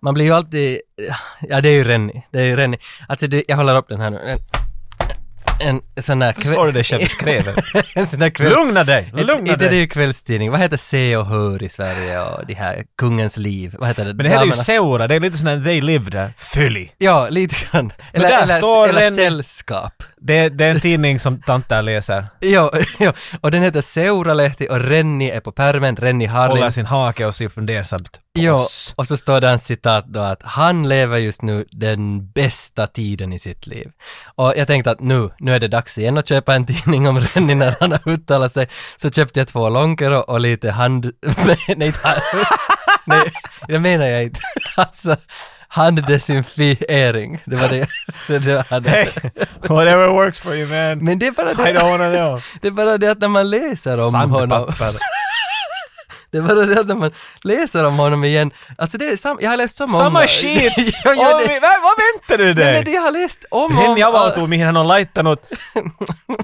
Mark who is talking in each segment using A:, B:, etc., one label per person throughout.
A: Man blir ju alltid... Ja, det är ju Renny. Det är ju Renny. Alltså, det, jag håller upp den här nu. En, en sån där kväll...
B: Förstår du dig själv skrevet?
A: en sån där kväll...
B: Lugna dig!
A: Ett-
B: Lugna
A: Inte det är
B: dig!
A: ju kvällstidning. Vad heter Se och Hör i Sverige och de här Kungens liv? Vad heter det?
B: Men det här är ju
A: Damernas-
B: Seura, det är lite sån här They Live där. Fylli!
A: Ja, lite grann. Eller,
B: där
A: eller,
B: står
A: eller
B: en-
A: Sällskap.
B: Det, det är en tidning som tantar läser.
A: Ja, ja, och den heter Seuralehti och Renni är på pärmen, Renni
B: Håller
A: Harlin.
B: sin hake och ser fundersamt på
A: Ja,
B: oss.
A: och så står det en citat då att han lever just nu den bästa tiden i sitt liv. Och jag tänkte att nu, nu är det dags igen att köpa en tidning om Renni när han har uttalat sig. Så köpte jag två långkero och lite hand... Nej, inte hand... Nej, det menar jag inte. Alltså, handdesinfiering. Det var det, det, det var det.
B: Hey, whatever works for you man.
A: Men det är bara
B: I
A: det,
B: don't wanna know.
A: det är bara det att när man läser om honom
B: Sandpapper.
A: Det är bara det att när man läser om honom igen, alltså det är sam- jag har läst så många.
B: Samma shit!
A: ja, ja,
B: Åh,
A: det,
B: vi- vad, vad väntar du
A: nej, men det
B: dig?
A: jag har läst om
B: Hen
A: om...
B: jag valtu, mihin hän on laittanut.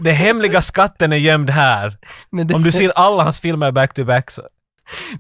B: Den hemliga skatten är gömd här.
A: men, det,
B: Om du ser alla hans filmer back to back så.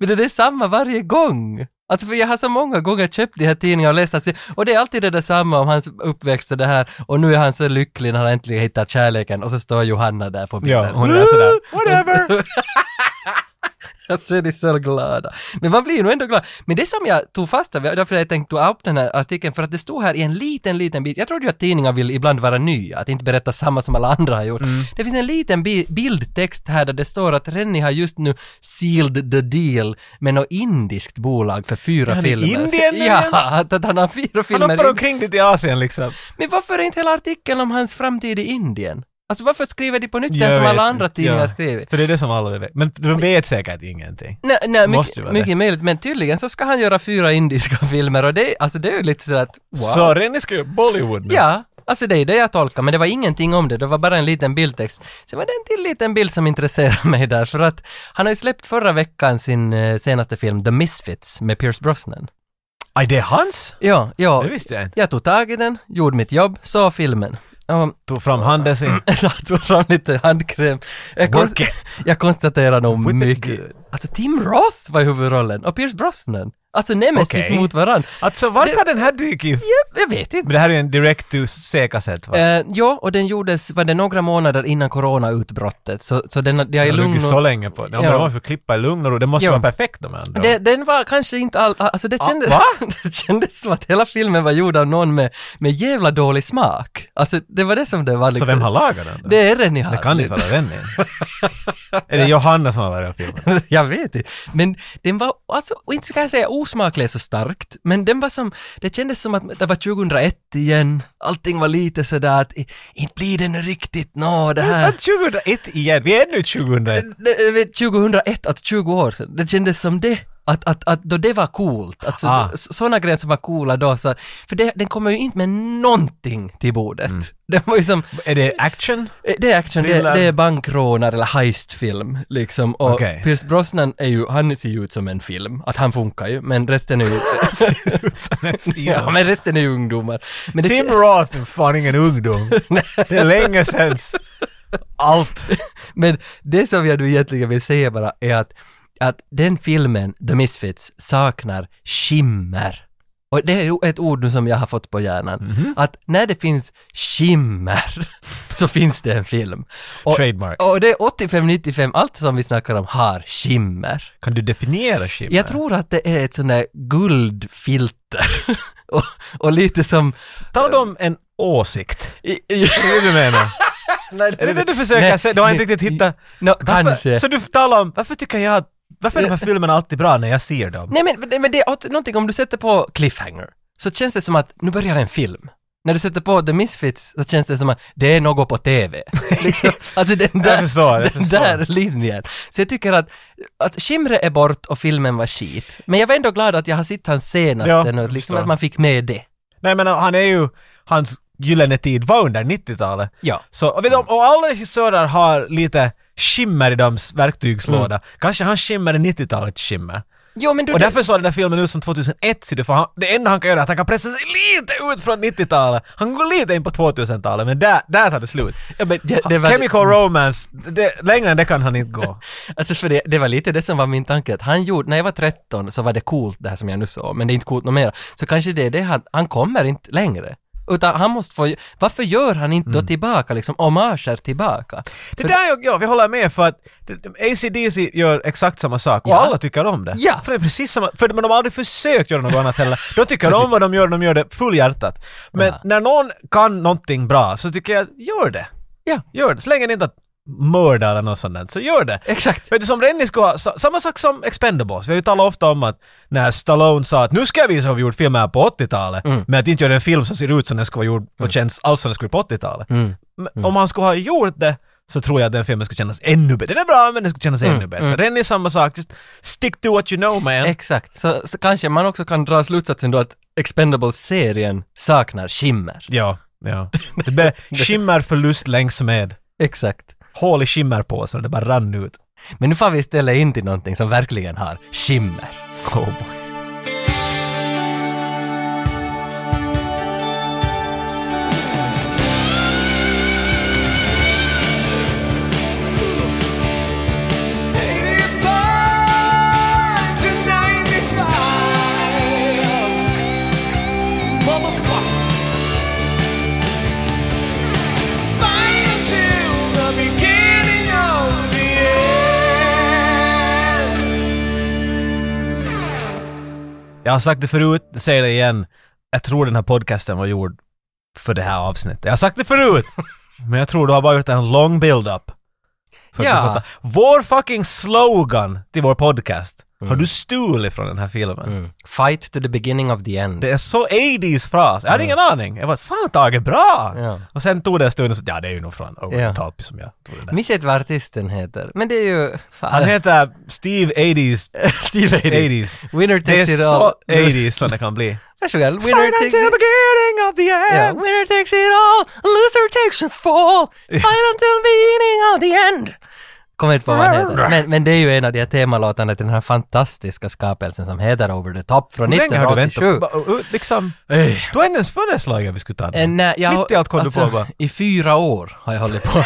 A: men det är samma varje gång. Alltså för jag har så många gånger köpt de här tidningarna och läst, alltså, och det är alltid det där samma om hans uppväxt och det här, och nu är han så lycklig när han äntligen hittat kärleken, och så står Johanna där på bilden.
B: Ja, hon är sådär.
A: Whatever! Alltså de är så glada. Men man blir ju nog ändå glad. Men det som jag tog fasta vid, därför jag tänkte ta upp den här artikeln, för att det stod här i en liten, liten bit. Jag trodde ju att tidningar vill ibland vara nya, att inte berätta samma som alla andra har gjort.
B: Mm.
A: Det finns en liten bi- bildtext här där det står att Rennie har just nu sealed the deal med något indiskt bolag för fyra
B: han i
A: filmer.
B: Indien nu
A: Ja,
B: igen?
A: att, att han har fyra
B: Han
A: filmer.
B: hoppar
A: i-
B: omkring lite i Asien liksom.
A: Men varför är inte hela artikeln om hans framtid i Indien? Alltså varför skriver de på nytt den
B: Jag
A: som alla
B: vet inte.
A: andra tidningar
B: Ja.
A: skriver?
B: För det är det som alla vill veta. Men de vet säkert ingenting.
A: Nej, nej
B: Måste ju
A: mycket,
B: vara det.
A: mycket möjligt, men tydligen så ska han göra fyra indiska filmer och det, alltså det är ju lite sådär att wow.
B: Så Renny ska ju Bollywood nu.
A: Ja, alltså det är det jag tolkar, men det var ingenting om det, det var bara en liten bildtext. Sen var det en till liten bild som intresserar mig där, för att han har ju släppt förra veckan sin eh, senaste film The Misfits med Pierce Brosnan.
B: Aj, det är hans?
A: Ja, ja.
B: Det visste jag inte.
A: Jag tog tag i den, gjorde mitt jobb, såg filmen. Och
B: Tog fram handen sin.
A: jag tog fram lite handkräm. Mm. Jag, konst-
B: Work it.
A: jag konstaterar nog
B: Whip it
A: mycket.
B: good.
A: Alltså Tim Roth var i huvudrollen och Pierce Brosnan. Alltså nemesis
B: Okej.
A: mot varann.
B: Alltså vart
A: Det-
B: har den här dykit?
A: Jag, jag vet inte.
B: Men det här är ju en direct to C-kassett va?
A: Eh, ja, och den gjordes, var det några månader innan coronautbrottet, så, så den, jag är
B: Den har
A: lugn
B: luggit så
A: och,
B: länge på. Ja,
A: Ja.
B: men de har för klippa i lugn och ro. Det måste
A: Ja.
B: vara perfekt de andra.
A: det, Den var kanske inte all, alltså det
B: Ah,
A: kändes,
B: va?
A: det kändes som att hela filmen var gjord av någon med, med jävla dålig smak. Alltså det var det som det var
B: Så
A: liksom.
B: vem har lagat den? då?
A: Det är Rennie
B: Det kan
A: Harlin.
B: inte vara Renny. är det Johanna som har varit och filmat?
A: jag vet inte. Men den var, alltså, och inte ska jag säga osmaklig är så starkt, men den var som, det kändes som att det var 2001 igen, allting var lite sådär att, i- inte blir det nu riktigt, nå det här.
B: 2001 igen, vi är nu 2001.
A: Det- det- 2001, att 20 år sedan, det kändes som det. Att, att, att då det var coolt, alltså
B: Ah.
A: sådana grejer som var coola då, så, för det, den kommer ju inte med någonting till bordet. Den var ju som,
B: Är det action?
A: Eh, Det är action, det,
B: Mm. Thriller.
A: det är bankrånar eller heistfilm liksom. Och
B: Okej.
A: Pierce Brosnan är ju, han ser ju ut som en film, att han funkar ju, men resten är ju... ja, men resten är ju ungdomar. Men det,
B: Tim Roth är fan ingen ungdom. det är länge sedan allt.
A: men det som jag nu egentligen vill säga bara är att, att den filmen, The Misfits, saknar skimmer. Och det är ju ett ord nu som jag har fått på hjärnan. Att när det finns skimmer så finns det en film. Och,
B: Trademark.
A: och det är 85-95, allt som vi snackar om har skimmer.
B: Kan du definiera skimmer?
A: Jag tror att det är ett sånt där guldfilter. och, och lite som...
B: Tala om en åsikt.
A: i- i-
B: Är det det du menar?
A: Nej,
B: Är det det du försöker
A: nej,
B: säga? Du har inte
A: nej,
B: riktigt hittat...
A: nå,
B: Varför-
A: kanske.
B: Så du talar om, varför tycker jag att, varför är de här filmerna alltid bra när jag ser dem?
A: Nej men, men det är åt- någonting, om du sätter på cliffhanger så känns det som att nu börjar en film. När du sätter på The Misfits så känns det som att det är något på TV. liksom, alltså den där,
B: Jag förstår, jag
A: den
B: förstår.
A: där linjen. Så jag tycker att, att skimret är bort och filmen var skit. Men jag var ändå glad att jag har sett hans
B: Ja,
A: senaste nu, liksom
B: jag förstår.
A: att man fick med det.
B: Nej men han är ju, hans gyllene tid var under 90-talet.
A: Ja.
B: Så, och, vet du, och alla regissörer Mm. har lite skimmer i deras verktygslåda. Kanske han skimmer i 90-talets skimmer.
A: Jo, men du,
B: Och
A: det-
B: därför såg den där filmen ut som 2001, ser du, för han, det enda han kan göra är att han kan pressa sig lite ut från 90-talet. Han går lite in på 2000-talet, men där, där tar det slut.
A: ja, men det, det var,
B: Chemical romance, det, längre än det kan han inte gå.
A: Alltså för det, det var lite det som var min tanke, att han gjorde, när jag var 13 så var det coolt det här som jag nu såg, men det är inte coolt något mer. Så kanske det är det han, han kommer inte längre. Utan han måste få, varför gör han inte
B: Mm.
A: då tillbaka liksom, homager tillbaka?
B: Det
A: För-
B: där, jag, ja, vi håller med för att ACDC gör exakt samma sak och
A: Ja.
B: alla tycker om det.
A: Ja.
B: För det är precis samma, för de har aldrig försökt göra något annat heller. De tycker om vad de gör, de gör det fullhjärtat. Men
A: Ja.
B: när någon kan någonting bra så tycker jag, gör det.
A: Ja,
B: Gör det. Så länge det inte är att mörda eller något sånt där, så gör det.
A: exakt.
B: Vet du, som Rennie skulle ha, sa- samma sak som Expendables. Vi har ju talat ofta om att när Stallone sa att nu ska jag visa hur vi gjorde filmer på 80-talet, men att inte göra en film som ser ut som den skulle vara gjord och känns alls som den skulle vara på 80-talet.
A: Mm.
B: Men om han skulle ha gjort det så tror jag att den filmen skulle kännas ännu bättre. Den är bra, men den skulle kännas ännu bättre. Rennie är samma sak, just stick to what you know man.
A: Exakt. Så, så kanske man också kan dra slutsatsen då att Expendables-serien saknar skimmer.
B: ja, ja. Det blev skimmerförlust längs med.
A: Exakt.
B: Hål i skimmerpåsen och det bara rann ut.
A: Men nu får vi istället in till någonting som verkligen har skimmer.
B: Oh boy. Jag har sagt det förut, jag säger det igen. Jag tror den här podcasten var gjord för det här avsnittet. Jag har sagt det förut! Men jag tror du har bara gjort en lång build-up. För att
A: Ja.
B: du fattar. Vår fucking slogan till vår podcast har du stulit från den här filmen.
A: Fight to the beginning of the end.
B: Mm. Det är så 80s fras. Jag hade ingen aning. Jag var fan taget bra!
A: Ja.
B: Och sen tog det en stund och så, ja det är ju nog från Over
A: Ja.
B: the Top som jag tog det där.
A: Minns jag inte vad artisten heter, men det är ju...
B: Han heter Steve 80s.
A: Steve 80s.
B: 80s.
A: Winner
B: Det är
A: takes it all.
B: så 80s som det kan bli.
A: Varsågod. Winner
B: Final
A: takes
B: till
A: it...
B: beginning of the
A: Ja,
B: end!
A: winner takes it all, loser takes a fall, fight until beginning of the end. Kommer inte på vad han heter. Men, men det är ju en av de här temalåtarna till den här fantastiska skapelsen som heter Over the Top från
B: Hur länge har du väntat?
A: 1987.
B: Ba- uh, uh, Liksom,
A: Ej.
B: du har inte ens föreslagit att vi skulle ta
A: Eh,
B: den.
A: nej, jag, alltså,
B: Mitt i allt kom du på bara.
A: I fyra år har jag hållit på.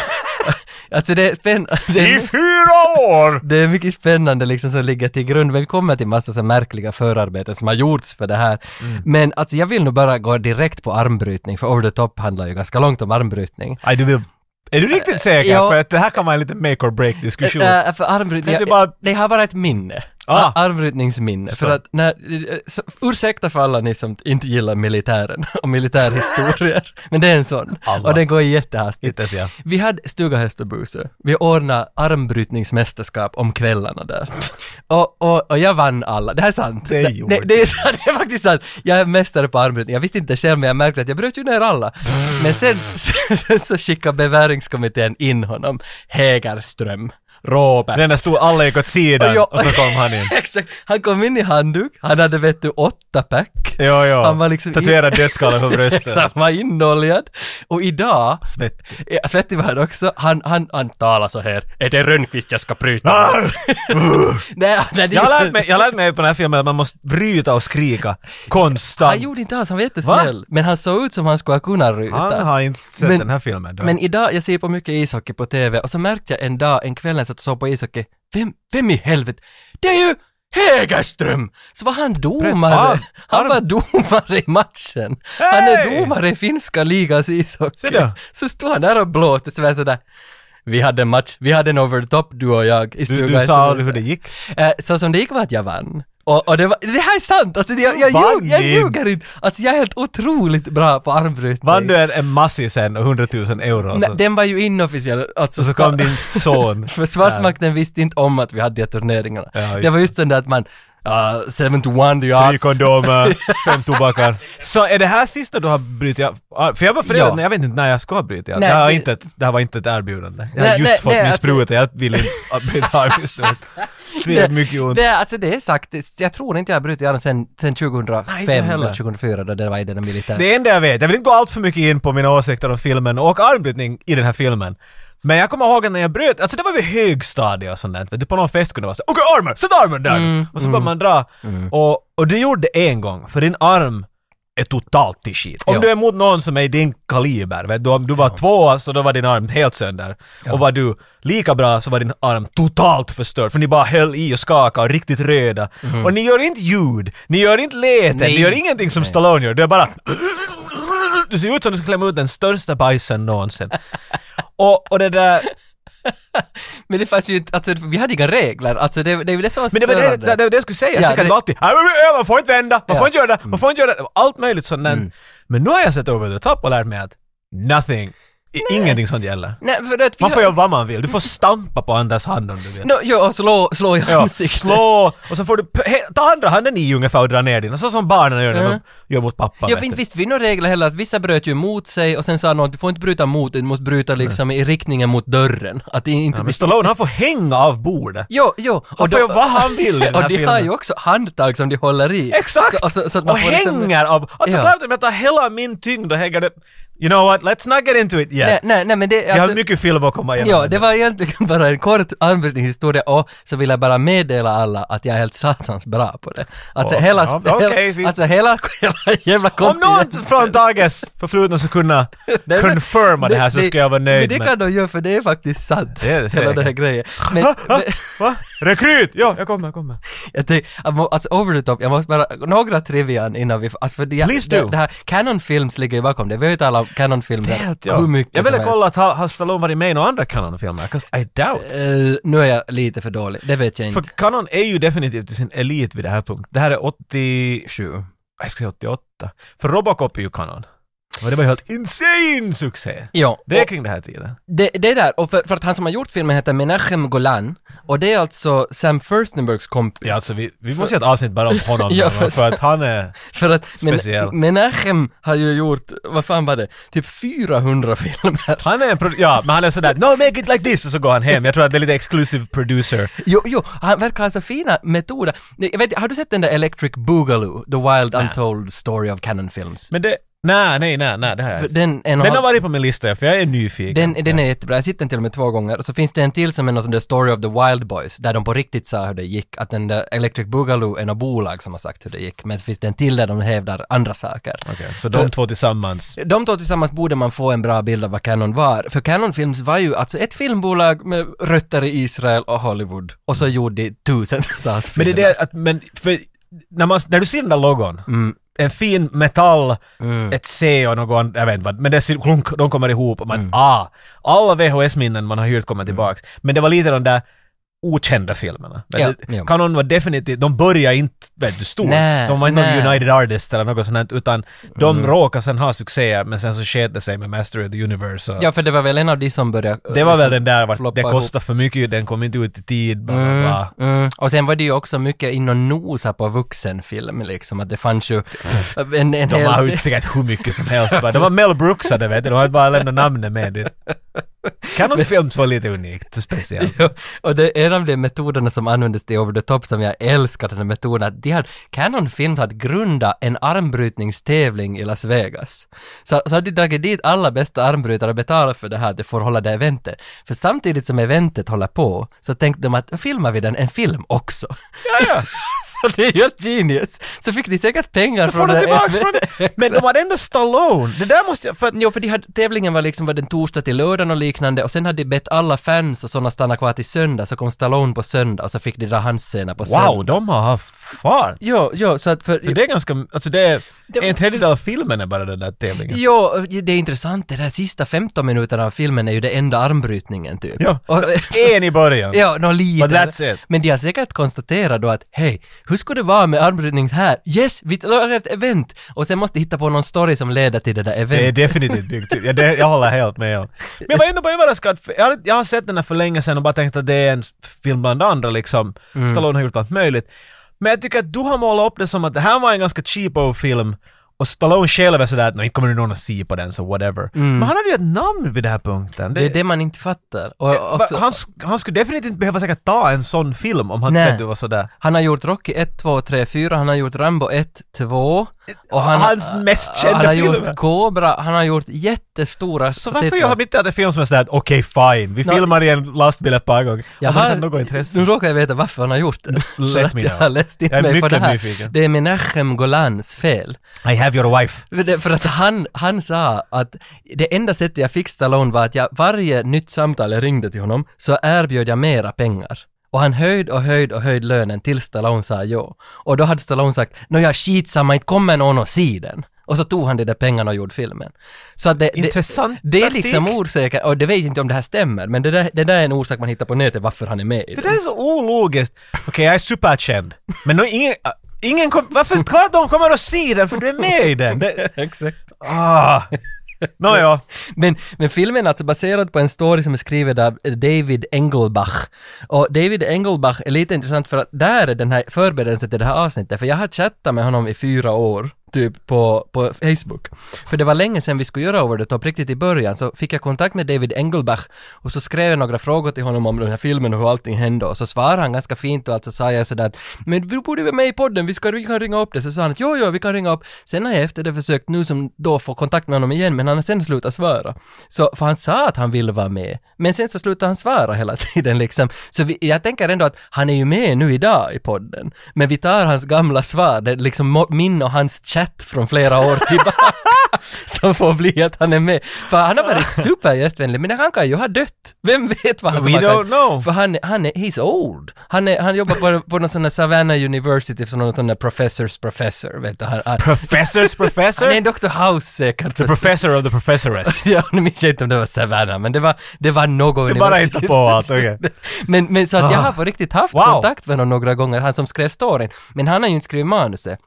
A: alltså det är, spänn, det, är,
B: fyra år!
A: det är mycket spännande liksom som ligger till grund. Men vi kommer till massa så här märkliga förarbeten som har gjorts för det här.
B: Mm.
A: Men alltså jag vill nog bara gå direkt på armbrytning, för Over the Top handlar ju ganska långt om armbrytning.
B: Aj, du vill... Är du riktigt säker?
A: ja.
B: För att det här kan vara en liten make or break diskussion.
A: Äh, för armbrytning,
B: Kan du
A: jag,
B: bara-
A: det har bara ett minne.
B: Ah.
A: Ah. Armbrytningsminne. För
B: Förstår.
A: att när, eh, så, ursäkta för alla ni som inte gillar militären och militärhistorier, men det är en sån.
B: Alla.
A: Och den går jättehastigt.
B: Inte ens jag.
A: Vi hade stuga häst och buse. Vi ordnade armbrytningsmästerskap om kvällarna där. Och, och, och jag vann alla. Det här är sant.
B: Det gjorde
A: det, det, är, sant. det är faktiskt sant. Jag är mästare på armbrytning. Jag visste inte det själv men jag märkte att jag bröt ju ner alla. Men sen, sen, sen så skickade beväringskommittén in honom. Hägerström. Robert.
B: Den där stod alla gick åt sidan
A: Och jag-
B: och så kom han in.
A: Exakt. Han kom in i handduk. Han hade vet du åtta pack.
B: Jo, jo.
A: Han var liksom-
B: Tatuerad dödskalle på
A: Så han
B: bröstet.
A: var inoljad. Och idag
B: Svett.
A: Ja, Svettig var han också. Han, han, han talar så här. Är det Rönnqvist jag ska pryta?
B: Ah!
A: nej, ah, nej, det-
B: Jag lärde mig, jag lärde mig på den här filmen att man måste bryta och skrika
A: Han
B: konstant.
A: gjorde inte alls, han var jättesnäll. Men han såg ut som han skulle ha kunnat ryta.
B: Han har inte sett
A: Men-
B: den här filmen. Då.
A: Men idag, jag ser på mycket ishockey på TV och så märkte jag en dag, en kväll när jag satt och såg på ishockey, vem, vem i helvete? Det är ju Hägerström! Så var han domare.
B: arm-
A: Han var
B: arm.
A: domare i matchen. Han är
B: Hej!
A: domare i finska ligans ishockey.
B: Se då.
A: Så stod han där och blåste så var jag sådär, vi hade en match, vi hade en over the top du och jag i
B: du,
A: stugan.
B: du sa liksom aldrig hur det gick.
A: Eh, Så som det gick var att jag vann. Och, och det, var, det här är sant! Alltså jag, jag,
B: Vann
A: ljug, jag
B: ni?
A: ljuger inte! Alltså jag är helt otroligt bra på armbrytning.
B: Vann du en, en massi sen och 100 000 euro? och
A: Nej,
B: så-
A: den var ju inofficiell. Alltså,
B: Och så
A: sta-
B: kom din son.
A: Försvarsmakten visste inte om att vi hade de här turneringarna.
B: Ja, just
A: det var just den där att man, uh, 7 to 1 the
B: Tre
A: odds.
B: kondomer, fem tobakar. Så är det här sista du har brutit av? Ah, För jag var förälder,
A: Ja.
B: jag vet inte när jag ska ha brutit av. Det,
A: Nej,
B: här var
A: det-
B: inte ett- det här var inte ett erbjudande. Jag har
A: Nej,
B: just
A: nej,
B: fått
A: nej,
B: min
A: alltså-
B: spruta, jag vill inte ha- bryta av just nu. Det gör mycket ont.
A: Det, är- alltså det är faktiskt, jag tror inte jag har brutit armen sen, sen 2005
B: Nej, inte heller.
A: eller 2004 då det var i den militären.
B: Det enda jag vet, jag vill inte gå allt för mycket in på mina åsikter om filmen och armbrytning i den här filmen. Men jag kommer ihåg när jag bröt, alltså det var vid högstadiet och sånt där. Vet Du på någon fest kunde det vara så okej armen, sätt armen där nu! Och så började man dra. Och, och du gjorde det en gång, för din arm är totalt till skit. Om
A: Ja.
B: du är mot någon som är i din kaliber, vet du, om du var tvåa så då var din arm helt sönder. Och var du lika bra så var din arm totalt förstörd, för ni bara höll i och skakade och riktigt röda. Och ni gör inte ljud, ni gör inte leten,
A: Nej.
B: ni gör ingenting som Stallone gör, du är bara du ser ut som du skulle klämma ut den största bajsen någonsin. Och, och det där,
A: Men det fanns ju inte, alltså vi hade inga regler, alltså det, det är väl det som var
B: men det var det,
A: störande.
B: det, det, var det jag skulle säga,
A: Ja,
B: jag tycker
A: det-
B: att det var alltid "Nej, men vi- man får inte vända, man
A: Ja. Mm.
B: får inte göra det, man får inte göra det, allt möjligt sånt där. Men nu har jag sett over the top och lärt mig att nothing, i- ingenting sånt gäller.
A: Nej, för att vi
B: Man får
A: har-
B: göra vad man vill, du får stampa på andras hand om du vill.
A: No, jo, och slå, slå i
B: Ja,
A: ansiktet.
B: slå, och så får du p- he- ta andra handen i ungefär och dra ner den, så som barnen gör när
A: Mm.
B: de gör mot pappa.
A: Ja,
B: vet
A: för inte
B: du.
A: visste vi några regler heller att vissa bröt ju mot sig och sen sa någon att du får inte bryta mot, du måste bryta liksom i riktningen mot dörren. Att det inte
B: Ja, men
A: blir...
B: Stallone, han får hänga av bordet.
A: Jo, jo.
B: Han får göra vad han vill i den här
A: och de
B: filmen.
A: har ju också handtag som de håller i.
B: Exakt!
A: Så, och så, så att man
B: och
A: får
B: hänger
A: liksom-
B: av... Alltså
A: Ja.
B: klart om jag tar hela min tyngd och hänger det... You know what, let's not get into it yet.
A: Nej, nej, nej, men det...
B: Vi har
A: Alltså,
B: mycket film att komma igenom.
A: ja, det var egentligen bara en kort anbrytningshistoria och så vill jag bara meddela alla att jag är helt satans bra på det. Alltså
B: Åh,
A: hela...
B: ja, okej,
A: hela-
B: vi-
A: Alltså hela, hela jävla
B: Om någon
A: kontinenten.
B: från Tages förflutna skulle kunna
A: Nej, men-
B: confirma det här så ska jag vara nöjd
A: men det
B: med...
A: kan de göra för det är faktiskt sant.
B: Det är det
A: hela den här
B: säkert.
A: grejen. Men,
B: Ah, ah,
A: men
B: Va? Rekryt! Ja, jag kommer, jag kommer.
A: jag tänkte, jag må- alltså over the top, jag måste bara, några trivian innan vi, alltså för det,
B: Please
A: det,
B: do.
A: det här, Canon Films ligger ju bakom det, vi har ju talat om Canon Filmer
B: Helt, ja.
A: hur mycket
B: jag ville
A: som helst.
B: kolla att har har Stallone varit med i några andra Canon-filmer, 'cause I doubt.
A: Eh, nu är jag lite för dålig, det vet jag
B: För
A: Äh, inte.
B: Canon är ju definitivt i sin elit vid det här punkt. Det här är 80...
A: Sju.
B: Jag ska säga 88. För Robocop är ju Canon. Och det var ju helt insane succé!
A: Ja,
B: Det är
A: och
B: kring det här tiden.
A: det, det är där, och för, för att han som har gjort filmen heter Menachem Golan, och det är alltså Sam Furstenbergs kompis.
B: Ja, alltså vi, vi måste göra ett avsnitt bara om honom.
A: Ja,
B: för,
A: för-
B: för att han är...
A: För att Men-
B: Speciell.
A: Menachem har ju gjort, vad fan var det, typ 400 filmer.
B: Han är en produ- Ja, men han är sådär “No, make it like this” och så går han hem. Jag tror att det är lite exclusive producer.
A: Jo, jo, han verkar ha så fina metoder. Nej, Jag vet, har du sett den där Electric Boogaloo, The Wild Untold Story of Canon Films?
B: Men det... Nej, nej, nej, nej, det här är...
A: För
B: Den,
A: Den, en och
B: den har
A: halv-
B: varit på min lista, för jag är nyfiken.
A: den, den är jättebra, jag har sett den till och med två gånger. Och så finns det en till som är någon sån där Story of the Wild Boys, där de på riktigt sa hur det gick. Att den där Electric Boogaloo är något bolag som har sagt hur det gick. Men så finns det en till där de hävdar andra saker.
B: Okej, så de
A: För-
B: två tillsammans.
A: De två tillsammans borde man få en bra bild av vad Canon var. För Canon Films var ju alltså ett filmbolag med rötter i Israel och Hollywood. Och så gjorde de tusentals
B: Men
A: filmer.
B: det är det att... Men för... När, man, när du ser den där logon,
A: Mm.
B: en fin metall, ett C och någon, jag vet inte vad, men det ser, klunk, de kommer ihop och man,
A: Mm.
B: ah! Alla VHS-minnen man har hyrt kommer tillbaks. Men det var lite de där okända filmerna. Vet
A: Ja,
B: du,
A: ja.
B: Kanon var definitivt, de började inte vet du, stort.
A: Nej,
B: de var inte
A: nej. Mm.
B: någon United Artists eller något sånt här, utan de råkade sen ha succéer men sen så sket det sig med Master of the Universe och
A: Ja, för det var väl en av de som började... eh,
B: Det var väl den där vart
A: floppa
B: det
A: ihop.
B: kostade för mycket, den kom inte ut i tid, bla, bla, bla.
A: Mm. Och sen var det ju också mycket in och nosa på vuxenfilm liksom, att det fanns ju en, en
B: De
A: hel
B: har ju säkert hur mycket som helst. Bara, de var Mel Brooksade vet du, de hade bara lämnat namnet med det. Canon Films var lite unikt och speciellt.
A: Ja, och det är en av de metoderna som användes till Over the Top som jag älskar, den här metoden. att De hade, Canon Film hade grundat en armbrytningstävling i Las Vegas. Så, så hade de dragit dit alla bästa armbrytare och betalat för det här, att de får hålla det eventet. För samtidigt som eventet håller på, så tänkte de att filmar vi den en film också.
B: Ja, ja.
A: så det är ju helt genius. Så fick de säkert pengar
B: Så
A: från
B: får de
A: det
B: tillbaks
A: här
B: från Men de hade ändå Stallone. Det där måste jag... För att,
A: Jo, för de hade, tävlingen var liksom var den torsdag till lördagen och liknande och sen hade de bett alla fans och sådana stanna kvar till söndag, så kom Stallone på söndag och så fick de dra hans scener på söndag.
B: wow, de har haft fart.
A: Jo, jo, så att för...
B: För det är ganska... Alltså det är...
A: Det-
B: En tredjedel av filmen är bara den där tävlingen.
A: Jo, det är intressant, det där sista 15 minuterna av filmen är ju det enda armbrytningen typ.
B: Ja.
A: Och,
B: En i början.
A: ja, nå lite.
B: But that's it.
A: Men de har säkert konstaterat då att hej, hur skulle det vara med armbrytning här? Yes, vi lagar ett event! Och sen måste de hitta på någon story som leder till det där
B: Det är
A: eventet.
B: definitivt byggt till. Ja, det, jag håller helt med om. Men jag var ändå bara överraskad. för Jag, hade- jag har sett den här för länge sedan och bara tänkt att det är en film bland andra liksom. Stallone har gjort allt möjligt. Men jag tycker att du har målat upp det som att det här var en ganska cheapo film och Stallone själv är sådär att "Nå, inte kommer någon att se på den så whatever. Men han hade ju ett namn vid den här punkten.
A: Det är det man inte fattar. Och
B: Eh, Va-
A: också,
B: han, sk- han skulle definitivt inte behöva säkert ta en sån film om han
A: Nej.
B: vet du var sådär.
A: Han har gjort Rocky 1, 2, 3, 4, han har gjort Rambo 1, 2, Och
B: Eh, Hans mest kända
A: han har
B: filmer.
A: gjort Cobra, han har gjort jättestora
B: Så varför
A: titlar.
B: gör han inte att en film som är sådär, okej fine, vi
A: Nå-
B: filmar i en lastbil ett par gånger.
A: Jag
B: Har man
A: har,
B: inte något intresse?
A: nu råkar jag veta varför han har gjort det. För att
B: me
A: jag
B: know.
A: har läst in
B: Jag är
A: mig på
B: mycket
A: det här.
B: nyfiken.
A: Det är Menachem Golans fel.
B: I have your wife.
A: För det- För att han, han sa att det enda sättet jag fick Stallone var att jag varje nytt samtal jag ringde till honom så erbjöd jag mera pengar. Och han höjd och höjd och höjd lönen tills Stallone sa ja. Och då hade Stallone sagt ”Nå jag skitsamma, inte kommer någon och ser den”. Och så tog han de där pengarna och gjorde filmen. Så att det,
B: Intressant
A: det, det är
B: taktik.
A: liksom orsaken, och det vet jag inte om det här stämmer, men det där, det där är en orsak man hittar på nätet varför han är med i
B: Det
A: den.
B: där är så ologiskt. Okej, jag är superkänd. Men nå, ingen, ah, ingen kom, varför, klart de kommer att se den för du är med i den. Det,
A: Exakt.
B: ah. Nåja.
A: Men, men filmen är alltså baserad på en story som är skriven av David Engelbach. Och David Engelbach är lite intressant för att där är den här förberedelsen till det här avsnittet, för jag har chattat med honom i fyra år, typ på, på Facebook. För det var länge sedan vi skulle göra Over the Top, riktigt i början, så fick jag kontakt med David Engelbach och så skrev jag några frågor till honom om den här filmen och hur allting hände och så svarade han ganska fint och alltså sa jag sådär att men du borde vara med i podden, vi, ska, vi kan ringa upp det. Så sa han att jo, jo, vi kan ringa upp. Sen har jag efter det försökt nu som då få kontakt med honom igen, men han har sen slutat svara. Så, för han sa att han ville vara med, men sen så slutade han svara hela tiden liksom. Så vi, jag tänker ändå att han är ju med nu idag i podden, men vi tar hans gamla svar, det är liksom mo- min och hans chatt från flera år tillbaka. som får bli att han är med. För han har varit supergästvänlig, men han kan ju ha dött. Vem vet vad han
B: We
A: som har
B: don't
A: kan-
B: know.
A: För han, är- han är, he's old. Han, är, han jobbar på, på någon sån där Savannah University, som någon sån där professors professor, vet du. Han, han,
B: Professors
A: han är
B: professor?
A: en Dr. House eh, säkert.
B: The professor of the professoress.
A: Ja, nu minns jag inte om det var Savannah, men det var, det var något
B: Du bara hittar på allt, okej.
A: men, men så att jag
B: Ah.
A: har på riktigt haft
B: Wow.
A: kontakt med honom några gånger, han som skrev storyn. Men han har ju inte skrivit manuset.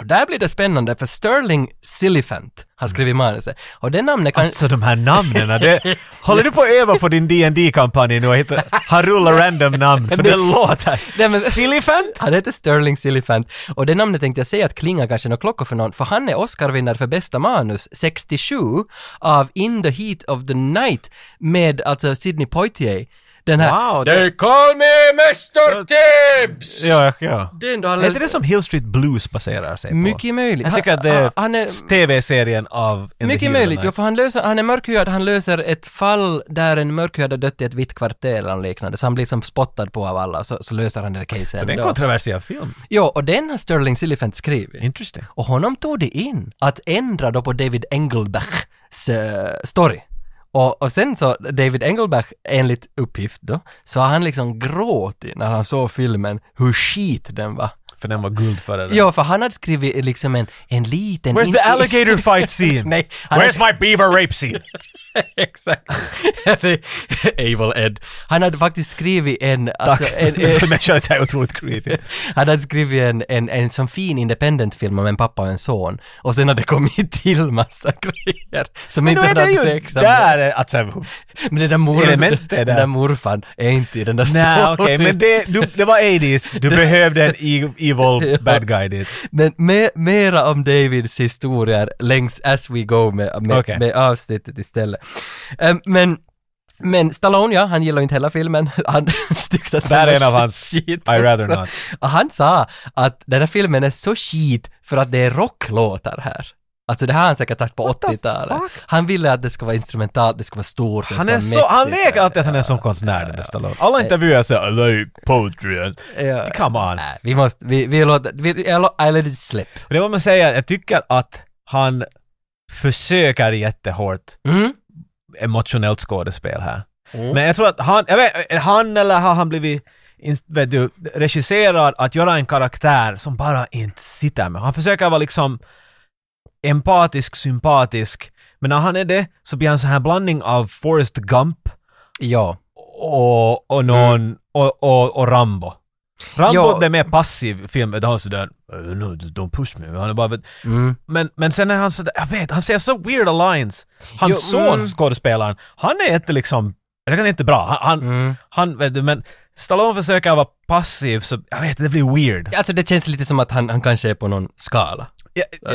A: Och där blir det spännande, för Sterling Siliphant har skrivit manuset. Och det namnet kan...
B: Alltså de här namnen, det, håller du på att öva på din dd kampanj nu och hitta, han rullar random namn, för det låter...
A: Nej, men-
B: Silifant?
A: Han heter Sterling Siliphant och det namnet tänkte jag säga att klingar kanske några klockor för någon, för han är Oscarvinnare för bästa manus 67 av In the Heat of the Night med alltså Sidney Poitier. Den här...
B: Wow, det...
A: call me Mr. Tibbs!
B: Ja, ja.
A: Den då,
B: Är inte det som Hill Street Blues baserar sig på?
A: Mycket möjligt.
B: Jag tycker att det
A: Han- ah,
B: är,
A: han är-
B: TV-serien av... In the
A: Mycket
B: Heat of the
A: möjligt,
B: Night.
A: jo, för han, löser, han är mörkhyad, han löser ett fall där en mörkhyad har dött i ett vitt kvarter eller något liknande, så han blir som spottad på av alla, så, så löser han det där caset
B: Så det är en
A: ändå.
B: kontroversiell film.
A: Jo, och den har Sterling Siliphant skrivit.
B: Interesting.
A: Och honom tog det in att ändra då på David Engelbachs eh, story. Och, och sen så, David Engelbach, enligt uppgift då, så har han liksom gråtit när han såg filmen, hur skit den var.
B: För den var guld före den.
A: Ja, för han hade skrivit liksom en, en liten...
B: Where's
A: in-
B: the alligator fight scene?
A: Nej, han hade-
B: Where's my beaver rape scene?
A: Exakt. Evil Ed. Han hade faktiskt skrivit en...
B: Tack.
A: Alltså, en, en
B: Den människan är otroligt creepy.
A: han hade skrivit en, en, en sån fin independent-film om en pappa och en son. Och sen hade det kommit till massa grejer som
B: Men
A: inte
B: då är
A: han
B: det
A: hade
B: ju
A: räknat med.
B: där, eh, alltså...
A: Men den där, mor,
B: elementet
A: den
B: där.
A: där morfan är inte i den där
B: Nej,
A: storyn.
B: okej, men det, du, det var 80s. Du behövde en e- evil bad guy dit.
A: Men me, mera om Davids historier längs As We Go med, med,
B: Okej.
A: med avsnittet istället. Ehm, men, men Stallone, ja, han gillar inte hela filmen. Han tyckte att den
B: Där är
A: var
B: en av hans
A: skit
B: I rather
A: också.
B: not.
A: Och han sa att den här filmen är så skit för att det är rocklåtar här. Alltså det här har han säkert sagt på
B: What the
A: 80-talet.
B: fuck?
A: Han ville att det ska vara instrumentalt, det ska vara stort, det
B: Han
A: ska
B: är
A: vara
B: så, han
A: mäktigt.
B: leker alltid att han är som konstnär, den där Stallone. Alla intervjuer säger I like poetry. and-"
A: Ja.
B: Come on.
A: Nej, vi måste, vi, vi låter, vi, jag lå- I let it slip.
B: Det var man säga, jag tycker att han försöker jättehårt
A: Mm?
B: emotionellt skådespel här.
A: Mm.
B: Men jag tror att han, jag vet, är han eller har han blivit in- vet du, regisserad att göra en karaktär som bara inte sitter med. Han försöker vara liksom empatisk, sympatisk, men när han är det så blir han så här blandning av Forrest Gump
A: Ja.
B: och, och någon, och, och, och Rambo.
A: Mm.
B: Rambo
A: Ja.
B: blir mer passiv i filmen, han är sådär "Eh, no, don't push me. Han är bara,
A: Mm.
B: men, men sen är han sådär, jag vet, han säger så weird alliance. Hans
A: Jo,
B: son,
A: mm.
B: skådespelaren, han är inte liksom, jag kan inte bra. Han, han,
A: Mm.
B: han, vet du, men Stallone försöker vara passiv så, jag vet, det blir weird.
A: Alltså det känns lite som att han, han kanske är på någon skala.
B: Ja,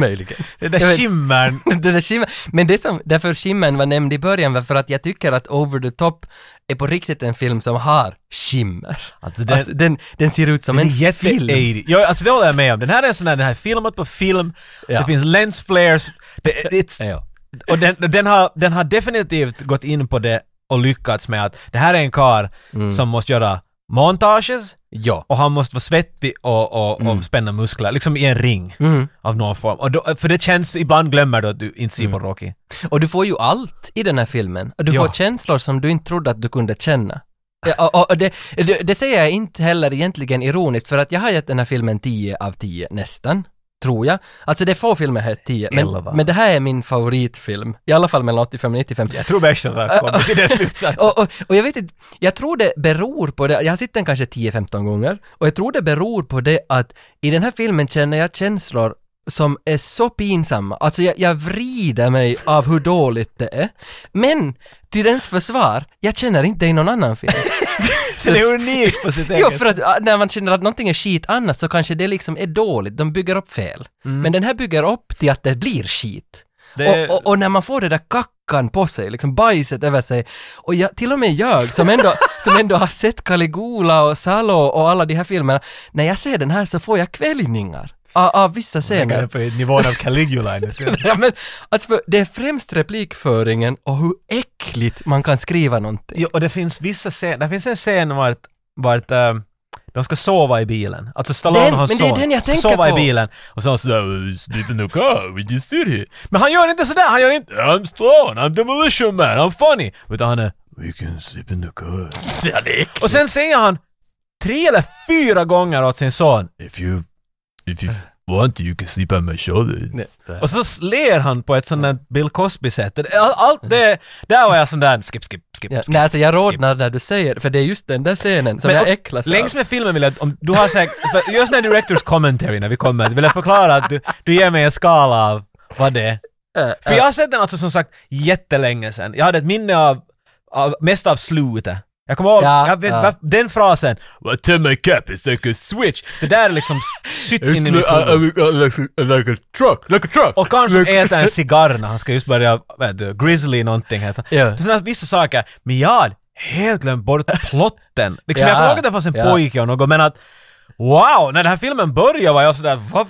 A: Möjligen. Jag
B: den där
A: vet-
B: skimmern.
A: Den där skimmen, men det som, därför skimmen var nämnd i början var för att jag tycker att Over the Top är på riktigt en film som har skimmer.
B: Alltså,
A: Den,
B: den-
A: alltså, den, den ser ut som
B: Den
A: en
B: är jätte
A: film.
B: 80 Ja, alltså det håller jag med om. Den här är en sån där, den här är filmat på film,
A: Ja.
B: det finns lens flares, det, it's,
A: Ja.
B: och den, den, har, den har definitivt gått in på det och lyckats med att det här är en kar
A: Mm.
B: som måste göra montages
A: Ja.
B: och han måste vara svettig och, och,
A: Mm.
B: och spänna muskler, liksom i en ring av någon form. Och då, för det känns, ibland glömmer du att du inte
A: Mm.
B: ser på Rocky.
A: Och du får ju allt i den här filmen. Och du
B: Ja.
A: får känslor som du inte trodde att du kunde känna. Ja, och, och det, det, det säger jag inte heller egentligen ironiskt, för att jag har gett den här filmen 10 av 10, nästan. Tror jag. Alltså det är få filmer här 10, men,
B: Elva.
A: men det här är min favoritfilm. I alla fall mellan 85 och 95.
B: Jag tror Bergström har kommit till den slutsatsen.
A: Och, och, och jag vet inte, jag tror det beror på det, jag har sett den kanske 10-15 gånger, och jag tror det beror på det att i den här filmen känner jag känslor som är så pinsamma. Alltså jag, jag vrider mig av hur dåligt det är. Men till dens försvar, jag känner inte det i någon annan film.
B: Så det är unikt på sitt
A: Jo,
B: eget
A: för att ah, när man känner att någonting är skit annars så kanske det liksom är dåligt, de bygger upp fel. Men den här bygger upp till att det blir skit.
B: Det-
A: Och, och, och när man får det där kackan på sig, liksom bajset över sig. Och jag, till och med jag som ändå, som ändå har sett Caligula och Salo och alla de här filmerna, när jag ser den här så får jag kväljningar av, av vissa
B: Jag är
A: scener.
B: på nivån av Caligula nu.
A: Ja, men, alltså, för det är främst replikföringen och hur äckligt man kan skriva någonting.
B: Jo, och det finns vissa scener, det finns en scen vart, vart ehm, de ska sova i bilen. Alltså Stallone
A: Den-
B: och hans
A: men det är
B: son
A: den jag
B: ska
A: tänker
B: sova
A: på.
B: i bilen och så han sådär “Sleep in the car, we just sit here”. Men han gör inte sådär, han gör inte “I'm Stallone, I'm demolition man, I'm funny”. Utan han är “We can sleep in the car”.
A: Ja, det är äckligt.
B: Och sen säger han tre eller fyra gånger åt sin son
C: If you if you want to, you can sleep on my shoulder.
B: och så ler han på ett sånt där Bill Cosby-sätt. All- Allt det, där var jag sån där skip, skip, skip,
A: Ja,
B: skip.
A: nej, alltså jag rodnar när du säger för det är just den där scenen som
B: Men
A: jag
B: och-
A: äcklas av.
B: Längs med filmen vill jag att, om du har säkert, för just när directors commentary när vi kommer, vill jag förklara att du, du ger mig en skala av vad det är.
A: Äh,
B: För jag har sett den alltså som sagt jättelänge sedan. Jag hade ett minne av, av mest av slutet. Jag kommer ihåg,
A: Ja,
B: jag vet,
A: ja.
B: var- den frasen,
C: Well, turn my cap, it's like a switch.
B: det där är liksom sytt in i
C: It's
B: mitt
C: like, I, I,
B: huvud.
C: I, like, a, like a truck, like a truck.
B: Och Karn som äter en cigarr när han ska just börja, vet du, grizzly någonting heter
A: Ja.
B: Det är sådana vissa saker, men jag har helt glömt bort plotten. Liksom
A: Ja.
B: jag kommer ihåg att det fanns en
A: Ja.
B: pojke och något, men att Wow! När den här filmen började var jag sådär, vad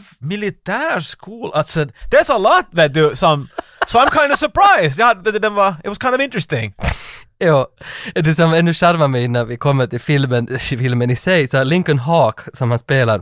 B: militärskol? Alltså, there's a lot vet du som... So I'm kind of surprised! Jag hade, vet du, den var, it was kind of interesting.
A: Ja, det som ännu charmar mig när vi kommer till filmen, filmen i sig, så här Lincoln Hawk som han spelar,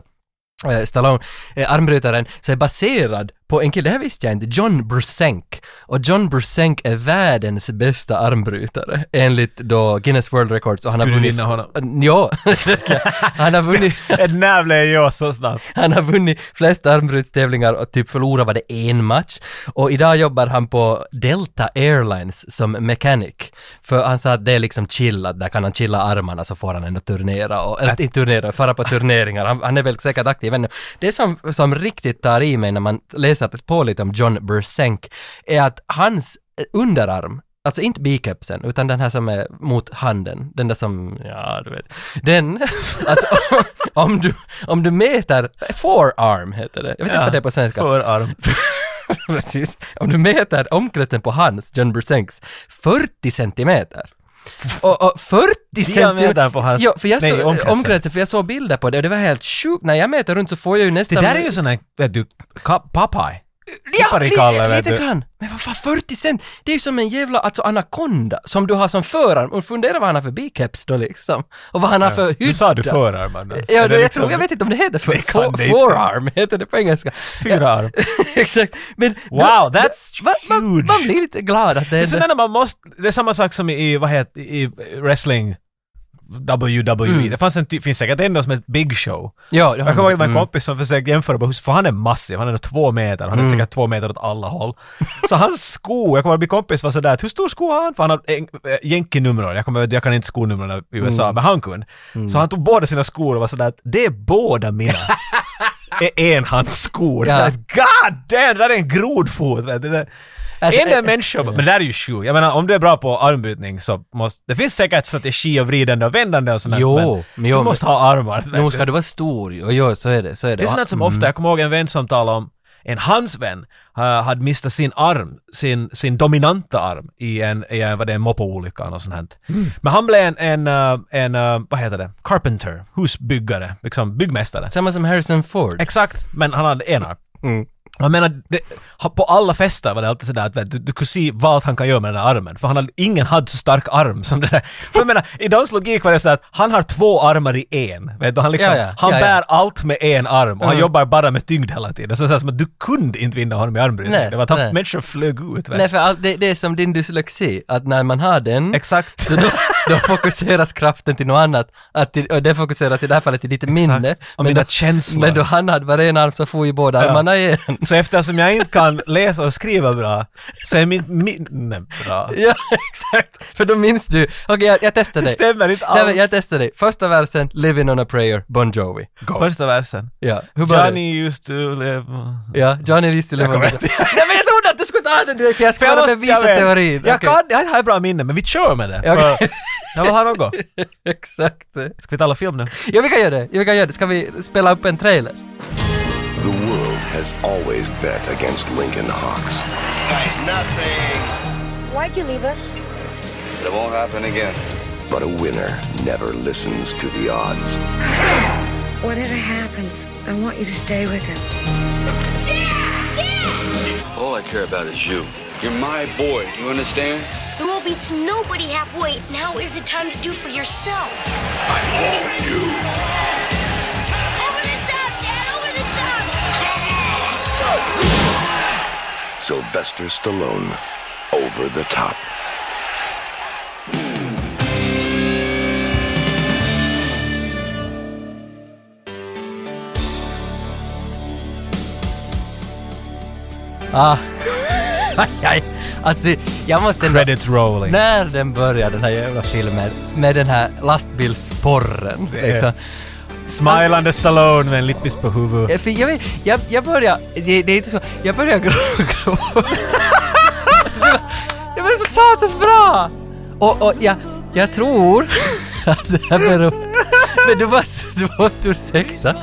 A: eh, Stallone, eh, armbrytaren, så är baserad på en kille, det här visste jag inte, John Brusenk. Och John Brusenk är världens bästa armbrytare, enligt då Guinness World Records och han har
B: Skulle du
A: vunnit...
B: vinna honom?
A: Ja, det ska jag. Han har vunnit...
B: Ett nerv blev jag så snabbt.
A: Han har vunnit flest armbrytstävlingar och typ förlorat var det en match. Och idag jobbar han på Delta Airlines som mechanic. För han sa att det är liksom chill, att där kan han chilla armarna så får han ändå turnera och, eller inte turnera, fara på turneringar. Han, han är väl säkert aktiv ännu. Det som, som riktigt tar i mig när man läser på lite om John Bursenk är att hans underarm Alltså inte bikepsen, utan den här som är mot handen. Den där som, ja du vet. Den, alltså om du, om du mäter, forearm heter det. Jag vet inte vad det är på svenska.
B: Förarm.
A: Precis. Om du mäter omkretsen på hans, John Bursenks, 40 centimeter. Och, och 40 centimeter
B: Diametern på hans-
A: Ja, för jag
B: nej,
A: såg, omkretsen.
B: omkretsen.
A: för jag såg bilder på det och det var helt sjukt. När jag mäter runt så får jag ju
B: Det
A: nästan...
B: där är ju sån här, vet du, ka- Popeye.
A: Ja,
B: Tippar i Kalle,
A: lite,
B: vet
A: lite
B: du.
A: grann. Men vad fan, 40 cent? Det är ju som en jävla alltså, anakonda som du har som förarm. Och fundera vad han har för bikeps då liksom. Och vad han har för hydda.
B: Nu sa du förarmen.
A: Ja, då, jag, tror, jag vet inte om det heter för,
B: kan liksom- det
A: for,
B: inte.
A: forearm, heter det på engelska.
B: Fyra arm.
A: Exakt. Men,
B: Wow, that's
A: man, man,
B: huge.
A: man blir lite glad att det
B: Det
A: är
B: är sådär när man måste, det är samma sak som i, vad heter, i wrestling, WWE.
A: Mm.
B: Det fanns en, ty- finns säkert ändå som ett big show.
A: Ja, det
B: Jag kommer
A: har-
B: ihåg en kompis som försökte jämföra, bara, för han är massiv, han är nog två meter,
A: Mm.
B: han är säkert två meter åt alla håll. Så hans sko, jag kommer ihåg min kompis var sådär, att, hur stor sko har han? För han har en- eh, jänkinumror, jag, kommer, jag kan inte skonumren i
A: Mm.
B: USA, men han kunde. Så han tog båda sina skor och var sådär, att, det är båda mina. är en hans skor.
A: Ja.
B: Så att, God damn, det där är en grodfot! Vet du. Det-
A: Alltså, eh,
B: Enda människa, men det där är ju sjukt. Jag menar om du är bra på armbrytning så måste... Det finns säkert strategi och vridande och vändande och sånt där,
A: Jo,
B: men
A: men jo,
B: du måste ha armar. vet
A: Nu
B: du.
A: ska du vara stor ju. och jo, så är det. Så är det.
B: Det är sånt som ofta, jag kommer ihåg en vän som talade om en hans vän eh, hade mistat sin arm, sin, sin dominanta arm i en, i en, vad det är, en moppeolycka eller något sånt. här. Men han blev en, en, eh, en, eh, vad heter det, carpenter, husbyggare, liksom byggmästare.
A: Samma som Harrison Ford.
B: Exakt, men han hade en arm.
A: Mm.
B: Jag menar, det, ha- på alla fester var det alltid sådär att vet du, du kunde se vad allt han kan göra med den där armen. För han hade, ingen hade så stark arm som det där. För jag menar, i dans logik var det så att han har två armar i en. Vet du, han liksom,
A: Ja, ja.
B: han
A: Ja, ja.
B: bär allt med en arm och han
A: Mm.
B: jobbar bara med tyngd hela tiden. Så, så här, som att du kunde inte vinna honom i armbrytning.
A: Nej,
B: Det var att han,
A: nej.
B: människor flög ut. Vet.
A: Nej, för all, det, det är som din dyslexi, att när man har den
B: Exakt.
A: så då, då fokuseras kraften till något annat. Att till, och det fokuseras i det här fallet till ditt minne.
B: Och mina
A: då,
B: känslor.
A: men då han hade bara en arm så får ju båda armarna i en.
B: Så eftersom jag inte kan läsa och skriva bra så är mitt minne bra.
A: Ja, exakt. För då minns du. Okej, jag, jag testar dig.
B: Stämmer inte
A: Nej, men
B: alls.
A: jag testar dig. Första versen, Living on a prayer, Bon Jovi.
B: Första versen.
A: Ja, hur börjar du?
B: Johnny used to live...
A: eh, Ja, Johnny Listy Levan.
B: kommer
A: Nej
B: inte-
A: men jag trodde att du skulle ta den direkt för jag skulle bara
B: måste-
A: bevisa
B: jag vet.
A: teorin.
B: Jag
A: Okej.
B: kan, jag har ett bra minne, men vi kör med det.
A: Ja, okej.
B: För- Jag vill ha något.
A: Exakt.
B: Ska vi tala film nu?
A: Ja vi kan göra det, ja, vi kan göra det. Ska vi spela upp en trailer?
D: The world has always bet against Lincoln Hawks.
E: This guy's nothing.
F: Why'd you leave us?
E: It won't happen again.
D: But a winner never listens to the odds.
F: Whatever happens, I want you to stay with him.
E: All I care about is you. You're my boy. You understand?
G: You won't meet nobody halfway. Now is the time to do for yourself. Over the top, Dad! Over the top!
D: Sylvester Stallone, over the top.
A: Ah. Aj, aj. Alltså jag måste ändå...
B: Credits rolling.
A: När den börjar den här jävla filmen med den här lastbilsporren.
B: Det är-
A: Liksom.
B: Smilande Stallone med en lippis på huvudet.
A: Ja, för Jag, vet, jag, jag börjar... Det, det är inte så... Jag börjar grå- gråta. Alltså, det, var, det var så satans bra! Och, och jag, jag tror att det här beror... Men du måste, du måste ursäkta.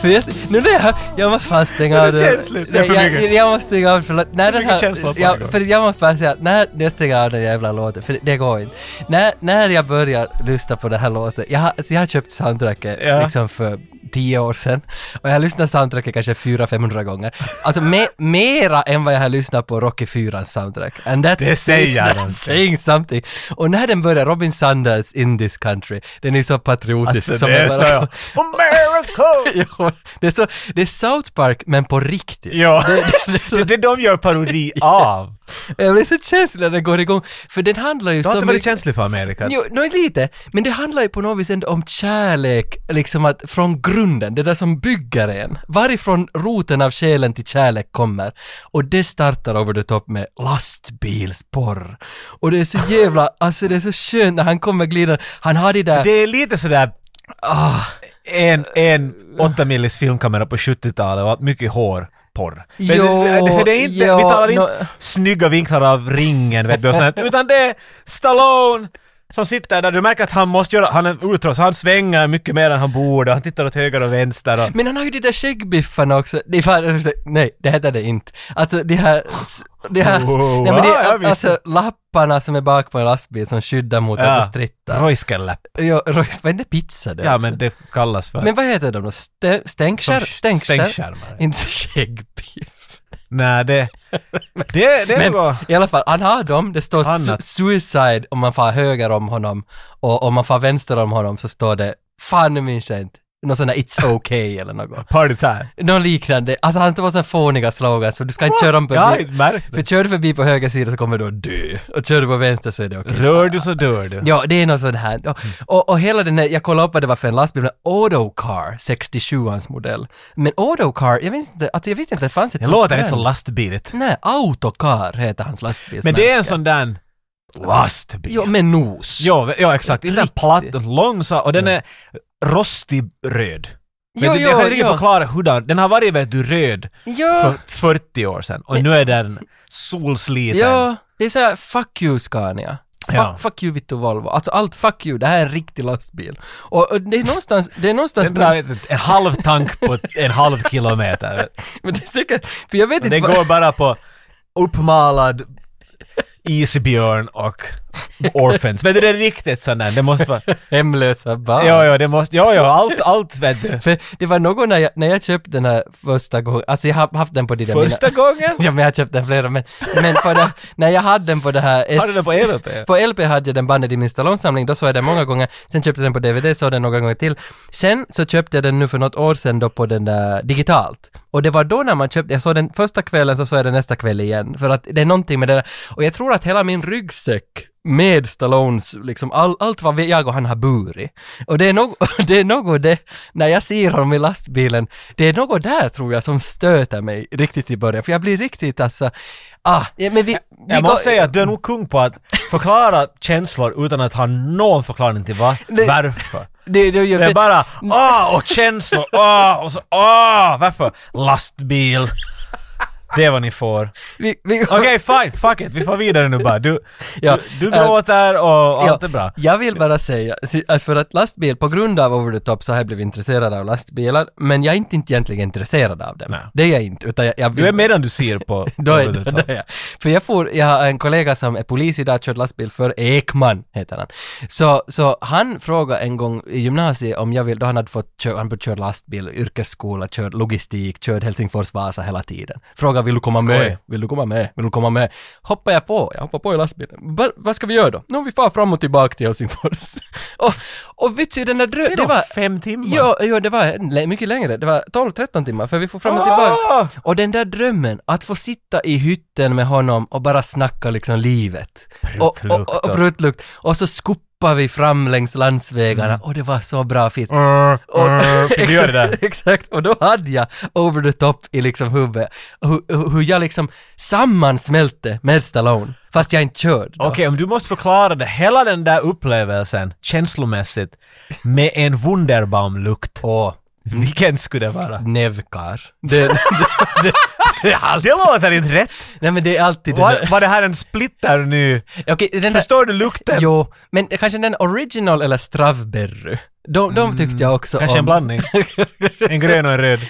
A: För jag, nu när jag hör- Jag måste fan stänga
B: Det är
A: av den.
B: känsligt. Det är för
A: jag,
B: mycket.
A: jag, jag måste stänga av för när den
B: mycket
A: här...
B: känslor på
A: Jag,
B: det.
A: för jag måste bara säga, när jag stänger av den jävla låten, för det, det går inte. När, när jag börjar lyssna på den här låten, jag, har- alltså jag har köpt soundtracket
B: Ja.
A: liksom för tio år sedan och jag har lyssnat soundtracket kanske 400-500 gånger. Alltså me, mera än vad jag har lyssnat på Rocky 4 soundtrack. And that's
B: Det säger
A: that's
B: någonting.
A: saying something. Och när den börjar, Robin Sanders in this country, den är så patriotisk.
B: Alltså
A: som
B: det
A: jag
B: är
A: bara-
B: så... America!
A: Jo, det, är så, det är South Park men på riktigt.
B: Ja,
A: Det, det, det är så,
B: det är det de gör parodi av.
A: jag blir så känslig när den går igång, för den handlar ju
B: Du har
A: så
B: inte varit känslig för Amerika.
A: Jo, nå, lite. Men det handlar ju på något vis ändå om kärlek, liksom att från grunden, det där som bygger en. Varifrån roten av själen till kärlek kommer. Och det startar Over the Top med lastbilsporr. Och det är så jävla, alltså det är så skönt när han kommer glidande. Han har det där... Ah.
B: Det är lite sådär... En, en 8 millis filmkamera på 70-talet och mycket hår. Porr. Men
A: Jo,
B: det, det, det är inte,
A: jo,
B: vi talar inte
A: nå-
B: snygga vinklar av ringen vet du, och sånt, utan det är Stallone som sitter där. Du märker att han måste göra, han är ultras, han svänger mycket mer än han borde, han tittar åt höger och vänster. Och,
A: Men han har ju de där skäggbiffarna också. Det är fan, nej, det heter det inte. Alltså de här... s- De här
B: Wow,
A: nej, men det
B: ah, jag
A: är
B: visste.
A: alltså lapparna som är bak på en lastbil som skyddar mot att det strittar.
B: Roiskeläpp.
A: Ja, rois- vad är det pizza det
B: Ja
A: också?
B: men det kallas för...
A: Men vad heter de då? Stä- stänkskär-
B: Som sk-
A: stänkskär?
B: stänkskärmar.
A: Inte skäggbiff.
B: Nej det... Det, det
A: Men
B: var...
A: i alla fall, han har dem. Det står su-
B: Annat.
A: suicide om man far höger om honom och om man far vänster om honom så står det fan nu minns jag inte. Någon sån där It's okay eller något.
B: Party time.
A: Någon liknande. Alltså han var så fåniga slogans för du ska inte köra om
B: Jag har
A: förbi.
B: inte märkt
A: För
B: det.
A: kör du förbi på höger sida så kommer du att dö. Och kör du på vänster så är det okej.
B: Rör du så dör du.
A: Ja, det är något sånt här. Och,
B: Mm.
A: och, och hela den där, jag kollade upp vad det var för en lastbil, men Autocar, 67ans modell. Men Autocar, jag visste inte, alltså jag visste inte att det fanns ett
B: Det låter inte så
A: brand.
B: lastbiligt.
A: Nej, Autocar heter hans lastbil.
B: Men det är en sån där lastbil.
A: Jo, med nos.
B: Ja, ja exakt. Inte en platt,
A: Riktigt.
B: långsam och den är rostig röd.
A: Jo,
B: Vet
A: jo,
B: du, jag kan inte riktigt
A: jo.
B: förklara hur den... Den har varit, vet du, röd
A: Ja.
B: för 40 år sedan och nu är den solsliten.
A: Ja, det är såhär fuck you Scania. Fuck,
B: Ja.
A: fuck you Vittu Volvo. Alltså allt fuck you, det här är en riktig lastbil. Och, och det är någonstans, det är någonstans...
B: Den drar en, en halv tank på en halv kilometer. vet du.
A: men det är säkert, för jag vet
B: Den
A: inte vad-
B: går bara på uppmalad isbjörn och orphans. Vet du, det är riktigt sån där. Det måste vara...
A: Hemlösa barn.
B: Ja, ja, det måste... Ja, ja, allt, allt vet du.
A: För det var någon när jag, när jag köpte den här första gången, alltså jag har haft den på de där
B: Första gången?
A: Ja men jag har köpt den flera men, men på det, när jag hade den på det här S-
B: Har du den på E LP?
A: På LP hade jag den bandet i min Stallone-samling, då såg jag den många gånger, sen köpte jag den på DVD, såg den några gånger till. Sen så köpte jag den nu för något år sedan då på den där digitalt. Och det var då när man köpte, jag såg den första kvällen så såg jag den nästa kväll igen, för att det är någonting med det där. Och jag tror att hela min ryggsäck med Stallones, liksom all, allt vad jag och han har burit. Och det är, nog, det är något det, när jag ser honom i lastbilen, det är något där tror jag som stöter mig riktigt i början, för jag blir riktigt alltså, ah, ja, men vi... vi
B: Jag
A: går-
B: måste säga att du är nog kung på att förklara känslor utan att ha någon förklaring till vad,
A: Nej. Mm.
B: varför.
A: det, det,
B: Det är bara ah och känslor, ah och så ah, varför? Lastbil. Det är vad ni får.
A: vi, vi,
B: Okej, fine, fuck it, vi får vidare nu bara. Du,
A: Ja, Mm.
B: du, du
A: äh,
B: gråter och allt är bra.
A: Jag vill bara säga, si- alltså för att lastbil, på grund av Over the Top så har jag blivit intresserad av lastbilar, men jag är inte inte egentligen intresserad av dem.
B: Nej.
A: Det är jag inte, utan jag, jag vill...
B: Du är medan du ser på...
A: Då är,
B: på-
A: då, då är jag. För jag får, jag har en kollega som är polis idag, kört lastbil för Ekman heter han. Så, så han frågade en gång i gymnasiet om jag vill, då han hade fått kö, han hade kört lastbil, yrkesskola, kört logistik, kört Helsingfors-Vasa hela tiden. Frågade vill du komma
B: Skoj.
A: med? Vill du komma med? Vill du komma med? Hoppar jag på? Jag hoppar på i lastbilen. Va, vad ska vi göra då? Nu vi far fram och tillbaka till Helsingfors. och, och vitsi, den där drö...
B: Det är nog fem timmar.
A: Ja, ja, det var en lä- mycket längre. Det var 12-13 timmar, för vi får fram och tillbaka.
B: Ah!
A: Och den där drömmen, att få sitta i hytten med honom och bara snacka liksom livet. Och, och, och, och pruttlukt. Och så skuppar vi fram längs landsvägarna och det var så bra fisk.
B: Ah!
A: Och,
B: Mm. Fick du göra det där?
A: exakt, exakt, och då hade jag over the top i liksom huvudet. Hur, hur- hur jag liksom sammansmälte med Stallone, fast jag inte körde. då.
B: Okej, om du måste förklara det, hela den där upplevelsen känslomässigt med en Wunderbaum-lukt.
A: Åh,
B: Vilken skulle det vara?
A: nevkar. Det, det, det, det är alltid,
B: Det låter inte rätt!
A: nej men det är alltid det
B: Var,
A: där.
B: var det här en splitter nu?
A: Okej, den här-
B: Förstår du lukten?
A: Jo, men kanske den original eller Strawberry. De, de tyckte jag också
B: Mm. Kanske en
A: om.
B: blandning. En grön och en röd.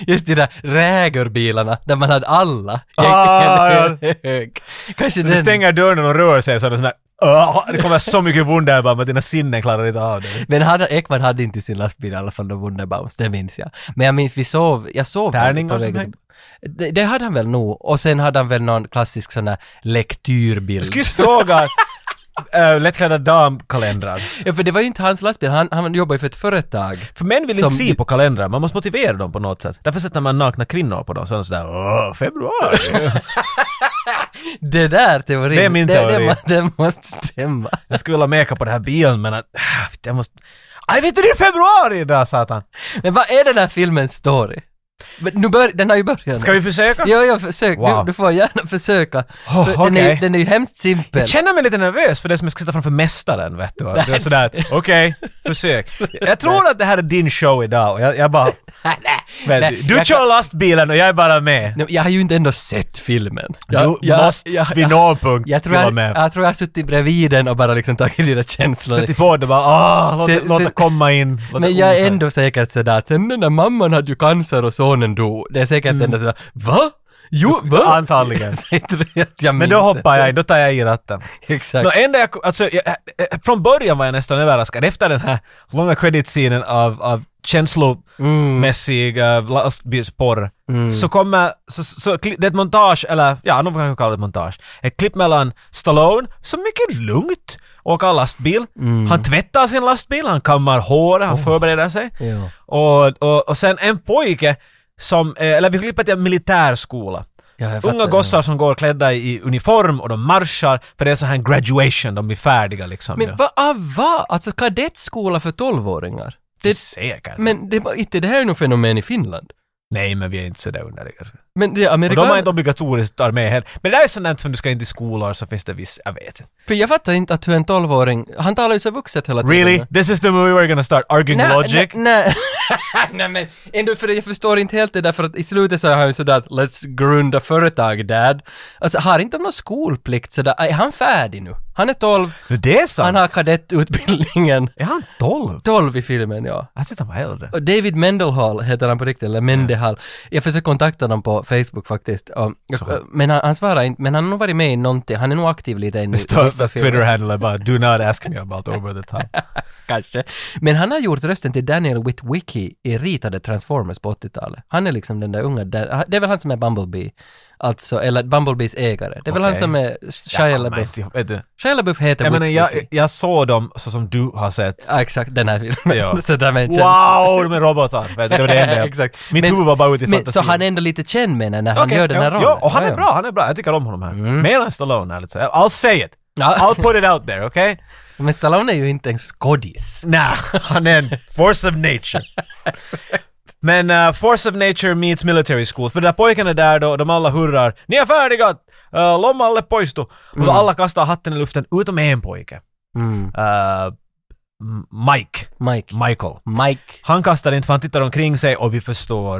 A: Just de där Rägerbilarna, där man hade alla i
B: Ah,
A: en hög. Kanske
B: Du
A: den.
B: stänger dörren och rör sig så är det sån där "Åh, det kommer så mycket Wunderbaum att dina sinnen klarar inte av det.
A: Men hade, Ekman hade inte sin lastbil i alla fall, de Wunderbaums, det minns jag. Men jag minns, vi sov, jag sov
B: Tärning
A: på
B: och
A: vägen
B: sånt
A: till- det, det hade han väl nog. Och sen hade han väl någon klassisk sån där lektyrbild.
B: Jag skulle just fråga äh, lättklädda damkalendrar.
A: Ja, för det var ju inte hans lastbil, han, han jobbar ju för ett företag.
B: För män vill
A: Som-
B: inte se på kalendrar, man måste motivera dem på något sätt. Därför sätter man nakna kvinnor på dem, så är de sådär åh, februari.
A: Det där teorin,
B: Det är min
A: det, det,
B: teori.
A: må- det måste stämma.
B: Jag skulle vilja meka på den här bilen men att, ah, jag måste... Aj, vet du det är februari idag satan!
A: Men vad är den här filmens story? Men nu bör, den har ju börjat nu.
B: Ska vi försöka?
A: Jo, jo, försök. Du,
B: Wow.
A: du får gärna försöka.
B: Oh,
A: För den, är,
B: okej.
A: ju- den är ju hemskt simpel.
B: Jag känner mig lite nervös för det som jag ska sitta framför mästaren vet du. Det är sådär, okej, försök. Jag tror att det här är din show idag och jag, jag bara... Vet
A: Nej,
B: du, du
A: jag
B: kör
A: kan-
B: lastbilen och jag är bara med.
A: Nej, Jag har ju inte ändå sett filmen.
B: Du
A: Jag, jag,
B: måste
A: jag,
B: vid
A: jag,
B: någon punkt
A: jag, tror
B: vara
A: jag,
B: med.
A: jag tror jag har suttit bredvid den och bara liksom tagit dina känslor.
B: Sätt i podden bara, ah, låt,
A: Sätt-
B: låt det
A: sätt-
B: komma in. Låt
A: Men
B: det
A: jag
B: osa
A: är
B: in.
A: ändå säkert sådär att sen den där mamman hade ju cancer och sonen dog. Det är säkert ändå sådär, va? Jo, va?
B: Mm. Antagligen.
A: Så jag tror att jag
B: Men
A: minns
B: då
A: det.
B: hoppar jag in, då tar jag i ratten.
A: Exakt.
B: Nå, enda jag, alltså, jag, eh, från början var jag nästan överraskad efter den här långa creditscenen av, av känslomässig mm. lastbilsporr.
A: Mm.
B: Så kommer, så, så, så kli- det är ett montage, eller ja, någon kanske kallar det ett montage. Ett klipp mellan Stallone, som mycket lugnt åker lastbil.
A: Mm.
B: Han tvättar sin lastbil, han kammar håret, han förbereder sig.
A: Oh. Ja.
B: Och, och, och sen en pojke som, eh, eller vi klipper till en militärskola.
A: Ja, jag fattar,
B: Unga
A: ja.
B: gossar som går klädda i uniform och de marschar för det är så här en graduation, de blir färdiga liksom.
A: Men
B: nu.
A: vad, ah, va? Alltså kadettskola för tolvåringar? Det,
B: Säkert.
A: men det, var inte, det här är nog fenomen i Finland.
B: Nej, men vi är inte så där underliga.
A: Men det
B: Och de har
A: amerikaner...
B: inte obligatoriskt armé heller. Men det där är sånt där som du ska in till skolor så finns det viss, jag vet inte.
A: För jag fattar inte att hur en tolvåring... Han talar ju så vuxet hela tiden.
B: Really? This is the movie we're gonna start arguing
A: Nej,
B: logic?
A: Nej, nej. nej men ändå för jag förstår inte helt det där för att i slutet så har han ju sådär att “Let's grunda företag dad”. Alltså har inte de någon skolplikt sådär? Är han färdig nu? Han är 12,
B: Nu det är sant!
A: han har kadettutbildningen.
B: Är han 12?
A: 12 i filmen ja.
B: Jag tyckte han var äldre.
A: Och David Mendelhall heter han på riktigt, eller Mendehall. Jag försökte kontakta honom på Facebook faktiskt. Och, och, men han, han svarar inte, men han har nog varit med i någonting, han är nog aktiv lite ännu. i vissa
B: Stas
A: filmer.
B: Twitter handle är bara “Do not ask me about over the time”.
A: Kanske. Men han har gjort rösten till Daniel Witwicky i ritade Transformers på 80-talet. Han är liksom den där unga, där, det är väl han som är Bumblebee. Alltså, eller Bumblebees ägare. Det är väl han
B: Okej.
A: som är Shia
B: Jag kommer
A: LaBeouf.
B: inte ihåg, vet du.
A: Shia LaBeouf heter
B: Jag menar,
A: Witwicky.
B: jag, jag såg dem så som du har sett.
A: Ja, exakt, den här filmen.
B: Ja.
A: så där med en känsla.
B: Wow, de är robotar! Vet du, Det var det enda jag...
A: Exakt.
B: Mitt
A: Men-
B: huvud var bara ute i
A: Men,
B: fantasin.
A: så han är ändå lite känd med när han
B: Okej,
A: gör den här
B: ja,
A: rollen.
B: Ja, och han
A: Ja,
B: är
A: ja. Mm.
B: bra, han är bra. Jag tycker om honom här. Mer än Stallone, ärligt sagt. I'll say it!
A: Ja.
B: I'll put it out there, okej? Okay?
A: Men Stallone är ju inte en skådis.
B: Nah, han är en force of nature. Men eh, Force of Nature meets Military School. För den där pojken är där då, de alla hurrar “Ni är färdiga! Uh, Lommalle poistu!” Och så alla kastar hatten i luften, utom en pojke.
A: Mm.
B: Eh, M- Mike.
A: Mike.
B: Michael.
A: Mike.
B: Han kastar inte för han tittar omkring sig och vi förstår.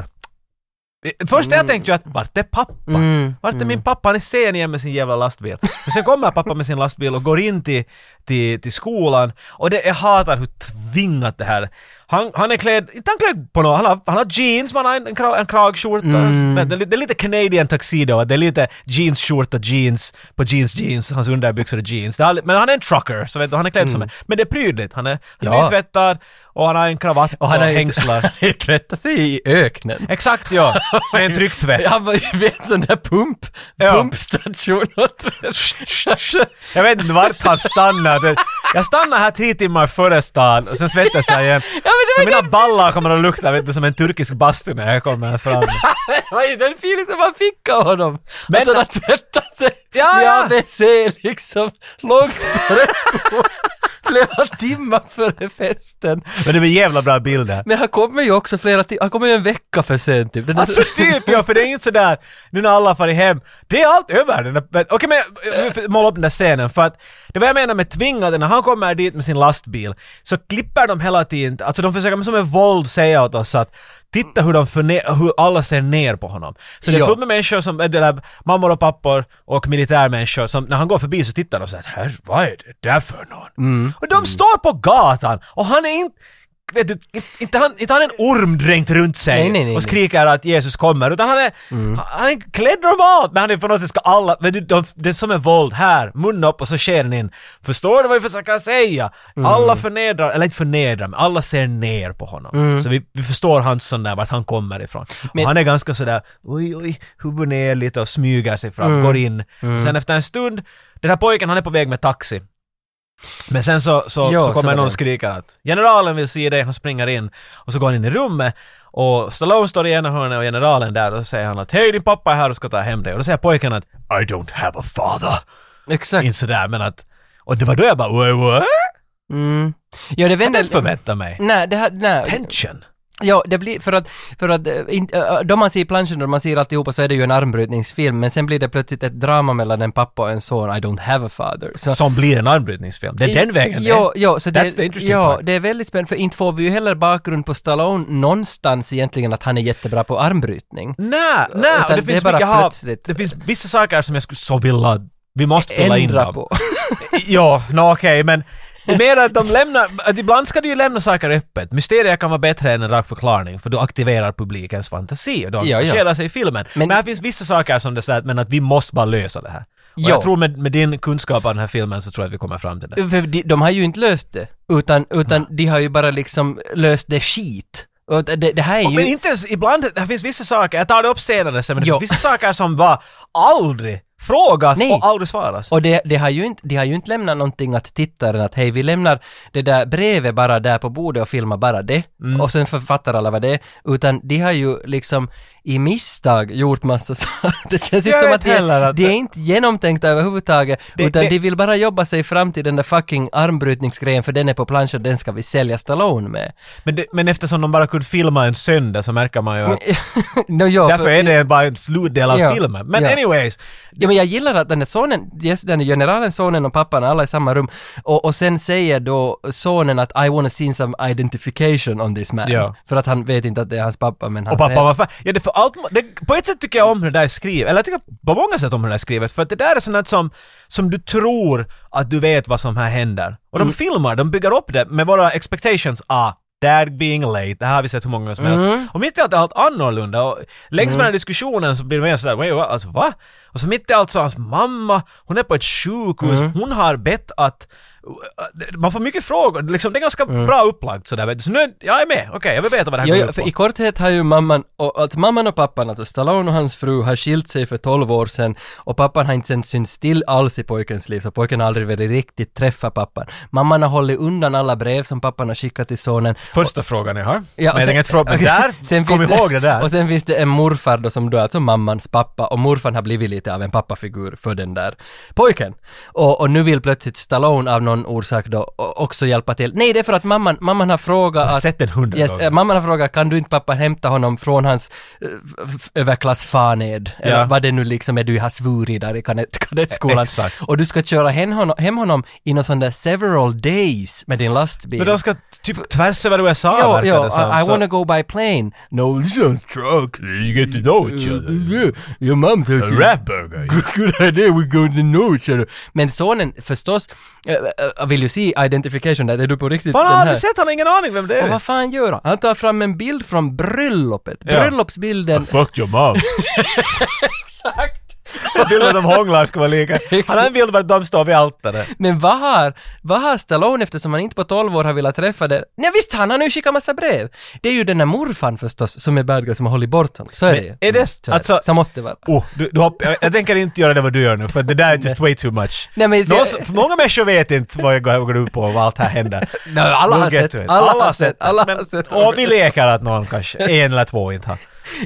B: Eh, Först jag tänkte ju att vart är pappa?
A: Mm,
B: Vart är min pappa? Han är sen igen med sin jävla lastbil. Men sen kommer pappa med sin lastbil och går in till, till, till skolan och det, jag hatar hur tvingat det här är. han, han är klädd, inte han klädd på något, han har, han har jeans, man har en, en, krag, en kragskjorta.
A: Mm.
B: Alltså, Men Det, är li- det är lite Canadian tuxedo, att det är lite jeansskjorta, jeans, på jeans, jeans, hans underbyxor är jeans. Det har, li- men han är en trucker, så vet du, han är klädd som en. Men det är prydligt, han är, han är
A: Mm. Ja.
B: nytvättad och han har en kravatt och,
A: Och han har ju-
B: hängslar.
A: Han har ju tvättat sig i öknen.
B: Exakt ja, med en trycktvätt.
A: Han var ju vid en sån där pump,
B: Ja.
A: pumpstation och tvättade.
B: Jag vet inte vart han stannade. Jag stannar här tre timmar före stan och sen svettas jag igen. så mina ballar kommer att lukta vet du, som en turkisk bastu när jag kommer fram.
A: Vad är den feeling som man fick av honom?
B: Men-
A: att han har tvättat sig
B: Ja,
A: i
B: ja.
A: ABC liksom långt före skolan. Flera timmar före festen.
B: Men det blir jävla bra bilder.
A: Men han kommer ju också flera timmar, han kommer ju en vecka för sent typ. Den där-
B: Alltså typ ja, för det är inte sådär, nu när alla har farit hem, det är allt över. Den där- men- Okej men jag- jag får måla upp den där scenen för att det var jag menar med tvingade, när han kommer dit med sin lastbil så klipper de hela tiden, alltså de försöker med som en våld säga åt oss att Titta hur, de förne- hur alla ser ner på honom. Så det är
A: Ja.
B: fullt med människor som, äh, det där, mammor och pappor och militärmänniskor som när han går förbi så tittar de såhär “Herre, vad är det där för någon?” Och de står på gatan och han är inte, vet du, inte- inte han, inte han är en orm dränkt runt sig
A: Nej, nej, Mm. nej,
B: och skriker att Jesus kommer utan han är, han är klädd normalt men han är på något sätt ska alla, men du, de, det är som en våld här, munnen upp och så sker den in. Förstår du vad vi försöker säga?
A: Mm.
B: Alla förnedrar, eller inte förnedrar men alla ser ner på honom. Så vi, vi förstår hans sån där, vart han kommer ifrån.
A: Mm. Men-
B: och han är ganska sådär, oj oj, huvudet ner lite och smyger sig fram,
A: Mm.
B: går in. Sen efter en stund, den här pojken han är på väg med taxi. Men sen så, så,
A: Ja,
B: så
A: så
B: kommer
A: var det.
B: någon och skriker att generalen vill se dig, han springer in och så går han in i rummet och Stallone står i ena hörnet och generalen där och så säger han att hej din pappa är här och ska ta hem dig och då säger pojken att I don't have a father.
A: Exakt.
B: Inte sådär men att och det var då jag bara Wait, what?
A: Mm. Ja, det
B: Jag
A: vänder...
B: förväntar mig.
A: Nej, det här, nej.
B: Tension.
A: Ja, det blir för att, för att eh, in, eh, då man ser planschen och man ser alltihopa så är det ju en armbrytningsfilm men sen blir det plötsligt ett drama mellan en pappa och en son, I don't have a father. Så,
B: Som blir en armbrytningsfilm. Det är den vägen det är.
A: Jo, jo, så det,
B: That's the interesting
A: ja,
B: part.
A: det är väldigt spännande för inte får vi ju heller bakgrund på Stallone någonstans egentligen att han är jättebra på armbrytning.
B: Nej, nej,
A: Utan
B: och det
A: det är
B: finns
A: bara
B: mycket hat.
A: plötsligt-
B: Det finns vissa saker som jag skulle så vilja, vi måste fylla in
A: Ändra
B: dem.
A: på.
B: ja, nå okej, men det är mer att de lämnar, att ibland ska du ju lämna saker öppet. Mysterier kan vara bättre än en rak förklaring, för du aktiverar publikens fantasi och de
A: Ja, ja.
B: engagerar sig i filmen. Men,
A: Men-
B: här finns vissa saker som det säger, men att vi måste bara lösa det här. Och jag
A: Ja.
B: tror med, med din kunskap av den här filmen så tror jag att vi kommer fram till det.
A: För de, de har ju inte löst det, utan, utan de har ju bara liksom löst det skit. Och det, det här är ju...
B: Men inte ens, ibland, det finns vissa saker, jag tar det upp senare sen, men det
A: Jo.
B: finns vissa saker som bara aldrig frågas
A: Nej.
B: och aldrig svaras.
A: Och det, det har ju inte, de har ju inte lämnat någonting att tittaren att hej vi lämnar det där brevet bara där på bordet och filmar bara det
B: Mm.
A: och sen författar alla vad det är. Utan de har ju liksom i misstag gjort massa saker. Det känns inte
B: Jag
A: som
B: vet
A: att de,
B: heller att-
A: de är inte genomtänkta överhuvudtaget
B: Det-
A: utan
B: det-
A: de vill bara jobba sig fram till den där fucking armbrytningsgrejen för den är på plansch och den ska vi sälja Stallone med.
B: Men, det, men eftersom de bara kunde filma en söndag så märker man ju att
A: no, ja,
B: därför är det bara en slutdel av
A: Ja.
B: filmen. Men
A: Ja.
B: anyways,
A: Ja men jag gillar att den där sonen, yes, den där generalen, sonen och pappan, alla i samma rum. Och, och sen säger då sonen att I wanna see some identification on this man.
B: Ja.
A: För att han vet inte att det är hans pappa men han
B: och pappa
A: säger,
B: var fan... Ja, det för allt, det, på ett sätt tycker jag om hur det där är skrivet, eller jag tycker på många sätt om hur det där är skrivet, för att det där är sånt som, som du tror att du vet vad som här händer. Och
A: Mm.
B: de filmar, de bygger upp det med våra expectations. Ah, Dad being late, det här har vi sett hur många gånger som
A: Mm.
B: helst. Och mitt i allt är allt annorlunda och längs med den här diskussionen så blir det mer sådär, "Wait, va? alltså va? Och så mitt i allt så hans mamma, hon är på ett sjukhus,
A: Mm.
B: hon har bett att man får mycket frågor, liksom, det är ganska bra upplagt sådär vet du. Så nu, jag är med, okej, jag vill veta vad det här
A: Jo,
B: går
A: Mm. ja,
B: ut på.
A: för i korthet har ju mamman, och, alltså mamman och pappan, alltså Stallone och hans fru har skilt sig för 12 år sedan och pappan har inte sen synts till alls i pojkens liv så pojken har aldrig väldigt riktigt träffat pappan. Mamman har hållit undan alla brev som pappan har skickat till sonen
B: Första frågan jag har.
A: Ja, och
B: men jag
A: sen-
B: tänker inte fråga, men
A: okej.
B: där,
A: Sen
B: kom
A: finns
B: ihåg det där.
A: Och sen finns det en morfar då som då är alltså mammans pappa och morfar har blivit lite av en pappafigur för den där pojken. Och, och nu vill plötsligt Stallone av någon orsak då o- också hjälpa till. Nej, det är för att mamman, mamman har frågat
B: har
A: att...
B: sett den hundra
A: yes,
B: gånger.
A: eh, Mamman har frågat kan du inte pappa hämta honom från hans eh, f- f- överklassfaned? Eller
B: Ja.
A: vad det nu liksom är du har svurit där i kadett, kadettskolan.
B: Exakt.
A: Och du ska köra hem honom, hem honom i någon sån där several days med din lastbil.
B: men de ska typ tvärs över USA
A: Jo,
B: verkar
A: jo,
B: det som.
A: I, I
B: så-
A: wanna go by plane. No, this is truck.
C: You get to know
A: Mm.
C: each other.
A: Yeah, Your mom tells
C: A
A: you.
C: rat burger.
A: Good idea, we go to know each other. Men sonen, förstås, eh, eh, vill ju se identification där, är du på riktigt
B: Fan,
A: den
B: han har
A: här?
B: aldrig sett, han har ingen aning vem det
A: Och
B: är.
A: vad fan gör han? Han tar fram en bild från bröllopet.
B: Ja.
A: Bröllopsbilden.
C: Fuck your mom.
A: Exakt.
B: Bilden av hånglar ska vara lika. Han har en bild där de står vid altaret.
A: Men vad har, vad har Stallone eftersom han inte på 12 år har velat träffa det? Nej visst, han har nu skickat massa brev. Det är ju den där morfan förstås som är bad guy som har hållit bort honom. Så är
B: Men
A: det ju.
B: är det-
A: Mm, så, är
B: alltså-
A: det. så måste det vara.
B: Oh, du, du hopp, jag, jag tänker inte göra det vad du gör nu, för det där är just way too much.
A: Nej, men så-
B: Någon som- för många människor vet inte vad jag går, går ut på och vad allt här händer.
A: Nej, alla
B: We'll
A: har
B: get
A: sett,
B: to it.
A: alla har sett, alla har
B: men-
A: sett.
B: Och vi leker att någon kanske, en eller två inte har.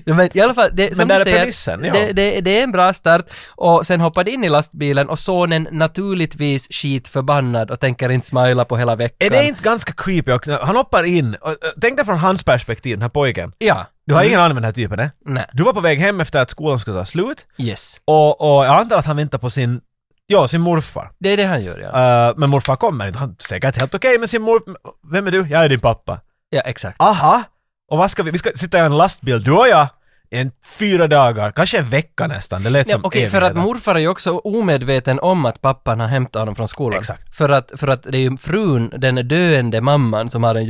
A: Ja, Men i alla fall, det, som
B: där
A: du
B: är
A: säger,
B: premissen, ja.
A: det, det, det är en bra start och sen hoppade in i lastbilen och sonen naturligtvis skitförbannad och tänker inte smila på hela veckan.
B: Är det inte ganska creepy också? Han hoppar in, och, och, tänk dig från hans perspektiv, den här pojken.
A: Ja.
B: Du har ingen aning om den här typen, nej?
A: Nej.
B: Du var på väg hem efter att skolan skulle ta slut
A: Yes.
B: och, och jag antar att han väntar på sin, ja, sin morfar.
A: Det är det han gör, ja.
B: Eh, men morfar kommer inte. Han är säkert helt okej med sin morfar. Vem är du? Jag är din pappa.
A: Ja, exakt.
B: Aha! Och vad ska vi? Vi ska sitta i en lastbil, du och jag. En fyra dagar, kanske en vecka nästan. Det lät
A: Ja,
B: som
A: Okej, för att
B: evigheter.
A: morfar är ju också omedveten om att pappan har hämtat honom från skolan.
B: Exakt.
A: För att, för att det är ju frun, den döende mamman som har en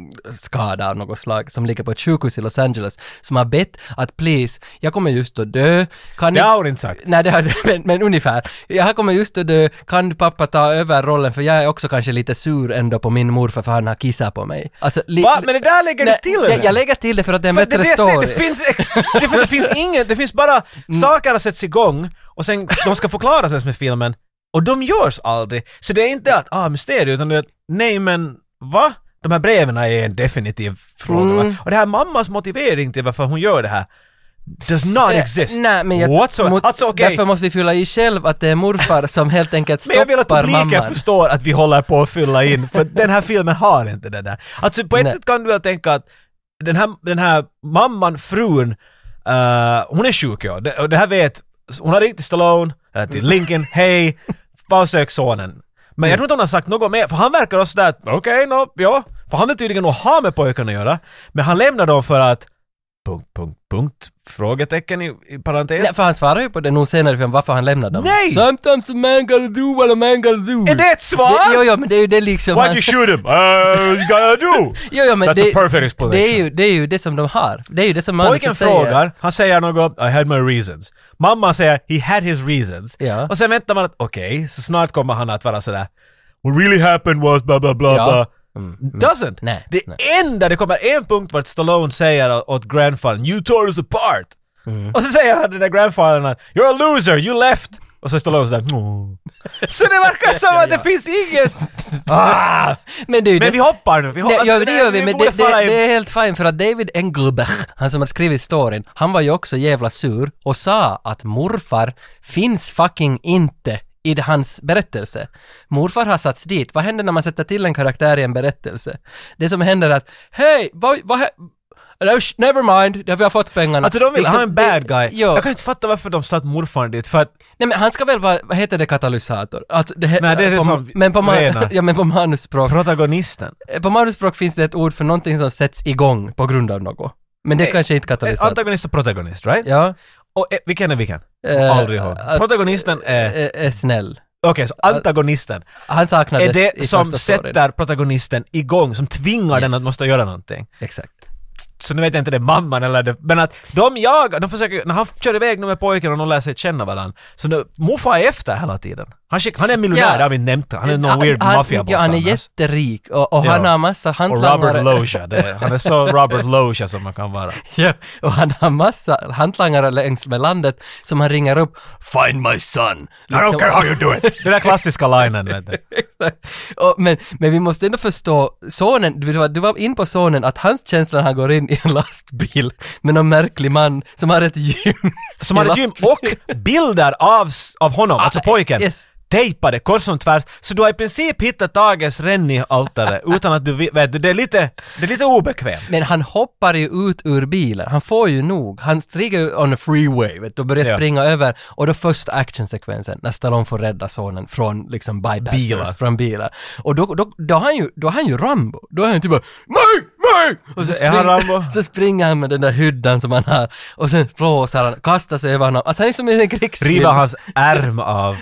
A: hjärtskada av något slag, som ligger på ett sjukhus i Los Angeles, som har bett att please, jag kommer just att dö, kan
B: Det
A: inte-
B: har hon inte sagt.
A: Nej, det har, men, men ungefär. Jag här kommer just att dö, kan pappa ta över rollen för jag är också kanske lite sur ändå på min morfar för han har kissat på mig. Alltså, li,
B: Va? Men det där lägger du
A: Nej,
B: till
A: jag,
B: eller?
A: jag lägger till det för att det är en
B: För
A: bättre
B: det, är det jag säger,
A: story. Mm.
B: det finns, ex- det, är för att det finns inget, det finns bara saker som sätts igång och sen de ska förklaras ens med filmen och de görs aldrig. Så det är inte att ah, mysterium utan det är att nej men va? De här breven är en definitiv fråga
A: Mm.
B: va? Och det här mammas motivering till varför hon gör det här does not
A: Eh,
B: exist.
A: Nej, men jag,
B: What so-
A: mot-
B: alltså okej.
A: Därför måste vi fylla i själv att det är morfar som helt enkelt
B: Men jag vill att
A: stoppar
B: publiken
A: mamman.
B: förstår att vi håller på att fylla in, för den här filmen har inte det där. Alltså på ett
A: Nej.
B: sätt kan du väl tänka att den här, den här mamman, frun, eh, hon är sjuk ja, det, och det här vet, hon har ringt till Stallone, eller
A: Mm.
B: till Lincoln, hej, bara sök sonen. Men jag tror inte hon har sagt något mer, för han verkar också där, att, okej, nå, ja. För han vill tydligen nog ha med pojken att göra, men han lämnar dem för att punkt, punkt, punkt, frågetecken i, i parentes.
A: Nej, för han svarar ju på det nog senare i filmen varför han lämnade dem.
B: Nej!
A: Sometimes a man gotta do what a man gotta do.
B: är det ett svar?
A: Det, jo, jo, men det är ju det liksom...
C: Why'd
A: han-
C: you shoot him? Uh, you gotta do.
A: Jo, jo, men
B: That's
A: det,
B: a perfect explanation.
A: Det är, ju, det är ju det som de har. Det är ju det som
B: Pojken
A: manuset säger.
B: frågar, han säger något, I had my reasons. Mamman säger, he had his reasons.
A: Ja.
B: Och sen väntar man att, okej, så snart kommer han att vara sådär,
C: What really happened was blah blah blah
A: Ja. Mm,
C: blah.
B: doesn't.
A: Nej,
B: det
A: nej.
B: enda, det kommer en punkt vart Stallone säger åt grandfathern, you tore us apart.
A: Mm.
B: Och så säger han den där grandfathern att “You're a loser, you left”. Och så är Stallone sådär "Mm." Så det verkar som att det finns inget... Ah!
A: Men det är ju
B: Men vi hoppar nu. Vi hoppar.
A: Nej, ja, det gör vi, men det,
B: borde
A: det,
B: falla in.
A: det är helt fine för att David Engelberg, han som har skrivit storyn, han var ju också jävla sur och sa att morfar finns fucking inte i det- hans berättelse. Morfar har satts dit. Vad händer när man sätter till en karaktär i en berättelse? Det som händer är att, hej, vad, vad, hä- Nej, sh- Never mind, där vi har fått pengarna.
B: Alltså de vill ha en bad guy.
A: Liksom, Ja.
B: Jag kan inte fatta varför de satt morfar dit, för att
A: Nej men han ska väl vara, vad heter det, katalysator? Alltså, det, he-
B: Nej, det är
A: på,
B: som
A: men på, man,
B: rena.
A: ja, men på manusspråk.
B: protagonisten...
A: Eh, På manusspråk finns det ett ord för någonting som sätts igång på grund av något. Men det
B: Nej, Eh,
A: kanske inte är katalysator.
B: Antagonist och protagonist, right?
A: Ja.
B: Och eh, vilken är vilken?
A: Eh, eh,
B: Aldrig ihåg.
A: att-
B: Protagonisten är... Okej,
A: Är, är eh, snäll.
B: så antagonisten
A: Han saknades
B: är
A: i
B: det som
A: första storyn.
B: sätter protagonisten igång, som tvingar den
A: Yes.
B: att måste göra någonting.
A: Exakt.
B: Så nu vet jag inte det är mamman eller det, men att de jagar, de försöker, när han kör iväg nu med pojken och de lär sig känna varandra, så nu, morfar är efter hela tiden. Han, skick, han är miljonär,
A: Ja.
B: det har vi nämnt, han är någon
A: Eh, Han-
B: weird
A: han-
B: maffiaboss
A: Ja, han är
B: annars.
A: jätterik och, och
B: Ja.
A: han har massa
B: Och
A: hantlangare.
B: Robert Loja, det är, han är så Robert Loja som man kan vara.
A: Ja, och han har massa hantlangare längs med landet som han ringer upp. Find my son!
B: I don't
A: Liksom-
B: care how you do it! Den där klassiska linen vet du.
A: och, men, men vi måste ändå förstå, sonen, du var, du var in på sonen, att hans känsla när han går in i en lastbil med någon märklig man som har ett gym.
B: Som hade
A: i
B: gym
A: lastbil.
B: och bilder av, av honom, alltså pojken,
A: yes.
B: tejpade kors som tvärs. Så du har i princip hittat Tages Rennie-altare utan att du vet, vet du, det är lite, det är lite obekvämt.
A: Men han hoppar ju ut ur bilen, han får ju nog. Han stiger ju on the freeway vet, du, och börjar
B: Ja.
A: springa över. Och då första actionsekvensen, när Stallone får rädda sonen från liksom bypassers,
B: Bilar.
A: från bilar. Och då, då, då, har han ju, då har han ju Rambo. Då är han typ bara MIG! MIG! Och så,
B: Är han Rambo?
A: så springer han med den där hyddan som han har. Och sen flåsar han, kastar sig över honom. Alltså han är som i en krigsfilm.
B: Riva hans ärm av.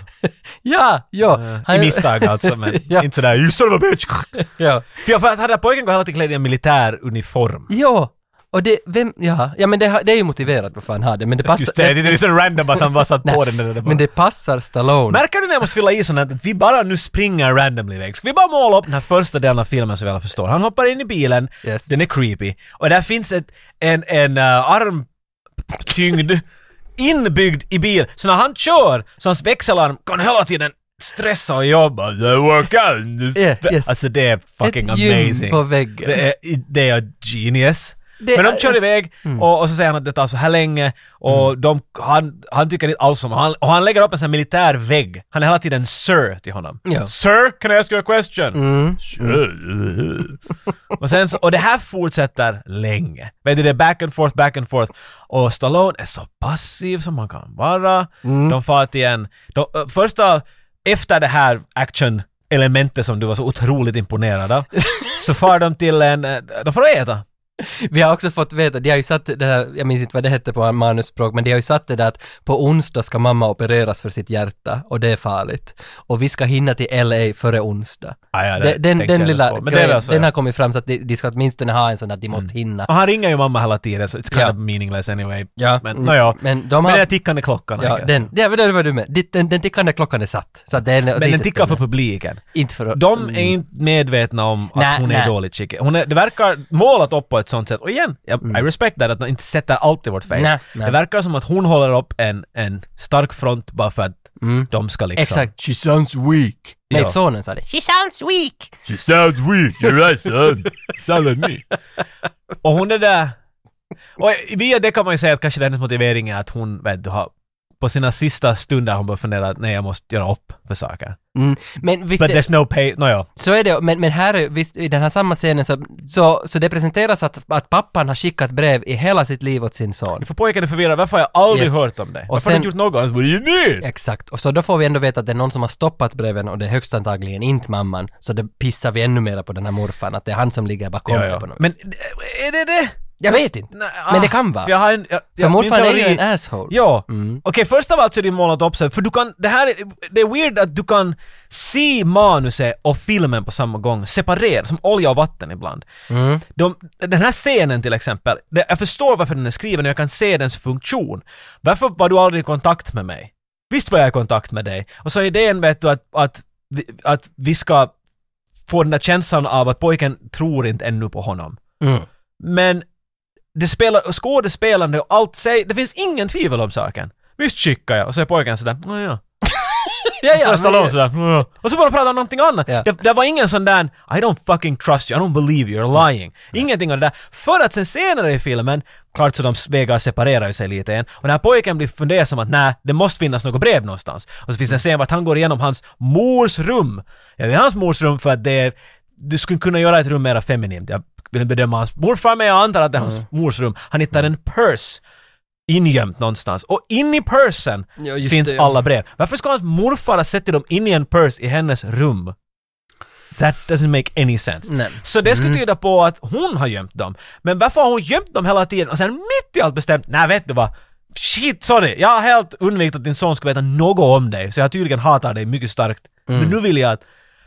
A: Ja, ja.
B: I misstag alltså, men
A: ja,
B: inte sådär “You son of a bitch!”
A: ja.
B: För jag för att hade pojken gått hela tiden klädd i en militär uniform.
A: ja. Och det, vem, ja, ja men det, har- det är ju motiverat varför han har det, men det passar...
B: Just det, det är så random att han bara satt på
A: Alltså, Nej,
B: den där. där bara.
A: Men det passar Stallone.
B: Märker du när jag måste fylla i sånt här att vi bara nu springer randomly iväg? Ska vi bara måla upp den här första delen av filmen så vi alla förstår? Han hoppar in i bilen,
A: Yes.
B: den är creepy, och där finns ett, en, en uh, armtyngd inbyggd i bil. Så när han kör, så hans växelarm kan hela tiden stressa och jobba. The workout!
A: Yeah, yes.
B: Alltså det är fucking
A: Ett gym
B: amazing.
A: på väggen.
B: Det är, det är genius.
A: Det
B: Men
A: är-
B: de kör iväg och, och så säger han att det tar så här länge och de, han, han tycker inte alls om han, och han lägger upp en sån här militär vägg. Han är hela tiden Sir till honom.
A: Ja.
B: Sir, can I ask you a question? Och, sen så, och det här fortsätter länge. Vet du, det är back and forth, back and forth. Och Stallone är så passiv som man kan vara. De far till en... De, ö, första, efter det här action elementet som du var så otroligt imponerad av, så far de till en... eh, De får äta.
A: Vi har också fått veta, de har ju satt det här, jag minns inte vad det hette på manusspråk, men de har ju satt det där att på onsdag ska mamma opereras för sitt hjärta och det är farligt. Och vi ska hinna till LA före onsdag.
B: Ah, ja, det
A: Den- den
B: tänkte jag
A: den
B: inte
A: lilla
B: på. Men det är alltså- Mm.
A: grejen,
B: väl så,
A: den
B: ja.
A: har kommit fram så att de, de ska åtminstone ha en sån att de måste hinna.
B: Och han ringer ju mamma hela tiden, så it's kind
A: Ja.
B: of meaningless anyway.
A: Ja,
B: Men
A: mm.
B: nåja. Men,
A: Men de
B: den där
A: har...
B: tickande klockan. I
A: Ja,
B: guess.
A: den, ja, men det var du med. Ditt- Den, den tickande klockan är satt. Så att det är
B: men den tickar för publiken.
A: Inte för... Mm.
B: De är inte medvetna om att
A: Nej,
B: hon är
A: nej.
B: i dåligt skick. Hon är, det verkar målat upp på ett sånt sätt. Och igen, jag, I respect that, att de inte sätter allt i vårt face.
A: Mm. Nej, nej.
B: Det verkar som att hon håller upp en, en stark front bara för att de ska liksom...
A: Mm. Exakt.
C: She sounds weak.
A: Nej,
B: Ja.
A: sonen sa det. She sounds weak!
C: She sounds weak. You're right, son. Sound like me.
B: Och hon är där... Och via det kan man ju säga att kanske det är hennes motivering är att hon, vet du, har på sina sista stunder har hon börjat fundera att nej, jag måste göra upp för saker.
A: Mm. Men visst,
B: But
A: det,
B: there's no pay... Nåja.
A: så är det, men, men här är, visst, i den här samma scenen så, så, så det presenteras att, att pappan har skickat brev i hela sitt liv åt sin son.
B: För pojken är förvirrad, varför har jag aldrig
A: Yes.
B: hört om det?
A: Och
B: Varför har du inte
A: sen-
B: gjort något? What do you mean?
A: Exakt, och så då får vi ändå veta att det är någon som har stoppat breven och det är högst antagligen inte mamman, så det pissar vi ännu mera på den här morfan, att det är han som ligger bakom
B: Ja,
A: det
B: ja.
A: på något
B: Men
A: vis.
B: är det det?
A: Jag vet inte,
B: Nej,
A: men det
B: ah,
A: kan vara.
B: för Jag har en, jag,
A: för
B: jag- min
A: morfan är ju Mm.
B: teori-
A: en asshole.
B: Ja. Okej, först av allt så är det målat upp sig, för du kan, det här är, det är weird att du kan se manuset och filmen på samma gång, separera, som olja och vatten ibland.
A: Mm.
B: De, den här scenen till exempel, det, jag förstår varför den är skriven och jag kan se dens funktion. Varför var du aldrig i kontakt med mig? Visst var jag i kontakt med dig? Och så är idén vet du att, att, vi- att vi ska få den där känslan av att pojken tror inte ännu på honom.
A: Mm.
B: Men det spelar, skådespelande och allt säger, det finns ingen tvivel om saken. Visst skickar jag, och så är pojken sådär, "Nå ja.
A: Ja,
B: Så är Stallone
A: men,
B: sådär, "Nå ja. Och så bara pratar om någonting annat.
A: Ja.
B: Det, det var ingen sån där, I don't fucking trust you, I don't believe you, you're lying. Ingenting av det där. För att sen senare i filmen, klart så de vägar separerar ju sig lite än. Och den här pojken blir fundersam att nej, det måste finnas något brev någonstans. Och så finns det en scen vart han går igenom hans mors rum. Ja, det är hans mors rum för att det är, du skulle kunna göra ett rum mera feminint. Jag vill inte bedöma hans morfar men jag antar att det är hans
A: Mm.
B: mors rum. Han hittar en purse ingömt någonstans. Och in i pursen
A: Ja, just
B: finns
A: det, ja.
B: alla brev. Varför ska hans morfar ha sett dem in i en purse i hennes rum? That doesn't make any sense.
A: Nej. Mm.
B: Så det skulle tyda på att hon har gömt dem. Men varför har hon gömt dem hela tiden och sen mitt i allt bestämt, nej vet du vad? Shit, sorry, jag har helt undvikit att din son ska veta något om dig, så jag tydligen hatar dig mycket starkt.
A: Mm.
B: Men nu vill jag att,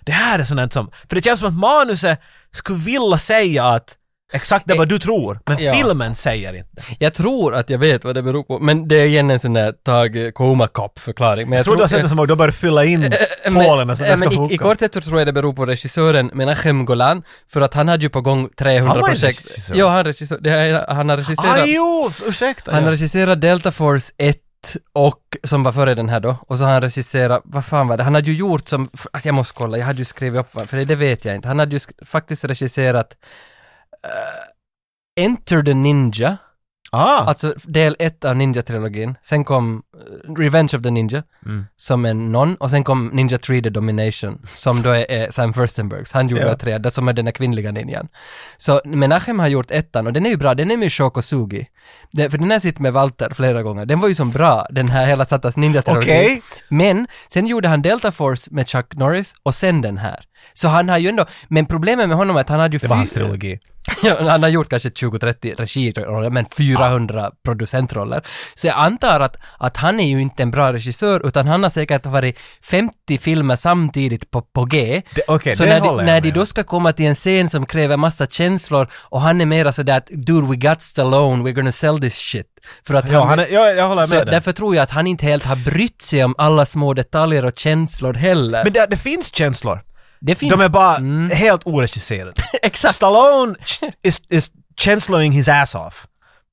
B: det här är sånt här som, för det känns som att manuset skulle vilja säga att exakt det vad du tror, men
A: E- Ja.
B: filmen säger inte.
A: jag tror att jag vet vad det beror på, men det är igen en sån där Tage Komakopp förklaring. Men jag,
B: Jag trodde jag sett det som att de började fylla in hålen så att det
A: Äh, men,
B: alltså, ska
A: i, I
B: funka.
A: korthet så tror jag det beror på regissören Menachem Golan, för att han hade ju på gång 300
B: Han var ju
A: projekt.
B: regissör.
A: Ja, han, regissör, det är, han har regisserat.
B: Ah, jo, ursäkta.
A: Han
B: ja.
A: har regisserat Delta Force 1 och, som var före den här då, och så har han regisserat, vad fan var det, han hade ju gjort som, f- alltså jag måste kolla, jag hade ju skrivit upp, vad- för det, det vet jag inte, han hade ju sk- faktiskt regisserat eh, Enter the Ninja,
B: ah.
A: alltså del 1 av Ninja-trilogin, sen kom eh, Revenge of the Ninja,
B: Mm.
A: som en non, och sen kom Ninja 3 The Domination, som då är, är Sam Furstenbergs, han gjorde
B: Ja.
A: tre, det som är den där kvinnliga ninjan. Så Menachem har gjort ettan, och den är ju bra, den är med Shoko Sugi. Det, för den här sitter med Walter flera gånger, den var ju som bra, den här hela Sattas Ninja-trilogin.
B: Okej.
A: Men, sen gjorde han Delta Force med Chuck Norris, och sen den här. Så han har ju ändå, men problemet med honom är att han hade ju
B: Det var
A: fy-
B: hans trilogi.
A: Ja, han har gjort kanske 20-30 regiroller, men 400 producentroller. Så jag antar att, att han är ju inte en bra regissör, utan han har säkert varit 50 filmer samtidigt på, på G.
B: Det- okej,
A: så
B: det
A: när,
B: håller
A: de,
B: jag
A: när
B: med
A: de då
B: om.
A: ska komma till en scen som kräver massa känslor och han är mera sådär att “Dude, we got Stallone, we're gonna sell this shit”. För att
B: Ja, han är, jag, jag håller
A: så
B: med dig.
A: därför tror jag att han inte helt har brytt sig om alla små detaljer och känslor heller.
B: Men det, det finns känslor.
A: det finns... Mm.
B: De är bara helt oregisserade.
A: Exakt.
B: Stallone is, is känsloing his ass off.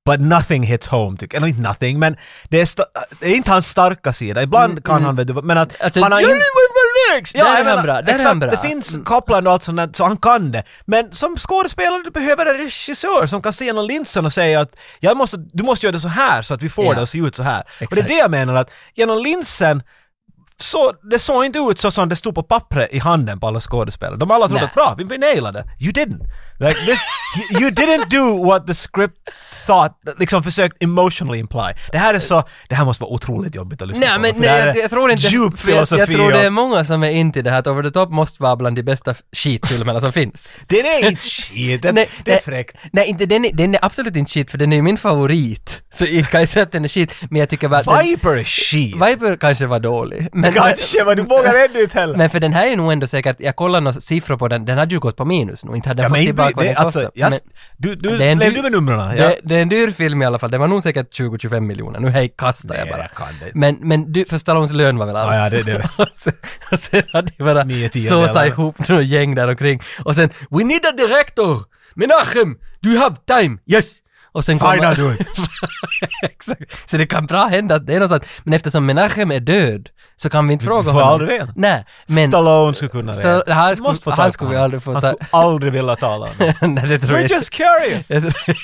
B: But nothing hits home, tycker Eller inte nothing, men det är, sta- det är inte hans starka sida. Ibland kan han, vet du, men att...
A: Mm, Alltså,
B: han har
A: “Johnny
B: in-
A: was my next!”
B: jag
A: Där är
B: menar,
A: han bra, där är
B: exakt,
A: han bra. Mm.
B: Det finns kopplande och allt sånt där, så han kan det. Men som skådespelare du behöver en regissör som kan se genom linsen och säga att jag måste, du måste göra det så här så att vi får
A: Ja.
B: det att se ut så här. Och det
A: Exakt.
B: är det jag menar att genom linsen så, det såg inte ut så som det stod på pappret i handen på alla skådespelare. De alla trodde
A: Nej.
B: att bra, vi, vi nailade. You didn't. Like this, you, you didn't do what the script thought, liksom försökt emotionally imply. Det här är så, det här måste vara otroligt jobbigt att lyssna
A: Nej,
B: på.
A: men
B: för det här
A: nej, jag,
B: är
A: jag tror inte...
B: Djup
A: för jag,
B: filosofi
A: jag tror det
B: och-
A: är många som är inte i det här att Over the Top måste vara bland de bästa f- skitfilmerna som finns.
B: Den är inte shit, den, det är fräckt.
A: Nej, inte, den, är, den är absolut inte shit, för den är ju min favorit. Så jag kan ju säga att den är shit, men jag tycker bara... att Den,
B: Viper är shit.
A: Viper kanske var dålig. Men,
B: Kanske, men du vågar ändå inte heller.
A: men för den här är nog ändå säkert, jag kollade några siffror på den, den hade ju gått på minus nog, inte hade den
B: Ja,
A: fått
B: men
A: tillbaka
B: inte-
A: vad
B: det,
A: den
B: alltså,
A: kostade.
B: jag,
A: Men-
B: du, du,
A: Det är en
B: levde
A: dyr-
B: med numren. Ja.
A: Det, det är en dyr film i alla fall, det var nog säkert 20-25 miljoner, nu hej kastar jag
B: Nej,
A: bara.
B: jag kan det inte.
A: Men, men du, för Stallones lön var väl allt?
B: Ja, ja, det- det-
A: och sen, och sen hade de bara
B: Nio tiondelar.
A: såsat ihop några gäng där omkring. Och sen, we need a director! Menachem, do you have time? Yes! Och sen
B: Fine,
A: kommer...
B: I'll do it.
A: Exakt. Så det kan bra hända att det är något sånt. Men eftersom Menachem är död så kan vi inte fråga
B: får
A: honom.
B: aldrig veta.
A: Nej, men...
B: Stallone skulle kunna
A: Stall-
B: det.
A: han
B: Du
A: skulle-
B: måste få
A: han
B: tag på
A: skulle vi
B: honom.
A: aldrig få
B: Han
A: ta-
B: skulle aldrig vilja tala om det.
A: Nej, det tror jag
B: We're
A: inte.
B: just curious!
A: Jag tror-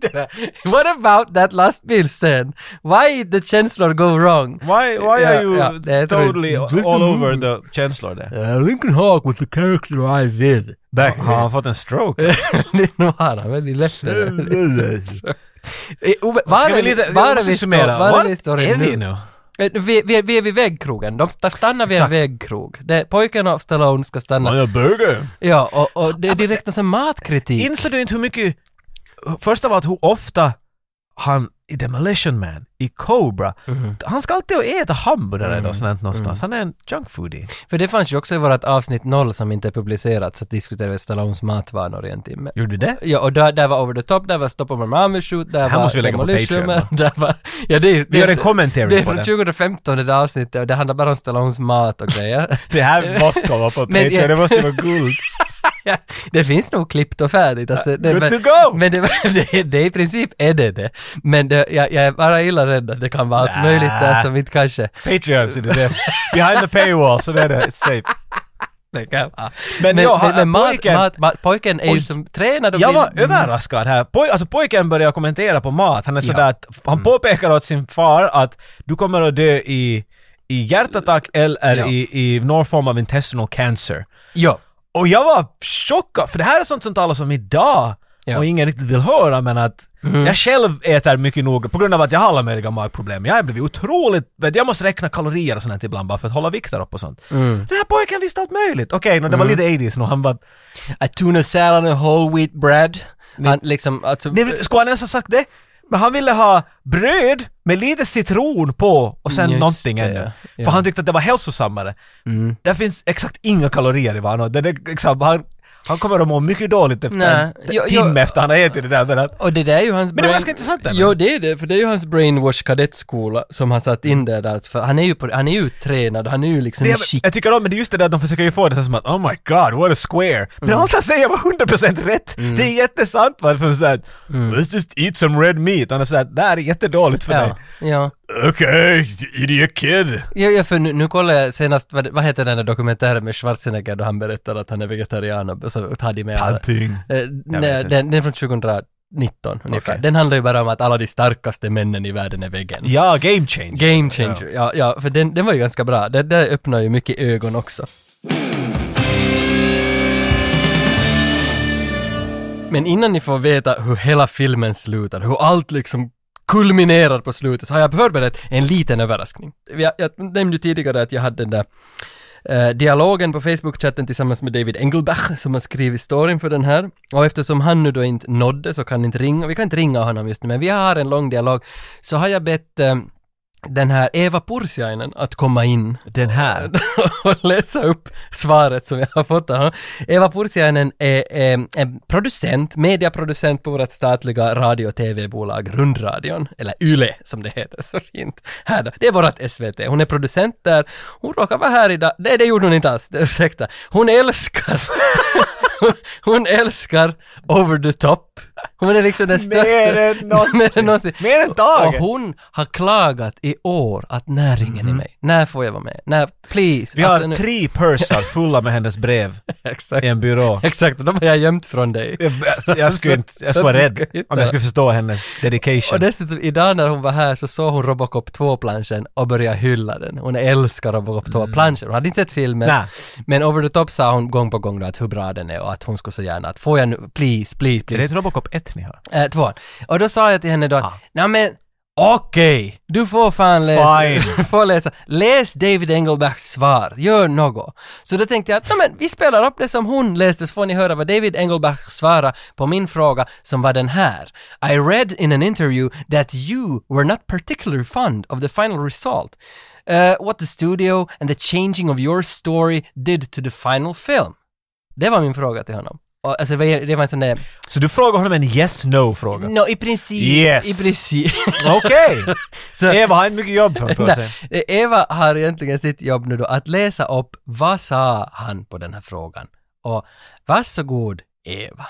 A: det där. What about that lastbil scene? Why did the chancellor go wrong?
B: Why, why
A: Ja,
B: are you
A: ja, det är
B: totally
A: true.
B: all over the känslor där?
A: Uh, Lincoln Hawk was the character I did back
B: Har han fått en stroke?
A: Nu har han väl i läppen. Eh, Ove, Var
B: Ska
A: är
B: vi
A: vi
B: lite,
A: står-
B: vi
A: var är
B: måste
A: vi
B: summera.
A: står-
B: Var
A: var är vi står
B: är vi nu?
A: Eh, Vi, vi, vi är vid väggkrogen. De ska stanna vid en
B: Exakt.
A: väggkrog. Det, pojken och Stallone ska stanna.
C: jag burger?
A: Ja, och, och det är direkt någon sån matkritik.
B: Insåg du inte hur mycket... Först av allt hur ofta han i Demolition Man, i Cobra, han ska alltid och äta hamburgare eller sånt någonstans. Han är en junk foodie.
A: För det fanns ju också i vårt avsnitt noll som inte är publicerat, så diskuterade vi Stallones matvanor i en timme.
B: Gjorde du det?
A: Ja, och där, där var Over the Top, där var Stop on my mama shoot, där
B: här
A: var
B: måste vi lägga på
A: Demolition
B: Patreon,
A: Man, där var... Ja, det, är- det,
B: Vi gör
A: är-
B: en commentary
A: Det är
B: på
A: från
B: den.
A: 2015 det där avsnittet och det handlar bara om Stallones mat och grejer.
B: Det här måste komma på
A: Men jag-
B: Patreon, det måste vara guld.
A: ja, det finns nog klippt och färdigt. Alltså, det,
B: good to go!
A: Men det, det, det, i princip är det det. Men det, jag, jag är bara illa rädd att det kan vara allt
B: Nä.
A: möjligt där som inte kanske...
B: Patreon, så det är det. Behind the paywall, så det är det. It's safe.
A: Det kan vara.
B: Men
A: Men,
B: jag har-
A: men, men mat,
B: pojken-
A: pojken, mat, mat, pojken är ju
B: Oj.
A: som tränad och
B: Jag
A: vill- Mm.
B: var överraskad här. Poj, alltså pojken börjar kommentera på mat. Han är sådär att, han påpekar åt sin far att du kommer att dö i, i hjärtattack eller
A: Ja.
B: i, i någon form av intestinal cancer.
A: Ja.
B: Och jag var chockad, för det här är sånt som talas om idag
A: Ja.
B: och ingen riktigt vill höra men att jag själv äter mycket noga på grund av att jag har alla möjliga magproblem. Jag har blivit otroligt, vet, jag måste räkna kalorier och sånt här ibland bara för att hålla vikter upp och sånt. Den här pojken visste allt möjligt. Okej, nå, det var lite 80s nu, han bara
A: A tuna salad and whole wheat bread. Han liksom, alltså...
B: Nej, men skulle han ens ha sagt det? Men han ville ha bröd med lite citron på och sen
A: Just
B: någonting
A: det,
B: ännu.
A: ja. Mm.
B: För han tyckte att det var hälsosammare. Där finns exakt inga kalorier i vad han åt. Det är liksom, han, han kommer att må mycket dåligt efter
A: Nej.
B: en t-
A: Jo, jo.
B: timme efter han har ätit det där. Men att,
A: Och det där är ju hans
B: Men det var ganska intressant där, men-
A: Jo, det är det, för det är ju hans brainwash kadettskola som han satt in där. Där, för han är ju, på, han är ju tränad, han är ju liksom
B: det, jag,
A: chic.
B: jag tycker om men det är just det där att de försöker ju få det så här som att oh my god, what a square. Men
A: Mm.
B: allt han säger var 100% rätt. Det är jättesant. va? För såhär, let's just eat some red meat. Han är såhär, det här är jättedåligt för dig.
A: Mm. Ja, ja.
C: Okay, idiot kid.
A: Ja, ja, för nu, nu kollar jag senast, vad, vad heter den där dokumentären med Schwarzenegger då han berättar att han är vegetarian och så tar de med alla-
C: Palping.
A: Eh, nej,
B: inte.
A: den, den är från 2019 ungefär.
B: Okej.
A: Den handlar ju bara om att alla de starkaste männen i världen är vegan.
B: Ja, game changer.
A: Game changer, ja, ja för den, den var ju ganska bra. Det där öppnar ju mycket ögon också. Men innan ni får veta hur hela filmen slutar, hur allt liksom kulminerar på slutet, så har jag förberett en liten överraskning. Jag, jag nämnde ju tidigare att jag hade den där eh, dialogen på Facebook-chatten tillsammans med David Engelbach som har skrivit storyn för den här. Och eftersom han nu då inte nådde så kan inte ringa, vi kan inte ringa honom just nu, men vi har en lång dialog, så har jag bett eh, den här Eva Pursiainen att komma in
B: Den här.
A: och läsa upp svaret som jag har fått av honom. Eva Pursiainen är, är, är producent, mediaproducent på vårt statliga radio och tv-bolag Rundradion, eller YLE som det heter så fint. Här då. Det är vårt SVT. Hon är producent där. Hon råkar vara här idag. Nej, det gjorde hon inte alls. Det- Ursäkta. Hon älskar Hon älskar Over the Top. Hon är liksom den största...
B: än någonsin.
A: Mer än någonsin.
B: Mer än taget.
A: Och hon har klagat i år att när ringer ni mig? När får jag vara med? När, please.
B: Mhm.
A: Alltså,
B: Vi har
A: nu-
B: tre pörsar fulla med hennes brev
A: Exakt.
B: i en byrå.
A: Exakt, och de har jag gömt från dig.
B: Jag, jag skulle inte, jag skulle vara rädd om jag skulle förstå hennes
A: Och
B: dedication.
A: dessutom, idag när hon var här så såg hon Robocop 2-planschen och började hylla den. Hon älskar Robocop 2-planschen. Hon hade inte sett filmen.
B: Mm. Nej.
A: Men Over the Top sa hon gång på gång då att hur bra den är och att hon skulle så gärna att får jag nu, please, please,
B: Är det
A: please.
B: ett Robocop 1 ni har?
A: Eh, tvåan. Och då sa jag till henne då att,
B: Ah.
A: nej men okej, du får fan läsa.
B: Fine.
A: får läsa. Läs David Engelbergs svar, gör något. Så då tänkte jag att, nej men vi spelar upp det som hon läste så får ni höra vad David Engelberg svarar på min fråga som var den här. I read in an interview that you were not particularly fond of the final result. Uh, what the studio and the changing of your story did to the final film. Det var min fråga till honom. Och, alltså, det var- det var en sån där
B: Så du frågar honom en yes no fråga?
A: Nå, i princip.
B: Yes.
A: I princip.
B: Okej!
A: Så-
B: Eva har inte mycket jobb framför sig.
A: Nej, Eva har egentligen sitt jobb nu då att läsa upp vad sa han på den här frågan. Och varsågod Eva.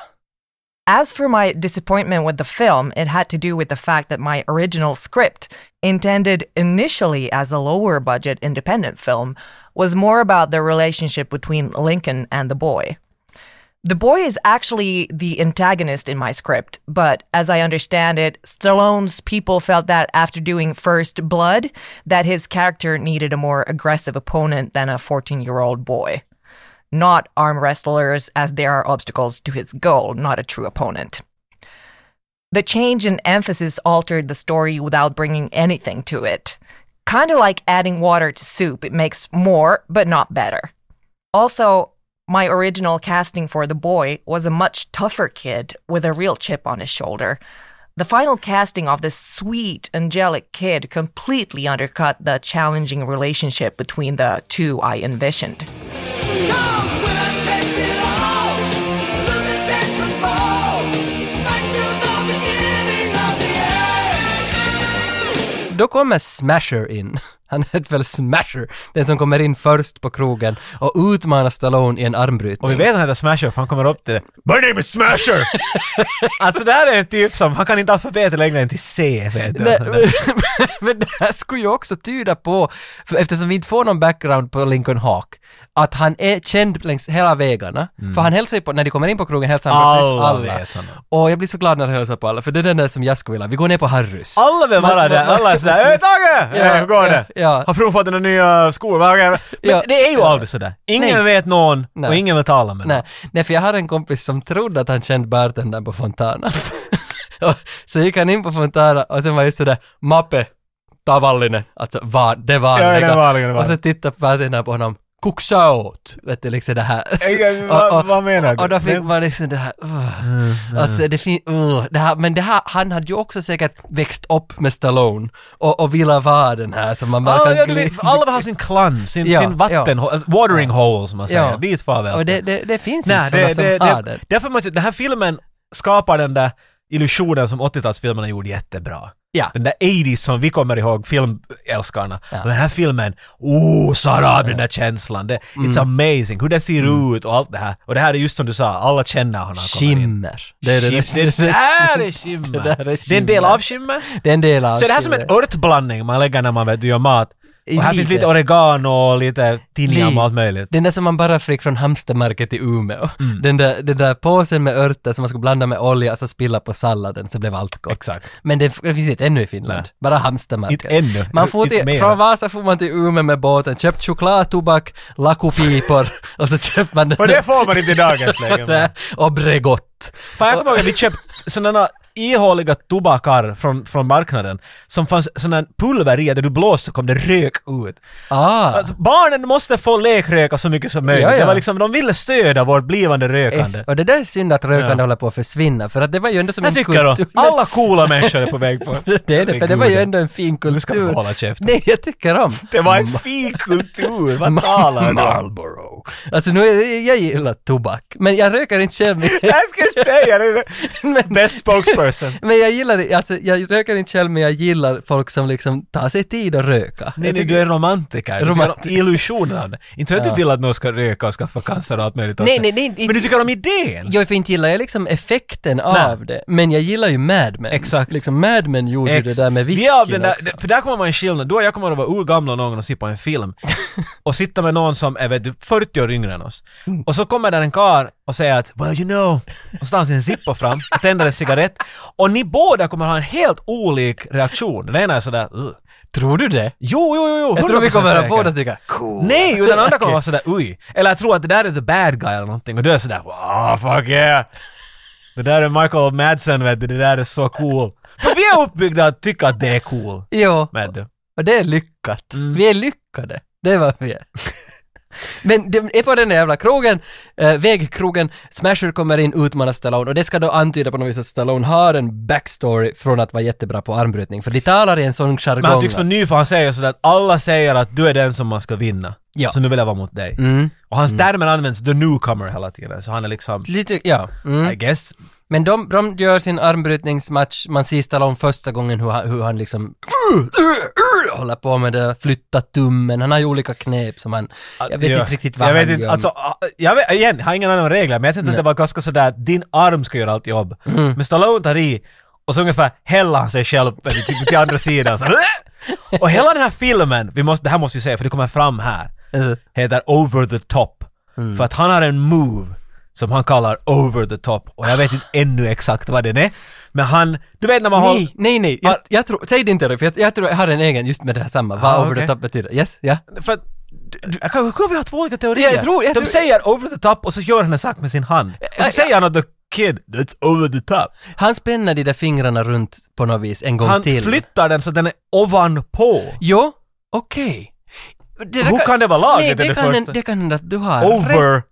H: As for my disappointment with the film, it had to do with the fact that my original script, intended initially as a lower budget independent film, was more about the relationship between Lincoln and the boy. The boy is actually the antagonist in my script, but as I understand it, Stallone's people felt that after doing First Blood, that his character needed a more aggressive opponent than a 14-year-old boy not arm wrestlers, as they are obstacles to his goal, not a true opponent. The change in emphasis altered the story without bringing anything to it. Kind of like adding water to soup, it makes more, but not better. Also, my original casting for the boy was a much tougher kid with a real chip on his shoulder. The final casting of this sweet, angelic kid completely undercut the challenging relationship between the two I envisioned.
G: Back to the beginning of the end.
A: Då kommer Smasher in. Han hette väl Smasher, den som kommer in först på krogen och utmanar Stallone i en armbrytning.
B: Och vi vet att han heter Smasher för han kommer upp till det. My name is Smasher! alltså det här är en typ som, han kan inte alfabetet längre än till C vet du.
A: Nej,
B: Alltså,
A: men, men det här skulle ju också tyda på, för eftersom vi inte får någon background på Lincoln Hawk, att han är känd längs hela vägarna. För han hälsar ju på, när de kommer in på krogen hälsar han på
B: Mm. Alla
A: alla.
B: vet honom.
A: Och jag blir så glad när han hälsar på alla, för det är den där som jag skulle vilja ha. Vi går ner på Harrys.
B: Alla vill
A: Man-
B: vara där,
A: man-
B: alla är sådär ”Hej Tage!
A: Ja,
B: Eh, Hur går
A: ja,
B: det?
A: ja.
B: Har frun fått dina nya skor? Vad är det?" Men
A: Ja.
B: det är ju aldrig sådär. Ingen
A: Nej.
B: vet någon och
A: Nej.
B: ingen vill tala med någon.
A: Nej, nej, för jag har en kompis som trodde att han kände bartendern på Fontana. och så gick han in på Fontana och sen var det sådär ”Mappe, tavallinen”, alltså var, det vanliga.
B: Ja, det vanliga, det
A: Och så
B: vanliga.
A: tittade bartendern på honom ”Kuksa åt”, vet du, liksom det här.
B: Ingen-
A: och,
B: vad- vad menar du? Mm,
A: Och då fick man liksom det här, uh, alltså det finns, uh, det här, men det här, han hade ju också säkert växt upp med Stallone och, och ville vara den här som man bara
B: Alla,
A: kan
B: ja, du vet,
A: gli-
B: alla har sin klann, sin,
A: Ja,
B: sin vatten, alltså watering hole som man säger.
A: Ja.
B: Dit far
A: Och
B: väl.
A: det, det, det finns
B: Nej,
A: inte
B: det,
A: sådana
B: det,
A: som
B: det,
A: har det.
B: Därför måste, den här filmen skapar den där illusionen som 80-talsfilmerna gjorde jättebra.
A: Ja.
B: Den där 80s som vi kommer ihåg, filmälskarna.
A: Ja.
B: Och den här filmen, oh, Sara, den där känslan. Det, It's
A: Mm.
B: amazing, hur den ser ut och allt det här. Och det här är just som du sa, alla känner honom.
A: Skimmer. Det är det,
B: Det, det där är skimmer!
A: Det där är
B: Det är en del
A: skimmer.
B: av skimmer.
A: Det är en del av
B: Så är det här som en
A: skimmer.
B: örtblandning man lägger när man vet, du gör mat. Och här finns
A: Lite.
B: lite oregano och lite tinjam
A: Lite.
B: och allt möjligt. Mm.
A: Den där som man bara fick från Hamstermarket i Umeå. Den, där, den där påsen med örter som man skulle blanda med olja och så spilla på salladen så blev allt gott.
B: Exakt.
A: Men det, det finns inte ännu i Finland.
B: Nej.
A: Bara Hamstermarket.
B: Inte ännu.
A: Man får
B: Inte
A: till,
B: mer.
A: från Vasa får man till Umeå med båten, köpt choklad, tobak, lakopipor och så köper man den
B: Och
A: där-
B: det får man inte i dagens läge. men-
A: där- och Bregott.
B: Fan jag kommer ihåg att vi köpte sådana ihåliga tobakar från, från marknaden som fanns sådana pulver i där du blåste så kom det rök ut.
A: Ah,
B: Alltså, barnen måste få lekröka så mycket som möjligt.
A: Ja, ja.
B: Det var liksom, de ville stödja vårt blivande rökande.
A: F. Och det där är synd att rökande
B: Ja.
A: håller på att försvinna för att det var ju ändå som
B: Jag
A: en
B: tycker då,
A: kultur.
B: alla coola människor är på väg på.
A: Det är det, för det var ju ändå en fin kultur.
B: Nu ska vi hålla käften.
A: Nej, jag tycker om.
B: Det var en fin kultur, vad talar du om?
A: Marlboro. Alltså nu, är- jag gillar tobak, men jag röker inte själv.
B: Jag ska säga det!
A: Men-
B: Best spokesperson.
A: Men jag gillar det, alltså jag röker inte själv men jag gillar folk som liksom tar sig tid att röka.
B: Nej,
A: Jag
B: nej,
A: tycker-
B: du är romantiker.
A: Romantiker.
B: Du tycker om illusionen av det. Inte så att
A: Ja.
B: du vill att någon ska röka och skaffa cancer och allt möjligt. åt
A: Nej,
B: sig.
A: nej, nej, inte-
B: Men du tycker om idén!
A: Jo, för inte gillar jag liksom effekten
B: Nej.
A: av det, men jag gillar ju Mad Men.
B: Exakt.
A: Liksom Mad Men gjorde ju
B: Ex-
A: det där med
B: Vi är av
A: whiskyn
B: den där,
A: också.
B: För där kommer man en skillnad. Du och jag kommer att vara urgamla någon gång och se på en film. och sitta med någon som är vet du, 40 år yngre än oss.
A: Mm.
B: Och så kommer där en kar och säger att ”Well you know” och så tar han sin Zippo fram och tänder en cigarett. Och ni båda kommer ha en helt olik reaktion. Den ena är sådär "Ugh."
A: Tror du det?
B: ”Jo, jo, jo, jo,
A: Jag tror vi
B: 100%
A: kommer att
B: säker."
A: båda tycka cool.
B: Nej, och den andra kommer
A: Okej.
B: vara sådär ”Oj”. Eller jag tror att det där är the bad guy eller någonting och du är sådär ”Wow, fuck yeah”. Det där är Michael Madsen vet du, det där är så cool. För vi är uppbyggda att tycka att det är cool.
A: Jo.
B: Vet du.
A: Och det är lyckat.
B: Mm.
A: Vi är lyckade. Det är vad vi är. Men det är på den där jävla krogen, eh, vägkrogen, Smasher kommer in, utmanar Stallone och det ska då antyda på något vis att Stallone har en backstory från att vara jättebra på armbrytning, för de talar i en sån jargong.
B: Men han tycks
A: va?
B: vara ny för han säger sådär att alla säger att du är den som man ska vinna.
A: Ja.
B: Så nu vill jag vara mot dig.
A: mm.
B: Och hans termer används the newcomer hela tiden. Så han är liksom,
A: Lite, ja. Mm.
B: I guess,
A: Men de, de gör sin armbrytningsmatch, man ser Stallone första gången hur han, hur han liksom håller på med det där, flytta tummen, han har ju olika knep som han, jag vet
B: Ja.
A: inte riktigt vad
B: jag
A: han
B: vet inte,
A: gör.
B: alltså, ah, jag vet, igen, jag har ingen annan regler, men jag tänkte att det var ganska sådär, din arm ska göra allt jobb.
A: Mm.
B: Men Stallone tar i, och så ungefär häller han sig själv typ, till andra sidan. Så, "Åh!" och hela den här filmen, vi måste, det här måste vi säga för det kommer fram här,
A: Mm.
B: heter Over the Top. För att han har en move som han kallar Over the Top, och jag vet inte ännu exakt vad den är. Men han, du vet när man håller...
A: Nej, nej, nej. Jag,
B: Har-
A: jag tror, säg det inte Roy, för jag, jag tror jag har en egen just med det här samma, vad
B: Ah,
A: over the
B: okej.
A: top betyder. Yes, ja.
B: För att, du- du- jag kan- kan vi ha två olika teorier?
A: Ja, jag tror- jag
B: De
A: tror-
B: säger over the top och så gör han en sak med sin hand. Och så säger han åt the kid, that's over the top.
A: Han spänner de där fingrarna runt på något vis en gång
B: Han
A: till.
B: flyttar den så den är ovanpå.
A: Jo, okej. Okay.
B: Hur kan det vara laget,
A: Nej,
B: är
A: det,
B: det
A: kan,
B: första?
A: det kan hända att du har rätt.
B: Over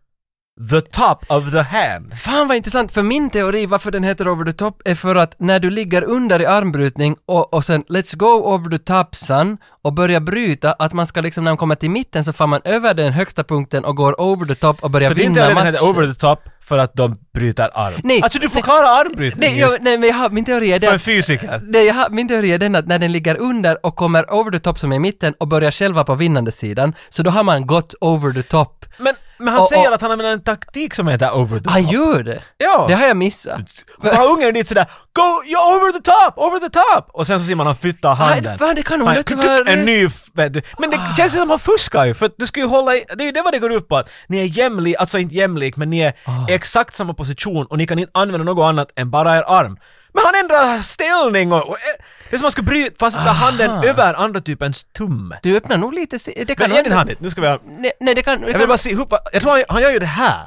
B: the top of the hand.
A: Fan vad intressant, för min teori varför den heter Over the Top är för att när du ligger under i armbrytning och, och sen Let's Go Over the Top son och börjar bryta, att man ska liksom när man kommer till mitten så far man över den högsta punkten och går over the top och börjar
B: Så det är inte
A: vinna
B: redan
A: matchen.
B: heter over the top för att de bryter arm.
A: Nej,
B: alltså du
A: nej.
B: förklarar armbrytning
A: Nej,
B: just
A: jag, nej men jag har, min teori är
B: för en
A: den...
B: fysiker.
A: Nej, jag har, min teori är den att när den ligger under och kommer over the top som är i mitten och börjar själva på vinnande sidan, så då har man gått over the top.
B: Men, men han
A: Och-
B: säger
A: och-
B: att han använder en taktik som heter over the
A: Han
B: top.
A: gör det!
B: Ja.
A: Det har jag missat.
B: Har ungen dit sådär Go, you're over the top, over the top! Och sen så ser man han flytta handen.
A: Nej, fan, det kan hon
B: Han-
A: inte vara
B: En
A: rätt.
B: ny... f- vet du. Men det
A: Ah.
B: känns ju som han fuskar ju, för att du ska ju hålla i... Det är ju det vad det går ut på, att ni är jämlik, alltså inte jämlik, men ni är
A: Ah.
B: i exakt samma position och ni kan inte använda något annat än bara er arm. Men han ändrar ställning och... och eh, det är som att man ska bryta, fast att ta handen över andra typens tumme.
A: Du öppnar nog lite... si- Det kan
B: Men ge din
A: nog-
B: hand hit, nu ska vi... ha-
A: Nej, nej, det kan... Det
B: Jag
A: kan
B: vill bara se hur... Jag tror han, han gör ju det här.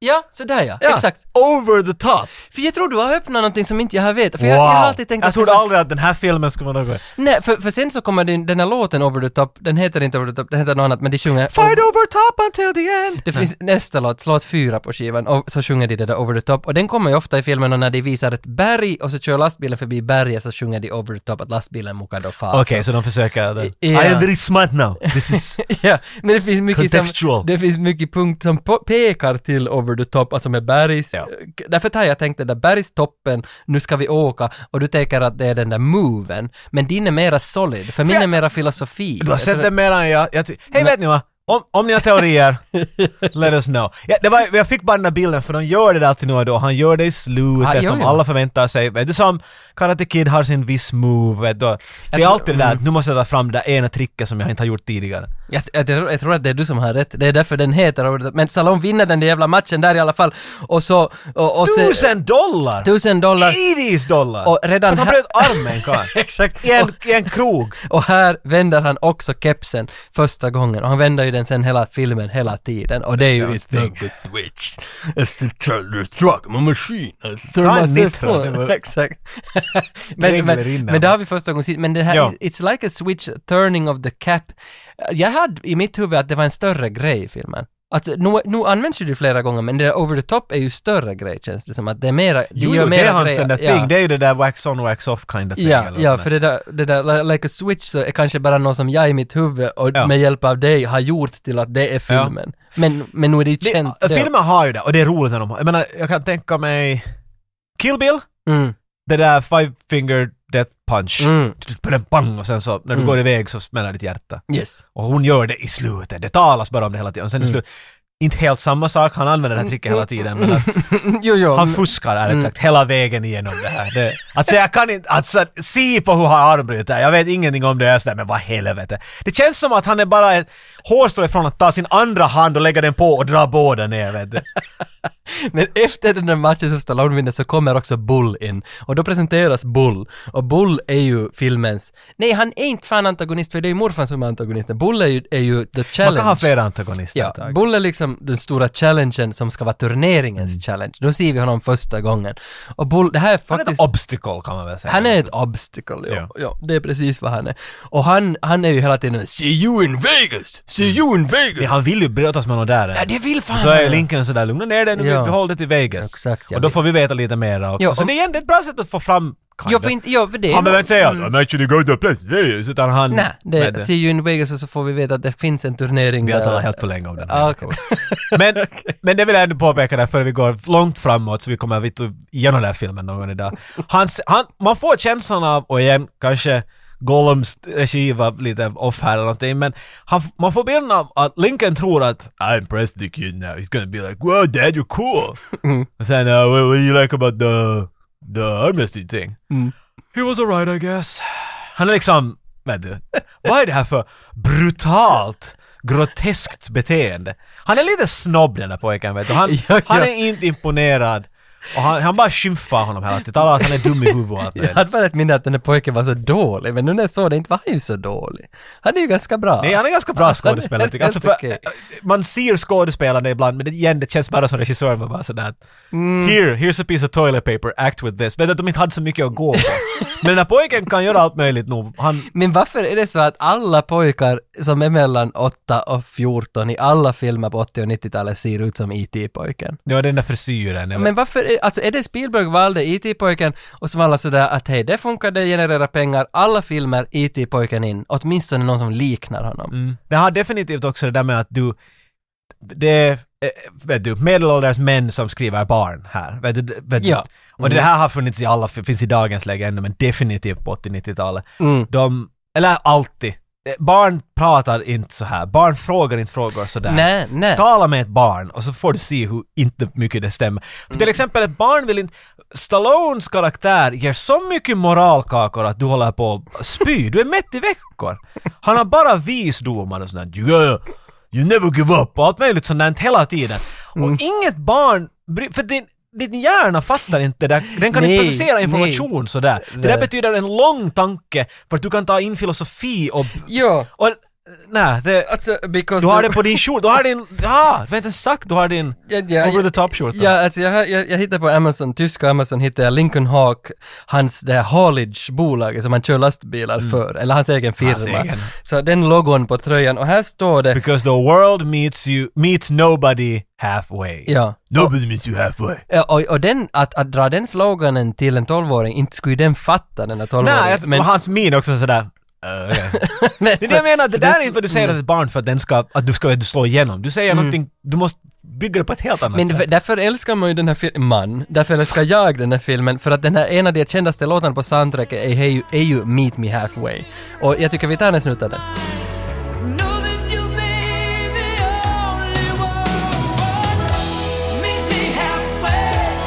A: Ja, sådär ja.
B: Ja,
A: Exakt.
B: Over the top.
A: För jag tror du har öppnat någonting som inte jag har vetat. För jag, jag har alltid tänkt
B: jag
A: att...
B: trodde aldrig att den här filmen skulle vara något.
A: Nej, för, för sen så kommer den, den här låten Over the Top, den heter inte Over the Top, den heter något annat, men de sjunger...
B: Fight over top until the end!
A: Det finns nästa låt, låt fyra på skivan, och så sjunger de det där Over the Top, och den kommer ju ofta i filmen och när de visar ett berg och så kör lastbilen förbi berget så sjunger de Over the Top att lastbilen mokar då far.
B: Okej, så de försöker... den.
A: Ja.
B: I am very smart now. This is...
A: Ja, men det finns mycket som,
B: Contextual.
A: det finns mycket punkt som po- pekar till over the top, alltså med bergs...
B: Ja.
A: Därför har jag tänkt den där bergstoppen, nu ska vi åka, och du tänker att det är den där moven. Men din är mera solid, för min
B: Ja.
A: är mera filosofi.
B: du har
A: Jag
B: sett
A: tror-
B: det mer än jag. jag ty- Hej, vet ni vad? Om, om ni har teorier, let us know. Ja, det var, jag fick bara den där bilden, för de gör det där alltid nu och då. Han gör det i slutet
A: Ah, jo,
B: som
A: jo.
B: alla förväntar sig. Vet du som Karate Kid har sin viss move, vet du. Det är
A: tror- mm.
B: alltid det där, att nu måste jag ta fram det där ena tricket som jag inte har gjort tidigare.
A: Jag, jag, tror- jag tror att det är du som har rätt. Det är därför den heter over the top. Men Stallone vinner den där jävla matchen där i alla fall. Och så... Och, och se-
B: Tusen dollar!
A: Tusen dollar!
B: 80s dollar!
A: Och redan
B: För att
A: här-
B: han bröt armen, karl.
A: Exakt!
B: I en, I en krog.
A: Och här vänder han också kepsen första gången och han vänder ju den sen hela filmen hela tiden och det är ju ett thing.
C: switch. It's the tr- truck, my machine.
B: Ta en nitro, det var-
A: Exakt. men,
B: Regler
A: men,
B: innan.
A: men det har vi första gången sist, men det här,
B: Ja.
A: it's like a switch turning of the cap. Jag hade i mitt huvud att det var en större grej i filmen. Alltså, nu, nu används ju det flera gånger, men det där over the top är ju större grej känns det som, att det är mera, det
B: Jo,
A: gör
B: jo, det
A: mera
B: är hans
A: grejer.
B: sån där
A: Ja.
B: thing. Det är ju det där wax on, wax off kind of thing.
A: Ja,
B: eller
A: ja
B: sån
A: för
B: där.
A: det där, det där li- like a switch så är kanske bara någon som jag i mitt huvud och
B: Ja.
A: med hjälp av dig har gjort till att det är filmen. Men, men nu är det ju känt.
B: det,
A: det.
B: Filmer har ju det, och det är roligt när de har. Jag menar, jag kan tänka mig... Kill Bill,
A: Mm,
B: det där five finger death punch.
A: mm,
B: Mm. Bang, och sen så, när du
A: Mm.
B: går iväg så smäller ditt hjärta.
A: yes.
B: Och hon gör det i slutet. Det talas bara om det hela tiden. Och sen i
A: Mm.
B: slutet, inte helt samma sak, han använder det här tricket hela tiden, men att
A: jo, jo.
B: han
A: men-
B: fuskar ärligt
A: Mm.
B: sagt hela vägen igenom det här. Det, alltså jag kan inte, alltså se på hur han armbryter, jag vet ingenting om det, jag är sådär, men vad helvete. Det känns som att han är bara ett hårstrå ifrån att ta sin andra hand och lägga den på och dra båda ner vet du.
A: Men efter den där matchen som Stallone vinner så kommer också Bull in. Och då presenteras Bull. Och Bull är ju filmens... Nej, han är inte fan antagonist, för det är ju morfan som är antagonisten. Bull är ju, är ju the
B: Man
A: challenge.
B: kan ha flera antagonister ett
A: Ja,
B: tag.
A: Bull är liksom den stora challengen som ska vara turneringens
B: Mm.
A: challenge. Då ser vi honom första gången. Och Bull, det här är
B: Han är ett
A: faktiskt...
B: obstacle kan man väl säga.
A: Han är ett obstacle, ja.
B: Alltså. Ja.
A: ja. det är precis vad han är. Och han, han är ju hela tiden “See you in Vegas! See you in Vegas!”
B: Mm. Men han vill ju brötas med någon där.
A: Ja, det vill fan
B: Så är
A: han.
B: Lincoln sådär, lugna ner dig nu,
A: Ja.
B: vi håller det till Vegas.
A: Exakt, ja.
B: och då får vi veta lite mer också.
A: Ja,
B: så
A: om-
B: det är ändå ett bra sätt att få fram kind
A: Jo,
B: of.
A: för inte, jo, för det är
B: Han behöver
A: nog-
B: inte säga
A: mm.
B: mm. “I'm actually going to a place”, yeah, utan han...
A: Nej,
B: vet
A: det,
B: du.
A: “See you in Vegas” och så får vi veta att det finns en turnering
B: Vi har talat
A: där.
B: helt för länge om den
A: Ah,
B: här.
A: okej.
B: men, men det vill jag ändå påpeka där för vi går långt framåt så vi kommer vitt igenom den här filmen någon gång idag. Hans, han, man får känslan av, och igen kanske Gollums eh, skiva lite off här eller någonting, men han, f- man får bilden av att Lincoln tror att
C: I impressed the kid now. He's gonna be like, "Wow, Dad, you're cool." and saying, uh, what, "What do you like about the the armistice thing?"
B: He was alright I guess. Han är liksom, vet du, vad är det här för brutalt, groteskt beteende? Han är lite snobb den där pojken vet du. Han,
A: Ja, ja.
B: han är inte imponerad Och han, han bara skymfar honom hela tiden. Talar att han är dum i huvudet. och
A: Jag
B: allt möjligt.
A: hade bara ett minne att den där pojken var så dålig, men nu när jag såg det, inte var han ju så dålig. Han är ju ganska bra.
B: Nej, han är ganska bra skådespelare tycker jag. Alltså, för,
A: Helt okej.
B: Man ser skådespelande ibland, men det- igen, det känns bara som regissören var bara sådär att,
A: Mm.
B: Here, here's a piece of toilet paper, act with this. Men att de inte hade så mycket att gå på. men den här pojken kan göra allt möjligt nog. Han,
A: Men varför är det så att alla pojkar som är mellan 8 och 14 i alla filmer på 80 och 90-talet ser ut som E IT-pojken?
B: det var den där frisyren. jag vet.
A: Men varför, är- alltså är det Spielberg valde IT-pojken och så var alla sådär att hej, det funkar, det genererar pengar, alla filmer IT-pojken in, åtminstone någon som liknar honom.
B: Det har definitivt också det där med att du... Det är eh, vet du, medelålders män som skriver barn här. Vet du, det- vet du.
A: Ja.
B: Och det här har funnits i alla, finns i dagens läge ännu, men definitivt på 80-90-talet.
A: Mm.
B: De, eller alltid. Eh, Barn pratar inte så här. Barn frågar inte frågor sådär.
A: Nej, nej.
B: Tala med ett barn och så får du se hur inte mycket det stämmer. För
A: Mm.
B: till exempel ett barn vill inte... Stallones karaktär ger så mycket moralkakor att du håller på att spy. Du är mätt i veckor. Han har bara visdomar och sånt där. You, gotta- you never give up och allt möjligt sånt där hela tiden. Och
A: Mm.
B: inget barn... bry- För din, din hjärna fattar inte det där. Den kan
A: Nej,
B: inte processera information sådär. Det där
A: Nej.
B: betyder en lång tanke för att du kan ta in filosofi och...
A: Jo,
B: och nej, det...
A: alltså because...
B: Du har det på din skjorta, du har din, ja, vänta en sak, du har din
A: Ja, ja,
B: over the top skjorta.
A: Ja, alltså jag, har- jag, jag hittade på Amazon, tyska Amazon hittade jag Lincoln Hawk, hans det här haulage-bolaget som han kör lastbilar för, eller hans egen firma.
B: Mm. egen.
A: Så den logon på tröjan och här står det,
B: Because the world meets you, meets nobody halfway.
A: ja,
B: Nobody meets you halfway.
A: Ja, och, och den, att, att dra den sloganen till en tolvåring, inte skulle ju den fatta den där
B: Nej,
A: tolvåringen.
B: jag, och hans min också sådär. Uh, okay.
A: men,
B: Det är det jag menar, det där är inte vad du
A: Mm.
B: säger till ett barn för att, den ska, att du ska att du slår igenom. Du säger någonting, du måste bygga det på ett helt annat
A: Men
B: sätt.
A: för, därför älskar man ju den här filmen, man, därför älskar jag den här filmen, för att den här ena av de kändaste låtarna på soundtracket är, är, ju, är ju Meet Me Halfway. Och jag tycker vi tar en snutt av den.
G: Know that you'll be the only one. Meet me halfway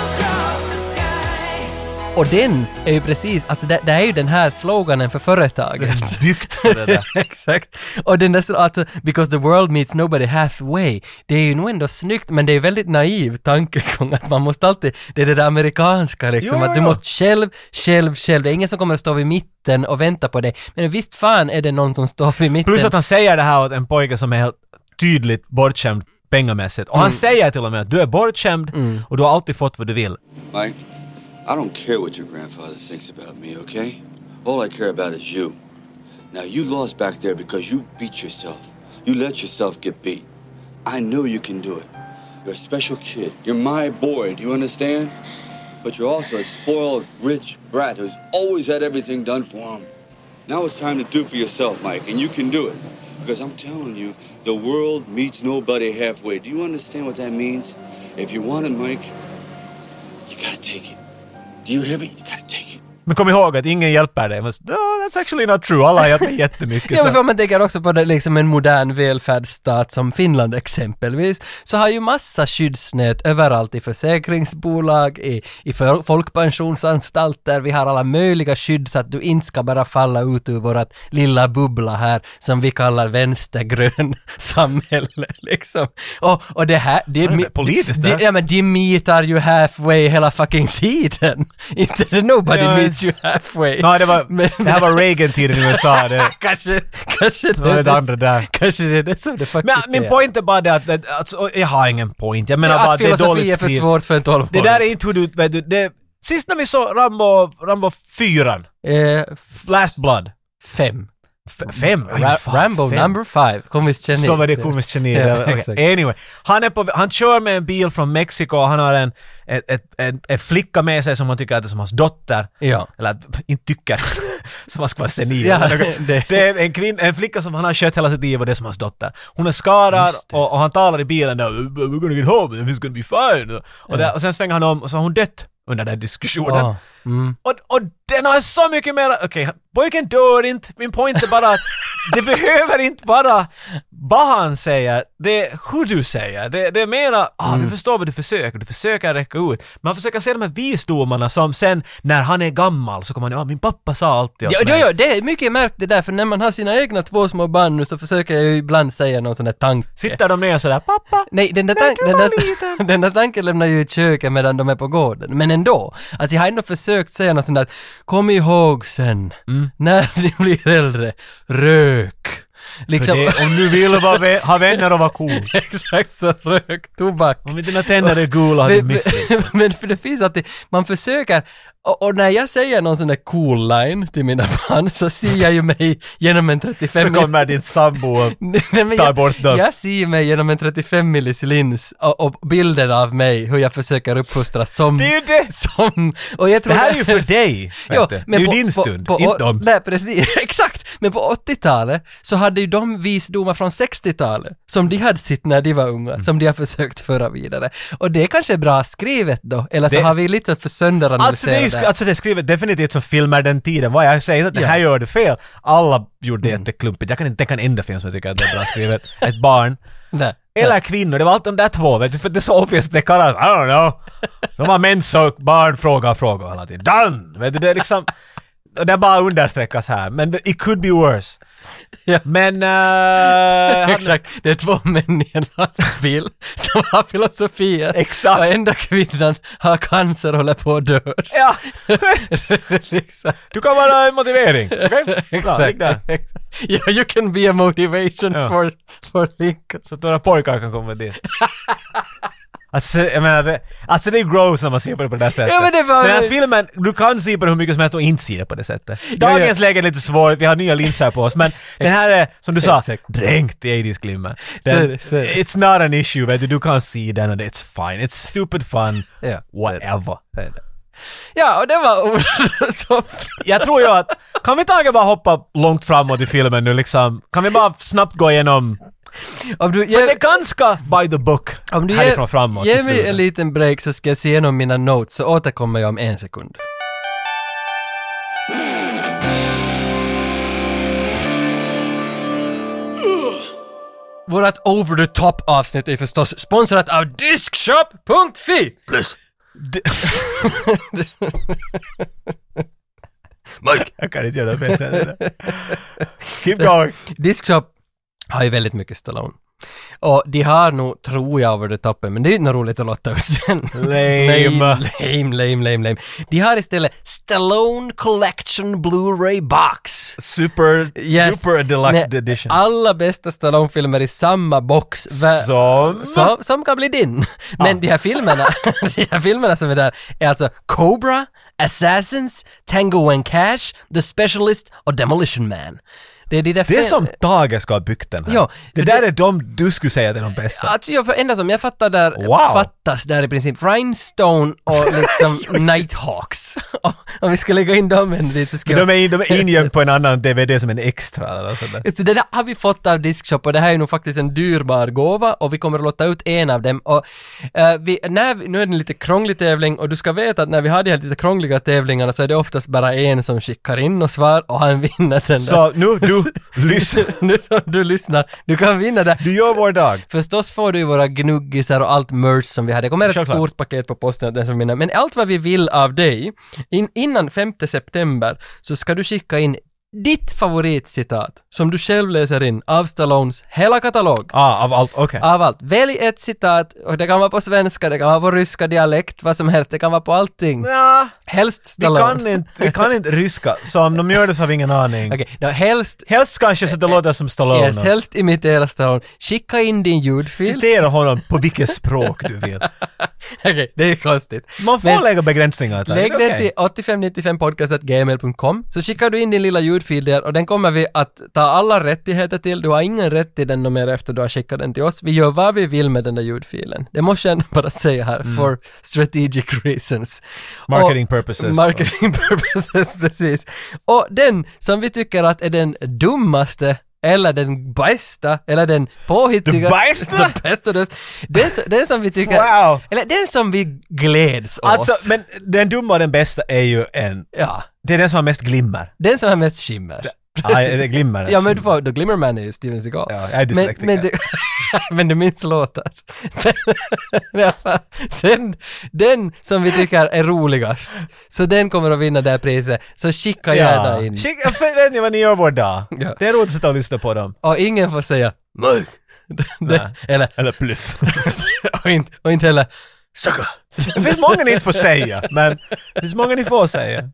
G: across the sky.
A: Och den är ju precis, alltså det, det är ju den här sloganen för företaget.
B: Byggt för det där.
A: Exakt. Och den där, så- alltså, because the world meets nobody halfway, det är ju nog ändå snyggt, men det är väldigt naiv tankegång att man måste alltid, det är det där amerikanska liksom,
B: Jo, jo,
A: att du
B: jo.
A: måste själv, själv, själv, det är ingen som kommer att stå vid mitten och vänta på dig, men visst fan är det någon som står vid mitten.
B: Plus att han säger det här åt en pojke som är helt tydligt bortskämd pengamässigt. Och han
A: Mm.
B: säger till och med att du är bortskämd och du har alltid fått vad du vill.
E: Mike, I don't care what your grandfather thinks about me, okay? All I care about is you. Now, you lost back there because you beat yourself. You let yourself get beat. I know you can do it. You're a special kid. You're my boy, do you understand? But you're also a spoiled, rich brat who's always had everything done for him. Now it's time to do for yourself, Mike, and you can do it. Because I'm telling you, the world meets nobody halfway. Do you understand what that means? If you want it, Mike, you gotta take it. Do you hear me? You gotta take it.
B: Men kom ihåg att ingen hjälper dig. Man s- No, that's actually not true. Alla har hjälpt mig jättemycket.
A: Ja, men
B: så.
A: för man tänker också på det, liksom en modern välfärdsstat som Finland exempelvis, så har ju massa skyddsnät överallt i försäkringsbolag, i, i för, folkpensionsanstalter, vi har alla möjliga skydd så att du inte ska bara falla ut ur vårat lilla bubbla här som vi kallar vänstergrön samhälle liksom. Och, och det här, det är
B: Men
A: mi-
B: det är politiskt,
A: det,
B: det.
A: ja men de meetar ju halfway hela fucking tiden. Inte nobody
B: Ja,
A: meets you halfway.
B: Nej, det, var,
A: Men-
B: det här var Reagan-tiden i USA. Det,
A: kanske, kanske
B: det var
A: är
B: det andra där.
A: Kanske det är det som det
B: Men
A: faktiskt
B: min
A: är.
B: point är bara det att, att alltså, jag har ingen point. Jag menar bara
A: att
B: att det är
A: filosofi
B: dåligt
A: är för
B: skrivet.
A: svårt för en
B: Det
A: tolvåring.
B: där är inte hur du... Vet du det, sist när vi såg Rambo, Rambo 4,
A: Eh,
B: Last Blood,
A: fem.
B: F- fem? Oj,
A: Ra-
B: fan,
A: Rambo
B: fem.
A: number five. Komiskt geni.
B: Som är det komiskt geni.
A: Ja,
B: Ja,
A: exakt.
B: Anyway, han, är på, han kör med en bil från Mexiko och han har en, ett, ett, en, en flicka med sig som han tycker att är som hans dotter.
A: Ja.
B: Eller p- inte tycker, som han ska vara senil.
A: Ja,
B: Eller något.
A: det-
B: det är en, kvinn, en flicka som han har kött hela sitt liv och det är som hans dotter. Hon är skadad och, och han talar i bilen där “We're gonna get home, it's gonna be fine” och, där, och sen svänger han om och så har hon dött under den diskussionen.
A: Ah, mm.
B: Och, och den har så mycket mer... Okej, pojken dör inte. Min point är bara att det behöver inte vara Vad han säger, det är hur du säger. Det, det är mera, ah,
A: Mm.
B: du förstår vad du försöker, du försöker räcka ut. Man försöker se de här visdomarna som sen, när han är gammal, så kommer han, ja ah, min pappa sa alltid åt
A: Ja,
B: mig.
A: ja, ja, det är mycket märkt det där, för när man har sina egna två små barn nu så försöker jag ju ibland säga någon sån där tanke.
B: Sitter de ner sådär, pappa,
A: Nej, den där,
B: när
A: tank,
B: du
A: den,
B: var
A: där, den där tanken lämnar ju i köket medan de är på gården. Men ändå, alltså jag har ändå försökt säga något sånt där, kom ihåg sen,
B: Mm.
A: när ni blir äldre, rök. Liksom,
B: Det, om du vill vara vä- ha vänner och vara cool.
A: exakt så, rök, tobak.
B: Om dina tänder är gula har du
A: Men,
B: misslyckats.
A: men- men för det finns alltid, man försöker, och, och när jag säger någon sån där cool line till mina barn så ser jag ju mig genom en 35
B: Så kommer din sambo och
A: Nej, men
B: tar
A: jag,
B: bort dem.
A: jag ser mig genom en 35 millis lins och, och bilden av mig, hur jag försöker uppfostra som...
B: Det är ju det!
A: Som, och jag tror
B: Det här är ju för dig!
A: Jo,
B: vet du. det är ju
A: på-
B: din
A: på-
B: stund,
A: på-
B: inte om...
A: Nej, precis. Exakt! Men på 80-talet så hade ju de visdomar från 60-talet som de hade sitt när de var unga,
B: Mm.
A: som de har försökt föra vidare. Och det är kanske bra skrivet då, eller så
B: Det-
A: har vi lite för sönderanalyserat
B: Alltså det, är ju, sk-
A: det.
B: alltså det är skrivet definitivt som filmer den tiden. Vad jag säger inte att det
A: Ja. Mm.
B: här gör det fel. Alla gjorde det jätteklumpigt. Jag kan inte tänka en enda film som jag tycker att det är bra skrivet. Ett barn.
A: Nej.
B: Eller kvinnor, det var alltid de där två vet du, för det är så obvious att det kallas, I don't know. De har mens och barn frågar och frågar hela tiden. Done! Vet du, det är liksom, och det bara understreckas här. Men det- it could be worse.
A: Ja.
B: Men... eh, han-
A: Exakt, det är två män i en lastbil som har filosofier.
B: Exakt.
A: Och enda kvinnan har cancer och håller på att dö.
B: Ja,
A: liksom.
B: du kan vara en motivering. Okej? Bra, ligg
A: Exakt.
B: där.
A: yeah, you can be a motivation
B: Ja.
A: for, for Lincoln.
B: Så att några pojkar kan komma dit. Alltså, jag menar, det, alltså det är gross när man ser på det på det där sättet.
A: Ja, men det var-
B: Den här filmen, du kan se på det hur mycket som helst och inte se det på det sättet. Dagens
A: ja.
B: läge är lite svårt, vi har nya linser på oss, men den här är, som du sa,
A: Exakt.
B: dränkt i 80s glimmer.
A: Så är det, så är det.
B: It's not an issue, vet du, du kan se den och det, it's fine, it's stupid fun,
A: Ja, så är det.
B: whatever.
A: Ja, och det var ord som...
B: Jag tror ju att, kan vi taget bara hoppa långt framåt i filmen nu liksom? Kan vi bara snabbt gå igenom?
A: Om du
B: För det
A: ger,
B: är ganska by the book
A: om du
B: härifrån
A: ger,
B: framåt. i
A: ger mig
B: slutet.
A: en liten break så ska jag se igenom mina notes så återkommer jag om en sekund. Vårat over the top avsnitt är förstås sponsrat av Diskshop.fi!
B: Jag kan inte göra det bättre än det där. Keep going.
A: Diskshop har ju väldigt mycket Stallone. Och de har nog, tror jag, över det toppen, men det är ju inte något roligt att låta ut sen.
B: Lame.
A: lame, lame, lame, lame. De har istället Stallone Collection Blu-ray Box.
B: Super
A: Yes. Ah,
B: duper deluxe
A: Med
B: edition.
A: Alla bästa Stallone-filmer i samma box. Vä-
B: Som...
A: som, som kan bli din. Men de här filmerna, de här filmerna som är där är alltså Cobra, Assassins, Tango and Cash, The Specialist och Demolition Man. Det är de där
B: Det är
A: fem-
B: som Tage ska ha byggt den här.
A: Ja,
B: det
A: för
B: där
A: det-
B: är de du skulle säga att är de bästa.
A: Alltså jag, för- enda som jag fattar där,
B: Wow.
A: fattas där i princip, Rhinestone och liksom Nighthawks. Och Om vi ska lägga in dem en bit så ska
B: De
A: jag...
B: är, de är ingömda på en annan DVD som en extra eller något sånt där.
A: Så det där har vi fått av Diskshop och det här är nog faktiskt en dyrbar gåva och vi kommer att låta ut en av dem. Och, eh, vi, när vi, nu är det en lite krånglig tävling och du ska veta att när vi har de här lite krångliga tävlingarna så är det oftast bara en som skickar in och svar och han vinner den där.
B: Så nu, du, lyssna.
A: nu som du lyssnar, du kan vinna det.
B: Du gör vår dag.
A: Förstås får du ju våra gnuggisar och allt merch som vi hade. Det kommer ett
B: Självklart.
A: stort paket på posten, den som vinner. Men allt vad vi vill av dig, in, innan 5 september, så ska du skicka in ditt favoritcitat som du själv läser in av Stallones hela katalog.
B: Ah, av allt, okej.
A: Av allt. Välj ett citat, och det kan vara på svenska, det kan vara på ryska dialekt, vad som helst, det kan vara på allting.
B: Nja,
A: Helst
B: vi
A: Stallone.
B: kan, inte, vi kan inte ryska. Så om de gör det så har vi ingen aning.
A: Okej, då helst,
B: Helst kanske så att det låter som Stallone.
A: yes,
B: och-
A: helst imitera Stallone. Skicka in din ljudfil.
B: Citera honom på vilket språk du vill.
A: Okej, det är konstigt.
B: Man får
A: Men-
B: lägga begränsningar. till det.
A: Lägg
B: Det är
A: det
B: okej.
A: till 8595podcast.gmail.com så skickar du in din lilla ljudfil där och den kommer vi att ta alla rättigheter till. Du har ingen rätt till den mer efter du har skickat den till oss. Vi gör vad vi vill med den där ljudfilen. Det måste jag ändå bara säga här, for strategic reasons.
B: Mm. Marketing purposes.
A: Marketing purposes, precis. Och den som vi tycker att är den dummaste eller den bästa, eller den påhittigaste.
B: Den
A: Den
B: bästa?
A: bästa du- Den, som- den som vi tycker...
B: Wow.
A: Eller den som vi gläds åt.
B: Alltså, men den dumma och den bästa är ju en...
A: Ja.
B: Det är den som har mest glimmer.
A: Den som har mest skimmer.
B: Ja, det glimmer.
A: Ja, men du får, då Glimmerman är ju Steven Seagal.
B: Ja, jag är
A: men,
B: dyslektiker.
A: men, du, men du minns låtar. Men i alla fall, den, den som vi tycker är roligast, så den kommer att vinna det här priset, så skicka gärna in.
B: Skicka, vet ni vad ni gör vår dag?
A: Ja.
B: Det är roligt att sitta och lyssna på dem.
A: Och ingen får säga mörk. Det- Eller,
B: Eller plus.
A: och inte, och inte heller sucka.
B: Det finns många ni inte får säga, men det finns många ni får säga.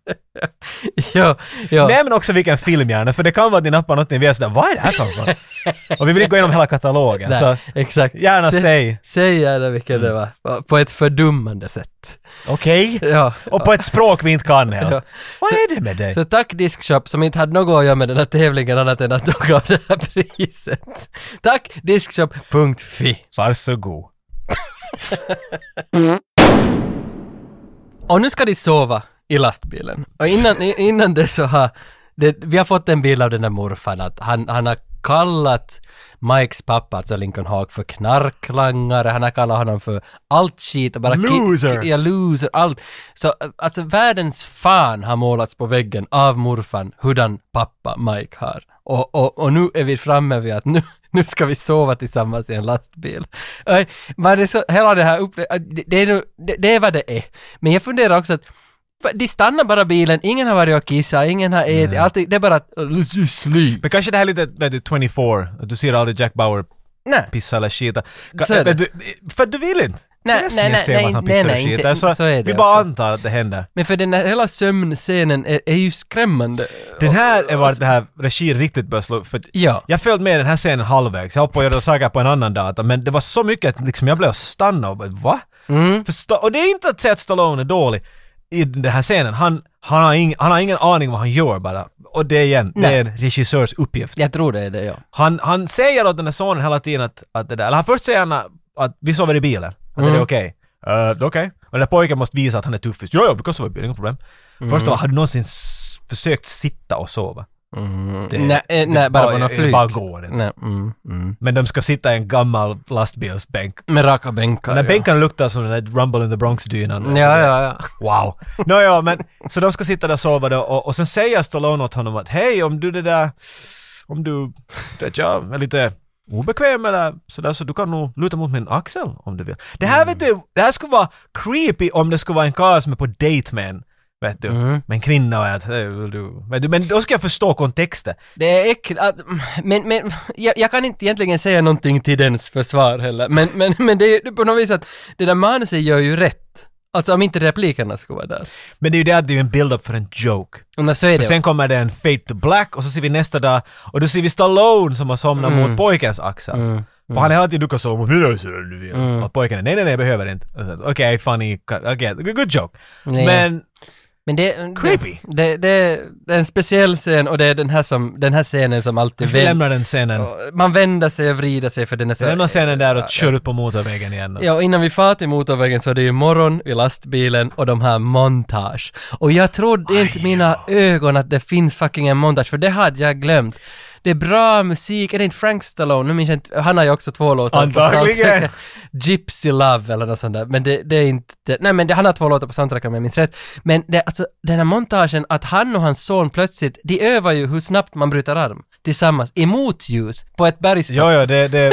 A: Ja, ja.
B: Nej men också vilken film gärna, för det kan vara att ni nappar något ni vet sådär, vad är det här för något? Och vi vill inte gå igenom hela katalogen,
A: Där,
B: så
A: exakt.
B: alltså, gärna
A: Sä-
B: säg. Mm.
A: Säg gärna vilken det var. På ett fördummande sätt.
B: okej.
A: Ja.
B: Och på ett språk vi inte kan helst.
A: Ja.
B: Vad är det med dig?
A: Så tack Diskshop som inte hade något att göra med den här tävlingen annat än att de gav det här priset. Tack Diskshop.fi.
B: Varsågod.
A: Och nu ska de sova i lastbilen. Och innan, i- innan det så har... Det, vi har fått en bild av den där morfan att han, han har kallat Mikes pappa, alltså Lincoln Hawk, för knarklangare. Han har kallat honom för allt skit och bara... ki-
B: Loser.
A: ki- Ja, loser. Allt. Så eh, alltså världens fan har målats på väggen av morfan hurdan pappa Mike har. Och, och, och nu är vi framme vid att nu, nu ska vi sova tillsammans i en lastbil. Eh, Man är så, hela det här upple- eh, det, det, är nu, det, det är vad det är. Men jag funderar också att va- de stannar bara bilen, ingen har varit och kissat, ingen har ätit, allting, det är bara att uh, let's just sleep.
B: Men kanske det här är lite, vet du, 24, att du ser aldrig Jack Bauer
A: Nej,
B: pissa eller skita. Ka-
A: Så är det.
B: vet du, eh, För att du vill inte.
A: Nej,
B: Förresten,
A: nej,
B: jag
A: nej,
B: ser
A: nej,
B: att han
A: nej,
B: pissar och
A: nej, inte-
B: skitar, så
A: så är det alltså.
B: Vi bara
A: också.
B: antar att det händer.
A: men för den här hela sömnscenen är, är ju skrämmande.
B: Den här är var det här regin riktigt började slå för att
A: Ja.
B: Jag följde med den här scenen halvvägs, jag hoppade och gjorde saker på en annan data, men det var så mycket att liksom jag blev stannad och bara, va?
A: Mm.
B: För Sta- och det är inte att säga att Stallone är dålig i den här scenen, han, han, har, ing, han har ingen aning vad han gör bara. Och det igen, det
A: Nej.
B: är en regissörs uppgift.
A: Jag tror det är det, ja.
B: Han, han säger åt den här sonen hela tiden att, att det där, eller han först säger han att- att vi sover i bilen, att
A: Mm.
B: är det är okej. Eh, det är okej. Och den där pojken måste visa att han är tuffis. Ja, ja, vi kan sova i bilen, inga problem.
A: Mm.
B: Först av allt, har du någonsin s- försökt sitta och sova? Det-
A: nej, eh,
B: det
A: nej, bara på något
B: det
A: flyg.
B: bara går inte.
A: Nej, mm, mm.
B: Men de ska sitta i en gammal lastbilsbänk.
A: Med raka bänkar.
B: Den där
A: ja.
B: bänken luktar som den där Rumble in the Bronx-dynan.
A: Ja, ja, ja.
B: Wow. Nå ja, men så de ska sitta där och sova då och, och sen säger Stallone åt honom att hej om du det där, om du, vet jag, är lite obekväm eller sådär så du kan nog luta mot min axel om du vill. Det här vet du, det här skulle vara creepy om det skulle vara en karl som är på date med en, vet du, med en kvinna och att, hej vill du, vet du, men då ska jag förstå kontexten.
A: Det är äckligt, att, men, men jag, jag kan inte egentligen säga någonting till dens försvar heller, men, men, men det är ju på något vis att det där manuset gör ju rätt. Alltså om inte replikerna skulle vara där.
B: Men det är ju det att det är ju en build-up för en joke.
A: Men så är
B: För
A: det.
B: sen kommer det en Fade to Black och så ser vi nästa dag och då ser vi Stallone som har somnat
A: Mm.
B: mot pojkens axel. Och han är hela tiden du kan sova mot mina axlar om du vill.
A: Mm.
B: Och pojken är nej nej nej jag behöver inte. Och så, Okej funny, okej okay, good joke.
A: Nej.
B: Men
A: Men det,
B: Creepy.
A: Det, det, det är en speciell scen och det är den här, som, den här scenen som alltid
B: vi
A: vänder.
B: lämnar den scenen.
A: Man vänder sig och vrider sig för den är så...
B: Vi lämnar scenen där och kör upp på motorvägen igen.
A: Ja, och innan vi far till motorvägen så är det ju morgon vid lastbilen och de här montage. Och jag trodde inte mina ögon att det finns fucking en montage, för det hade jag glömt. Det är bra musik, är det inte Frank Stallone? Nu minns jag inte, han har ju också två låtar
B: Antagligen.
A: på soundtracken. Gypsy Love eller något sånt där, men det, det är inte, det, nej men det, han har två låtar på soundtracken om jag minns rätt. Men det, alltså, den här montagen, att han och hans son plötsligt, de övar ju hur snabbt man bryter arm tillsammans, emot ljus, på ett bergstopp.
B: Jo, jo, det, det,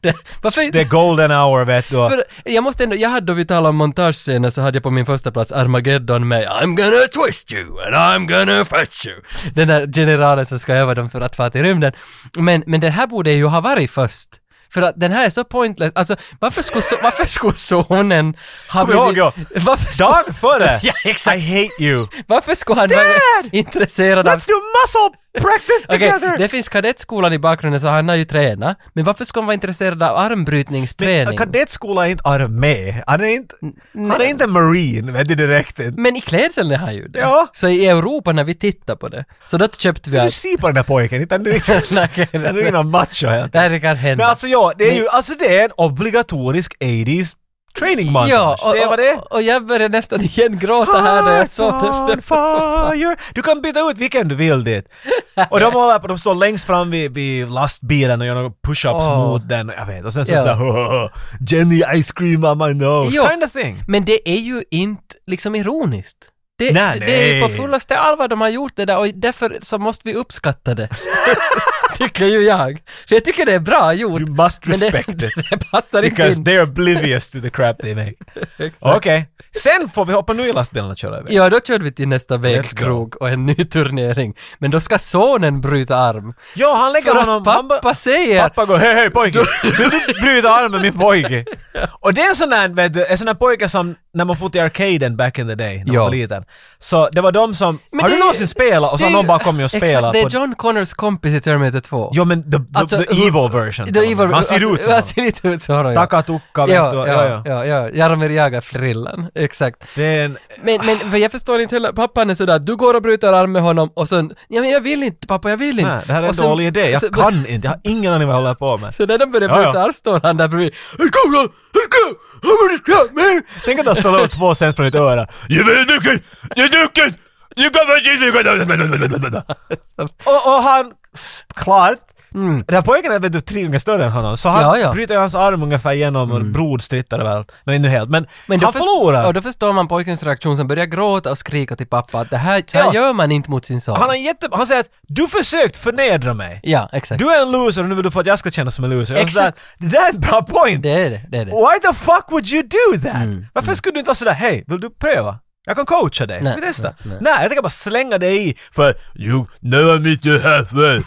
A: Det- varför-
B: det är golden hour vet du.
A: för jag måste ändå, jag hade då vi talade om montagescener så hade jag på min första plats Armageddon med I'm gonna twist you and I'm gonna fetch you. Den där generalen som ska öva dem för att fara till rymden. Men, men den här borde ju ha varit först. För att den här är så pointless. Alltså varför skulle, so- varför skulle sonen ha
B: Kom ihåg, ja.
A: Varför skulle,
B: Dagen före!
A: Ja, exakt.
B: I hate you!
A: varför skulle han vara
B: Dad!
A: intresserad av
B: Let's do muscle practice
A: Okej,
B: together!
A: det finns kadettskolan i bakgrunden så han har ju tränat. Men varför skulle han vara intresserad av
B: eh,
A: armbrytningsträning?
B: Kadettskola är inte armé. Han är inte, han är inte marine, vet du direkt. inte.
A: Men i klädseln är han ju det.
B: Ja.
A: Så i Europa när vi tittar på det, så då köpte vi
B: Du
A: allt.
B: ser på den där pojken, inte han är inte-
A: Nej, okej,
B: han är
A: men-
B: ju någon macho helt.
A: Det här kan hända.
B: Men alltså ja, det är ju,
A: Men-
B: alltså det är en obligatorisk 80s training montage.
A: ja, och,
B: det är vad det är.
A: och, och jag började nästan igen gråta här när jag såg det.
B: Hearts
A: det.
B: on fire. Du kan byta ut vilken du vill dit. Och de håller på, de står längst fram vid, vid lastbilen och gör några push-ups
A: Åh.
B: mot den. Jag vet, och sen så
A: Ja.
B: såhär Jenny ice cream on my nose,
A: Jo.
B: kind of thing.
A: Men det är ju inte liksom ironiskt. Det,
B: Nej,
A: det är på
B: nej.
A: fullaste allvar de har gjort det där och därför så måste vi uppskatta det. tycker ju jag. För jag tycker det är bra gjort.
B: You must
A: men det,
B: respect it.
A: det passar inte
B: Because
A: in.
B: they're oblivious to the crap they make. Okej. Sen får vi hoppa nu i lastbilen och köra iväg.
A: Ja, då körde vi till nästa
B: go.
A: vägkrog och en ny turnering. Men då ska sonen bryta arm.
B: Ja, han lägger
A: För
B: honom...
A: att
B: han bara-
A: pappa säger...
B: Pappa går hej hej pojke, vill du bryta armen min pojke? Och det är en sån där, vet du, en sån där pojke som när man får till arcaden back in the day, när
A: Ja.
B: man var liten. Så det var de som, har
A: det
B: du
A: är-
B: någonsin spelat? Och
A: det
B: så har
A: är
B: någon
A: ju-
B: bara kommit och
A: Exakt,
B: spelat.
A: det är
B: på-
A: John Connors kompis i Terminator 2.
B: Jo men the, the,
A: Alltså,
B: the
A: hur-
B: evil version.
A: The evil,
B: man ser ut som
A: Man
B: honom.
A: ser lite ut som honom. ja.
B: Takatukka, vet
A: Ja,
B: du.
A: ja, ja, ja, ja. Jaromir Jagr-frillan. Exakt.
B: Det är en...
A: Men,
B: Ah.
A: men för jag förstår inte heller, pappan är sådär, du går och bryter arm med honom och sen, ja men jag vill inte pappa, jag vill inte.
B: Nej, det här är en
A: Och sen-
B: dålig idé. Jag
A: så-
B: kan inte, jag har ingen aning vad jag håller på med.
A: Så när de börjar
B: Ja, ja.
A: bryta arm står han där bredvid. "Hey, kom, kom, hey, kom, kom, kom, kom, kom."
B: Tänk att ha ställt ut två cent från ditt öra.
C: You been looking! You looking! You got my Jesus!
A: Så-
B: Och, och han, s- klart. Den här pojken är vet du, tre gånger större än honom, så han
A: Mm. Ja, ja.
B: bryter ju hans arm ungefär igenom och blod strittar väl. Nej, inte helt. Men,
A: Men då
B: han
A: först-
B: förlorar.
A: Och då förstår man pojkens reaktion som börjar gråta och skrika till pappa att det här, så här
B: Ja.
A: gör man inte mot sin son.
B: Han, har jätte, han säger att du försökt förnedra mig.
A: Ja, exakt.
B: Du är en loser och nu vill du få att jag ska känna som en loser. Och så
A: Exakt.
B: där, Det där är en bra point!
A: Det är det, det Mm, är det.
B: Why the fuck would you do that? Varför skulle du inte vara sådär, hej, vill du pröva? Jag kan coacha dig, ska
A: Nej,
B: vi testa?
A: nej, nej.
B: Nej, jag tänker bara slänga dig i.
C: But you never meet your halfway.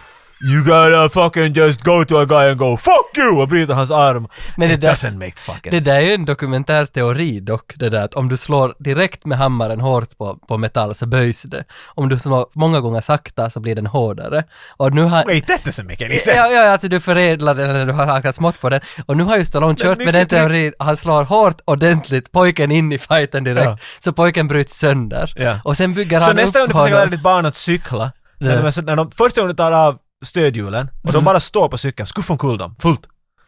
C: You gotta fucking just go to a guy and go fuck you!
B: Och bryter hans arm.
A: Men det
B: It
A: där-
B: doesn't make fucking
A: Det där är ju en dokumentär teori dock, det där att om du slår direkt med hammaren hårt på, på metall så böjs det. Om du slår många gånger sakta så blir den hårdare. Och nu har...
B: Wait, that doesn't make any sense!
A: Ja, ja, alltså du förädlar den eller du har hakat smått på den. Och nu har ju Stallone kört med den
B: mycket tryck-
A: teorin, han slår hårt ordentligt pojken in i fighten direkt.
B: Ja.
A: Så pojken bryts sönder.
B: Ja.
A: Och sen bygger
B: Så
A: han
B: nästa gång
A: upp
B: du försöker lära
A: honom.
B: ditt barn att cykla,
A: Ja.
B: när de, är så- när de, första gången du tar av stödhjulen och de bara står på cykeln, skuffa omkull dem, fullt.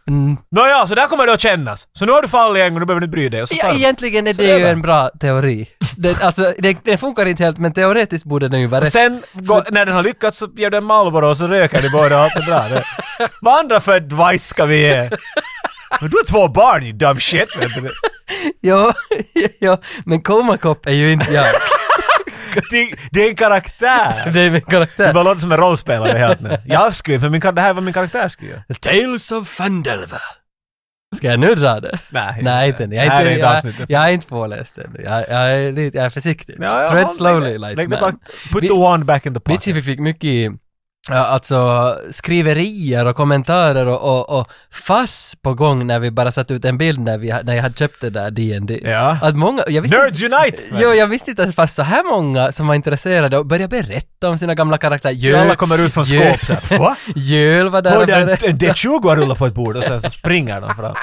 A: Mm.
B: Nåja, så där kommer det att kännas. Så nu har du fallit en gång, nu behöver du inte bry dig. Och så
A: Ja,
B: tar du-
A: egentligen är
B: Så
A: det,
B: det är
A: ju
B: bra.
A: en bra teori. Den, alltså, den, den funkar inte helt, men teoretiskt borde den ju vara
B: och
A: rätt.
B: sen, går, när den har lyckats så ger du en Marlboro och så röker du båda och allt är bra. Det- Vad andra för advice ska vi ge? Men du har två barn, you dumb shit. vet du.
A: Ja, ja, men Komakopp är ju inte jag.
B: Det, det är en karaktär.
A: Det är min
B: Det bara
A: karaktär.
B: låter som en rollspelare helt nu. Jag skulle för min, kar- det här var min karaktär skulle göra.
A: Tales of Fandelva. Ska jag nu dra det?
B: Nej,
A: Nej,
B: inte.
A: inte än. Jag
B: Nej,
A: är
B: det är
A: inte,
B: ett
A: jag,
B: avsnitt.
A: jag är inte påläst ännu. Jag, jag, är lite- jag är försiktig.
B: Ja, ja,
A: Tread
B: håll-
A: slowly,
B: lägg-
A: light
B: lägg det
A: man.
B: bak- Put
A: Vi-
B: the wand back in the pocket.
A: Vits vi fick mycket i, ja, alltså skriverier och kommentarer och, och, och fass på gång när vi bara satte ut en bild när, vi, när jag hade köpt det där D&D.
B: Ja.
A: Att många, jag visste
B: Nerds Unite!
A: Jo, jag visste inte att det fanns så här många som var intresserade och började berätta om sina gamla karaktärer. Jöl,
B: alla kommer ut från
A: Jöl-
B: skåp såhär, va?
A: Jöl var där och
B: Hörde jag
A: berättade.
B: en D20 har rullat på ett bord och sen så springer de fram.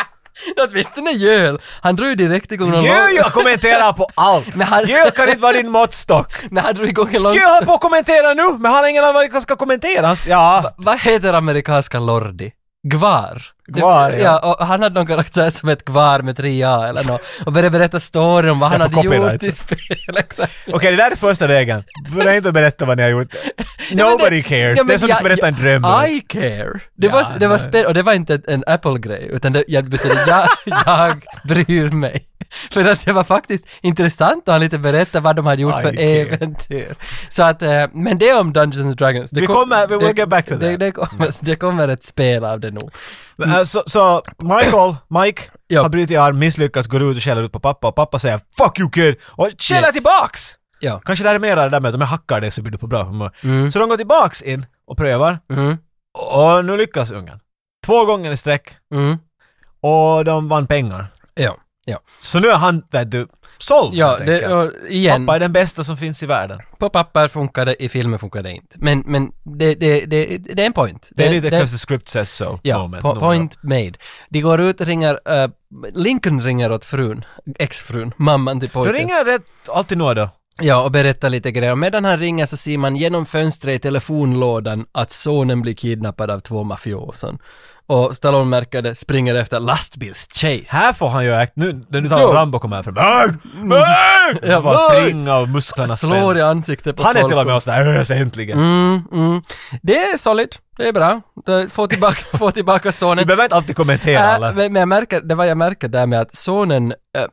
A: Åtminstone Jöl. Han drog ju direkt igång någon
B: Gud,
A: lång...
B: jag kommenterar på allt!
A: Men han-
B: Gud kan inte vara din måttstock!
A: Men han drog igång en lång...
B: Gud håller på att kommentera nu, men han har ingen aning vad han ska kommentera. Han, ja,
A: Vad heter amerikanska Lordi? Gvar. Det-
B: Gvar,
A: ja.
B: ja.
A: och han hade någon karaktär som hette Gvar med 3A eller något. Och började berätta storyn om vad han
B: Jag får
A: hade gjort
B: copyright.
A: i spel. Exakt.
B: okej det där är första regeln. Börja inte berätta vad ni har gjort.
A: Nej, men
B: Nobody cares.
A: ja,
B: det är
A: men
B: som att
A: jag-
B: berätta en dröm.
A: I care. Det
B: Ja,
A: var, det var
B: nej.
A: spel, och det var inte en Apple-grej, utan det, jag, betydde, jag, jag bryr mig. För att det var faktiskt intressant att han lite berätta vad de hade gjort
B: I
A: för
B: care.
A: äventyr. Så att, eh, men det är om Dungeons and Dragons. Det
B: Vi
A: kom-
B: kommer- we will
A: det-
B: get back to
A: det,
B: that. Mm.
A: det, kommer, det kommer ett spel av det nog.
B: Men, äh, Så, så Michael, Mike,
A: Ja.
B: har brutit arm, misslyckats, går ut och skäller ut på pappa och pappa säger “Fuck you kid!” och skäller
A: Yes.
B: tillbaks!
A: Ja.
B: Kanske det här är mera det där med att om jag hackar dig så blir du på bra humör. Så de går tillbaks in och prövar.
A: Mm,
B: Och nu lyckas ungen. Två gånger i sträck.
A: mm,
B: Och de vann pengar.
A: ja. Ja,
B: Så nu är han, vet du, såld
A: ja
B: helt
A: det,
B: enkelt.
A: och igen,
B: Pappa är den bästa som finns i världen.
A: på papper funkar det, i filmen funkar det inte. Men, men det, det, det, det är en point.
B: Det är lite 'cause the script says so
A: Ja,
B: moment.
A: po-
B: No,
A: point made. De går ut och ringer, eh, Lincoln ringer åt frun, exfrun, mamman till
B: no. Då
A: pojken.
B: ringer rätt, alltid några då.
A: Ja, och berättar lite grejer. Och medan han ringer så ser man genom fönstret i telefonlådan att sonen blir kidnappad av två mafioson. Och Stallone märker det, springer efter lastbils-chase.
B: Här får han ju act, nu, nu
A: Jo. Mm.
B: tar Rambo kommer här fram. Arg! Arg!
A: Ja,
B: Och bara
A: arg!
B: springa och musklerna
A: Slår i
B: spänner.
A: ansiktet på
B: Han är
A: folk.
B: till och med
A: och-
B: oss där, "Ös, äntligen.
A: Mm, mm. Det är solid. Det är bra. Det- Få tillbaka, få tillbaka
B: Vi
A: sonen.
B: behöver inte alltid kommentera
A: Äh,
B: alla.
A: men men jag märker, det var jag märker där med att sonen, äh,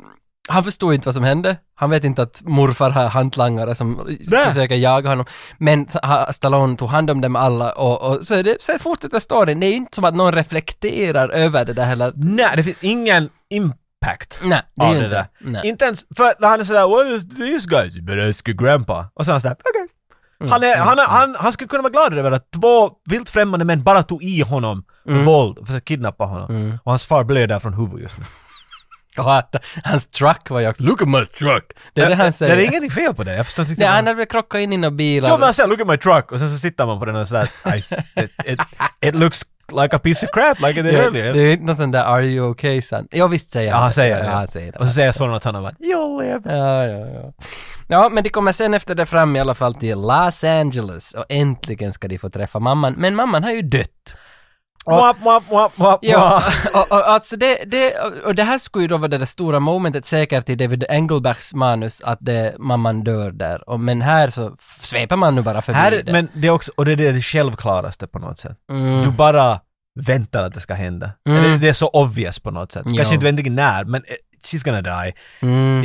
A: Han förstod inte vad som hände. Han vet inte att morfar har hantlangare som
B: Nej.
A: försöker jaga honom. Men så- ha- Stallone tog hand om dem alla och, och så, är det, så fortsätter storyn. Det är ju inte som att någon reflekterar över det där heller.
B: Nej, det finns ingen impact.
A: Nej, det är
B: av
A: ju
B: det
A: inte.
B: där.
A: Nej.
B: Inte ens, för när han är sådär “What is these guys?” “You better ask your grandpa”. Och så är han sådär “Okej”.
A: Mm,
B: Han, är, han, är, han, han skulle kunna vara glad över att två vilt främmande män bara tog i honom med
A: Mm.
B: våld och försökte kidnappa honom. Och hans far blöder från huvudet just nu.
A: Och att hans truck var jag Look at my truck! Det är det han säger.
B: Det är ingenting fel på det, jag förstår inte
A: Nej,
B: vad
A: han hade väl krockat in i några bilar.
B: Jo men sen “Look at my truck” och sen så sitter man på den och sådär I, s- it, it, “It looks like a piece of crap like it did
A: Ja,
B: earlier”.
A: Det är inte någon sån där “Are you okay son?” Ja visst säger
B: Ja,
A: han
B: han säger
A: ja,
B: det.
A: han säger det.
B: Och så säger sonen att han har varit “You'll live”.
A: Ja, ja, ja. Ja, men de kommer sen efter det fram i alla fall till Los Angeles och äntligen ska de få träffa mamman. Men mamman har ju dött.
B: Mwap, mwap, mwap, mwap,
A: Ja,
B: mwap.
A: och, och, alltså det, det, och det här skulle ju då vara det där stora momentet säkert i David Engelbergs manus att det, mamman dör där. Och, men här så sveper man nu bara förbi
B: Här,
A: det. Mm.
B: men det är också, och det är det självklaraste på något sätt. Du bara väntar att det ska hända. Eller det är så obvious på något sätt.
A: Ja. Mm.
B: Kanske inte vänligen när, men eh, she's gonna die.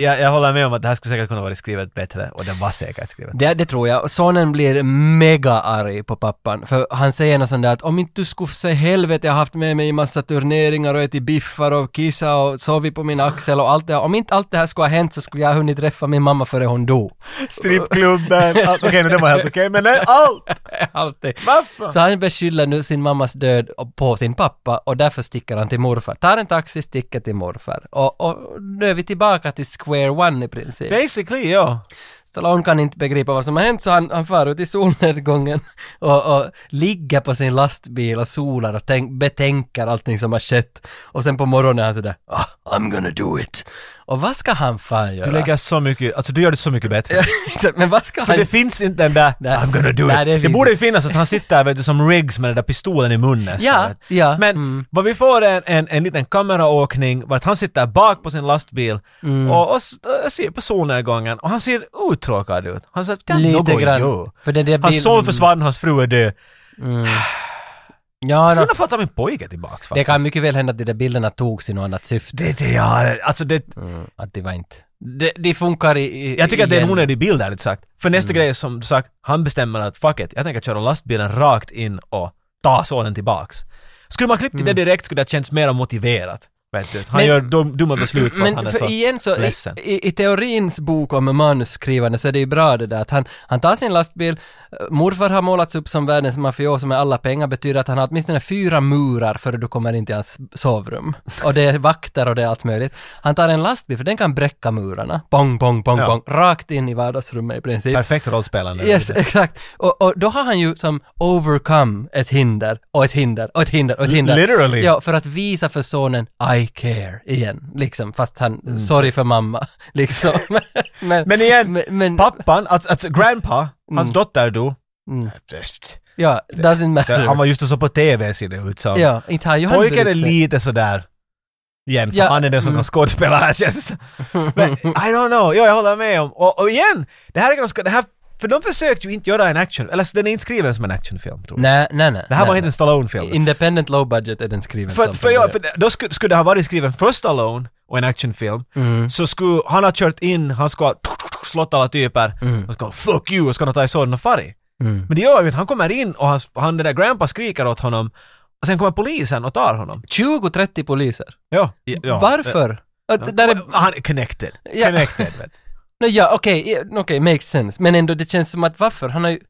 B: Jag, jag håller med om att det här skulle säkert kunna vara skrivet bättre, och det var säkert skrivet.
A: Det, det tror jag. Och Sonen blir mega arg på pappan. För han säger något sånt där att om inte du skulle se helvete, jag har haft med mig i massa turneringar och ätit biffar och kissa och sovit på min axel och allt det här. Om inte allt det här skulle ha hänt så skulle jag ha hunnit träffa min mamma före hon dog.
B: Strippklubben, allt- okej nu det var helt okej, men nej, allt!
A: Alltid.
B: Varför?
A: Så han beskyller nu sin mammas död på sin pappa och därför sticker han till morfar. Tar en taxi, sticker till morfar. Och, och nu är vi tillbaka till square one i princip.
B: Basically, ja.
A: Stallone kan inte begripa vad som har hänt så han, han far ut i solnedgången och, och ligger på sin lastbil och solar och tänk, betänker allting som har skett. Och sen på morgonen är han sådär ah, “I'm gonna do it”. Och vad ska han fan göra?
B: Du lägger så mycket, alltså du gör det så mycket bättre.
A: Exakt, Men vad ska
B: För det
A: han...
B: finns inte den där
A: Nej.
B: “I'm gonna do
A: Nej,
B: it”.
A: det
B: Det,
A: finns
B: borde ju finnas att han sitter där vet du, som Riggs med den där pistolen i munnen. så
A: Ja,
B: vet.
A: ja,
B: Men
A: mm.
B: vad vi får är en, en, en liten kameraåkning vart han sitter bak på sin lastbil
A: Mm.
B: och, och, s- och ser på solnedgången och han ser uttråkad ut. Han säger “Det är
A: Lite
B: något att
A: grann.
B: göra."
A: För den där
B: Hans son försvann, hans fru är död.
A: Ja,
B: Jag
A: då,
B: kunde få ta min pojke tillbaks
A: det
B: faktiskt.
A: kan mycket väl hända att de där bilderna togs i något annat syfte.
B: Det, det, ja, alltså det,
A: Att det var inte... Det, det funkar i, i
B: jag tycker att det är en
A: igen. Mm.
B: onödig bild ärligt sagt. För nästa grej är som du sagt, han bestämmer att fuck it, jag tänker köra lastbilen rakt in och ta sonen tillbaks. Skulle man klippt till det direkt skulle det ha känts mer motiverat. Vet du.
A: Mm.
B: Han
A: Men-
B: gör dum, dumma beslut för att han
A: Men
B: är
A: för
B: så...
A: igen så, i,
B: ledsen.
A: i, i teorins bok om manusskrivande så är det ju bra det där att han, han tar sin lastbil, eh, morfar har målats upp som världens mafioso med alla pengar, betyder att han har åtminstone fyra murar före du kommer in till hans sovrum. Och det är vakter och det är allt möjligt. Han tar en lastbil för den kan bräcka murarna, bong, bong, bong,
B: Ja.
A: bong, rakt in i vardagsrummet i princip.
B: Perfekt rollspelande.
A: Yes, exakt. Och, och då har han ju som overcome ett hinder och ett hinder och ett hinder och ett hinder.
B: literally.
A: Ja, för att visa för sonen I care igen, liksom. Fast han, sorry för mamma, liksom. men,
B: Mm. Men igen,
A: men, men Mm.
B: pappan, alltså, alltså grandpa, hans dotter dog.
A: ja, doesn't matter.
B: Han var just och så på TV ser det ut som.
A: ja, inte har ju han
B: Pojken är
A: brytt sig.
B: lite sådär igen, för
A: Ja,
B: han är den som
A: mm.
B: kan skådespela här känns det som. Men I don't know, ja, jag håller med om. Och, och igen, det här är ganska, det här, för de försökte ju inte göra en action, eller så den är inte skriven som en actionfilm tror jag.
A: Nej, nej, nej.
B: Det här
A: nej,
B: var inte en
A: nej.
B: Stallone-film.
A: Independent low budget är den skriven
B: För,
A: som
B: för,
A: från
B: ja,
A: början.
B: för det- då skulle, skulle det ha varit skriven för Stallone och en actionfilm,
A: Mm.
B: så skulle han ha kört in, han ska ha slått alla typer,
A: Mm.
B: och ska ha, 'fuck you' och ska ha ta i sådana och farit. Men det gör ju inte, han kommer in och han, han den där grandpa skriker åt honom, och sen kommer polisen och tar honom.
A: 20-30 poliser.
B: Ja. ja.
A: Varför? Att, där är,
B: Well, Han är connected.
A: Ja.
B: Connected. vet.
A: No, ja, okej, okay, makes sense. Men ändå, det känns som att varför? Han har ju...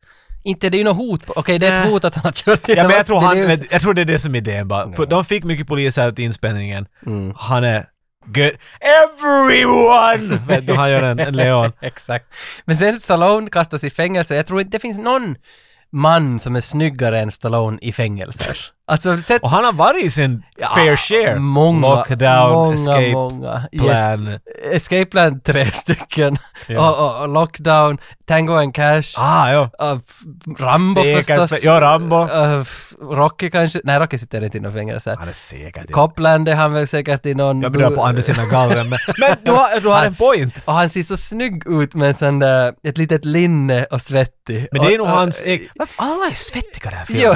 A: Inte det är ju något hot på... Okej, det är ett
B: Nej.
A: hot att han har kört in
B: ja, men
A: en
B: jag, tror
A: lastbil,
B: han,
A: det är ju-
B: men jag tror det är det som är idén bara. För de fick mycket poliser ut i inspelningen.
A: Mm.
B: Han är good. Everyone! vet du, han gör en, en leon.
A: Exakt. Men sen Stallone kastas i fängelse. Jag tror inte det finns någon man som är snyggare än Stallone i fängelser. Alltså, sett...
B: Och han har varit i sin fair share.
A: Många,
B: Lockdown,
A: många,
B: escape
A: många.
B: plan.
A: Escape plan tre stycken.
B: Ja.
A: Och, och, och Lockdown, Tango and Cash.
B: Ah, ja.
A: Uh, f- Rambo
B: Säkert,
A: förstås.
B: ja, Rambo.
A: Uh, f- Rocky kanske. Nej, Rocky sitter inte i någon fängelse.
B: Han är säkert det.
A: Copland är han väl säkert i någon...
B: Jag börjar på andra sidan gallren. Men, men du har, du har en point.
A: Och han ser så snygg ut med en sån där, ett litet linne och svettig.
B: Men det är
A: Och-
B: nog
A: och-
B: hans eget... Varför Alla är svettiga i den här filmen.
A: Jo.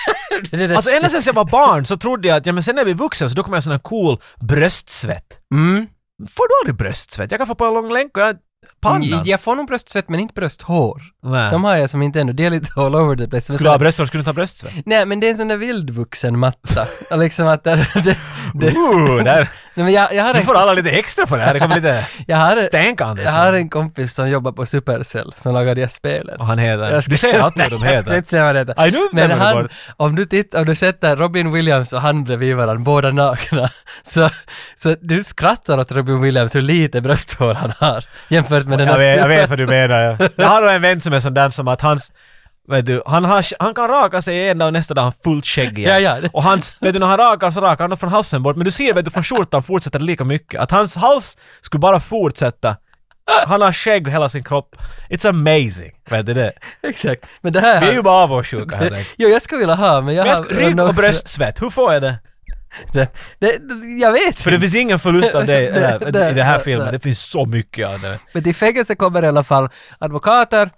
A: det är det.
B: Alltså ända sen jag var barn så trodde jag att ja, men sen när jag blir vuxen så då kommer jag ha sån här cool bröstsvett.
A: Mm.
B: Får du aldrig bröstsvett? Jag kan få på en lång länk och jag... Pannan?
A: Jag får nog bröstsvett men inte brösthår.
B: Nej.
A: Mm, De har jag som inte ännu, det är lite all over the place.
B: Skulle du ha bröstvård skulle du inte ha bröstsvett.
A: Nej men det är en sån där vildvuxen matta. Och liksom att där, det, det,
B: Ooh, där.
A: Nej, men jag, jag har
B: Nu
A: en
B: Mm. får alla lite extra på det här. Det kommer lite
A: Jag har-
B: stänk Anders.
A: Jag har en kompis som jobbar på Supercell som lagar de här spelen.
B: Och han heter...
A: Jag ska-
B: Du säger alltid vad de
A: Jag ska
B: heter.
A: inte säga vad det heter.
B: Aj, nu
A: Men
B: nämner du
A: han,
B: bara.
A: om du tittar, om du sätter Robin Williams och han bredvid varandra, båda nakna, så, så du skrattar åt Robin Williams hur lite brösthår han har jämfört med den
B: Jag
A: här
B: vet, jag
A: Super-
B: vet vad du menar. Ja. Jag har då en vän som är sån där som att hans... Vet du, han, har, han kan raka sig en dag och nästa dag har han fullt skägg igen.
A: Ja, ja.
B: Och hans, vet du, när han rakar så rakar han från halsen bort. Men du ser, vet du, från skjortan fortsätter det lika mycket. Att hans hals skulle bara fortsätta. Han har skägg hela sin kropp. It's amazing. Vet du det?
A: Exakt. Men det här...
B: Vi är ju bara avundsjuka här.
A: det,
B: Erik.
A: jo, jag skulle vilja ha, men jag
B: Men jag
A: har...
B: ska, rygg och bröstsvett, hur får jag det?
A: Det, det, jag vet
B: För det finns ingen förlust av det
A: Det-
B: äh, i den här
A: det-
B: filmen.
A: det-
B: Det finns så mycket av det.
A: Men till fängelse kommer i alla fall advokater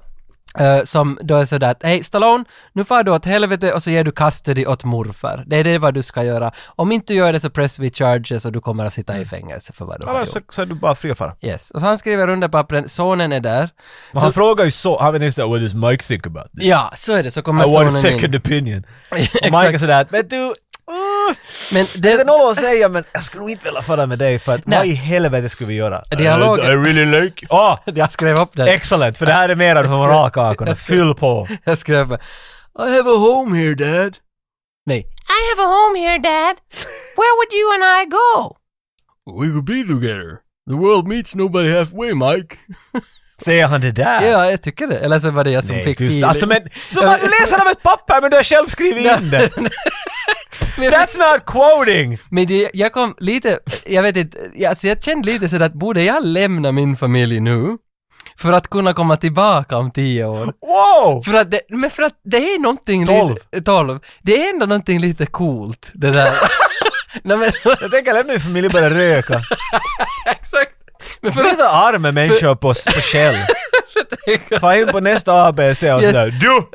A: eh, som då är sådär att hej Stallone, nu far du åt helvete och så ger du custody åt morfar. Det är det vad du ska göra. Om inte du gör det så press vi charges och du kommer att
B: Mm.
A: sitta i fängelse för vad du har
B: Annars så,
A: gjort.
B: så är du bara fri att fara.
A: Yes. Och så han skriver under pappren, sonen är där.
B: Men han frågar ju så, han vet inte what does Mike think about this?
A: Ja, så är det, så kommer
B: I want a
A: sonen
B: second
A: in.
B: opinion. Och Mike är
A: Exakt.
B: sådär att, men du, uh,
A: Men
B: det är
A: den,
B: noll att säga men jag skulle nog inte vilja fara med dig för att
A: Nej.
B: vad i helvete skulle vi göra?
A: Dialogen-
B: I, I really like... Ah!
A: jag skrev upp den.
B: Excellent! För det här är mer än moralkakorna. Fyll på!
A: Jag skrev bara, I have a home here dad. Nej. I have a home here dad. Where would you and I go? We could be together. The world meets nobody halfway Mike.
B: Säger han det där?
A: Ja, jag tycker det. Eller så var det jag som
B: Nej,
A: fick
B: du-
A: feeling.
B: Alltså men, som att du läser av ett papper men du har själv skrivit in det!
A: Men jag-
B: That's not quoting!
A: Men det, jag kom lite, jag vet inte, jag, alltså jag kände lite sådär att borde jag lämna min familj nu? För att kunna komma tillbaka om tio år.
B: Wow!
A: För att det, men för att det är någonting
B: Tolv.
A: lite... Tolv. Det är ändå någonting lite coolt, det där. Nej men,
B: Jag tänker lämna min familj och börja röka.
A: exakt. Men för att
B: Sluta arma människor på, på Shell. Far in på nästa ABC och
A: Yes.
B: sådär. Du!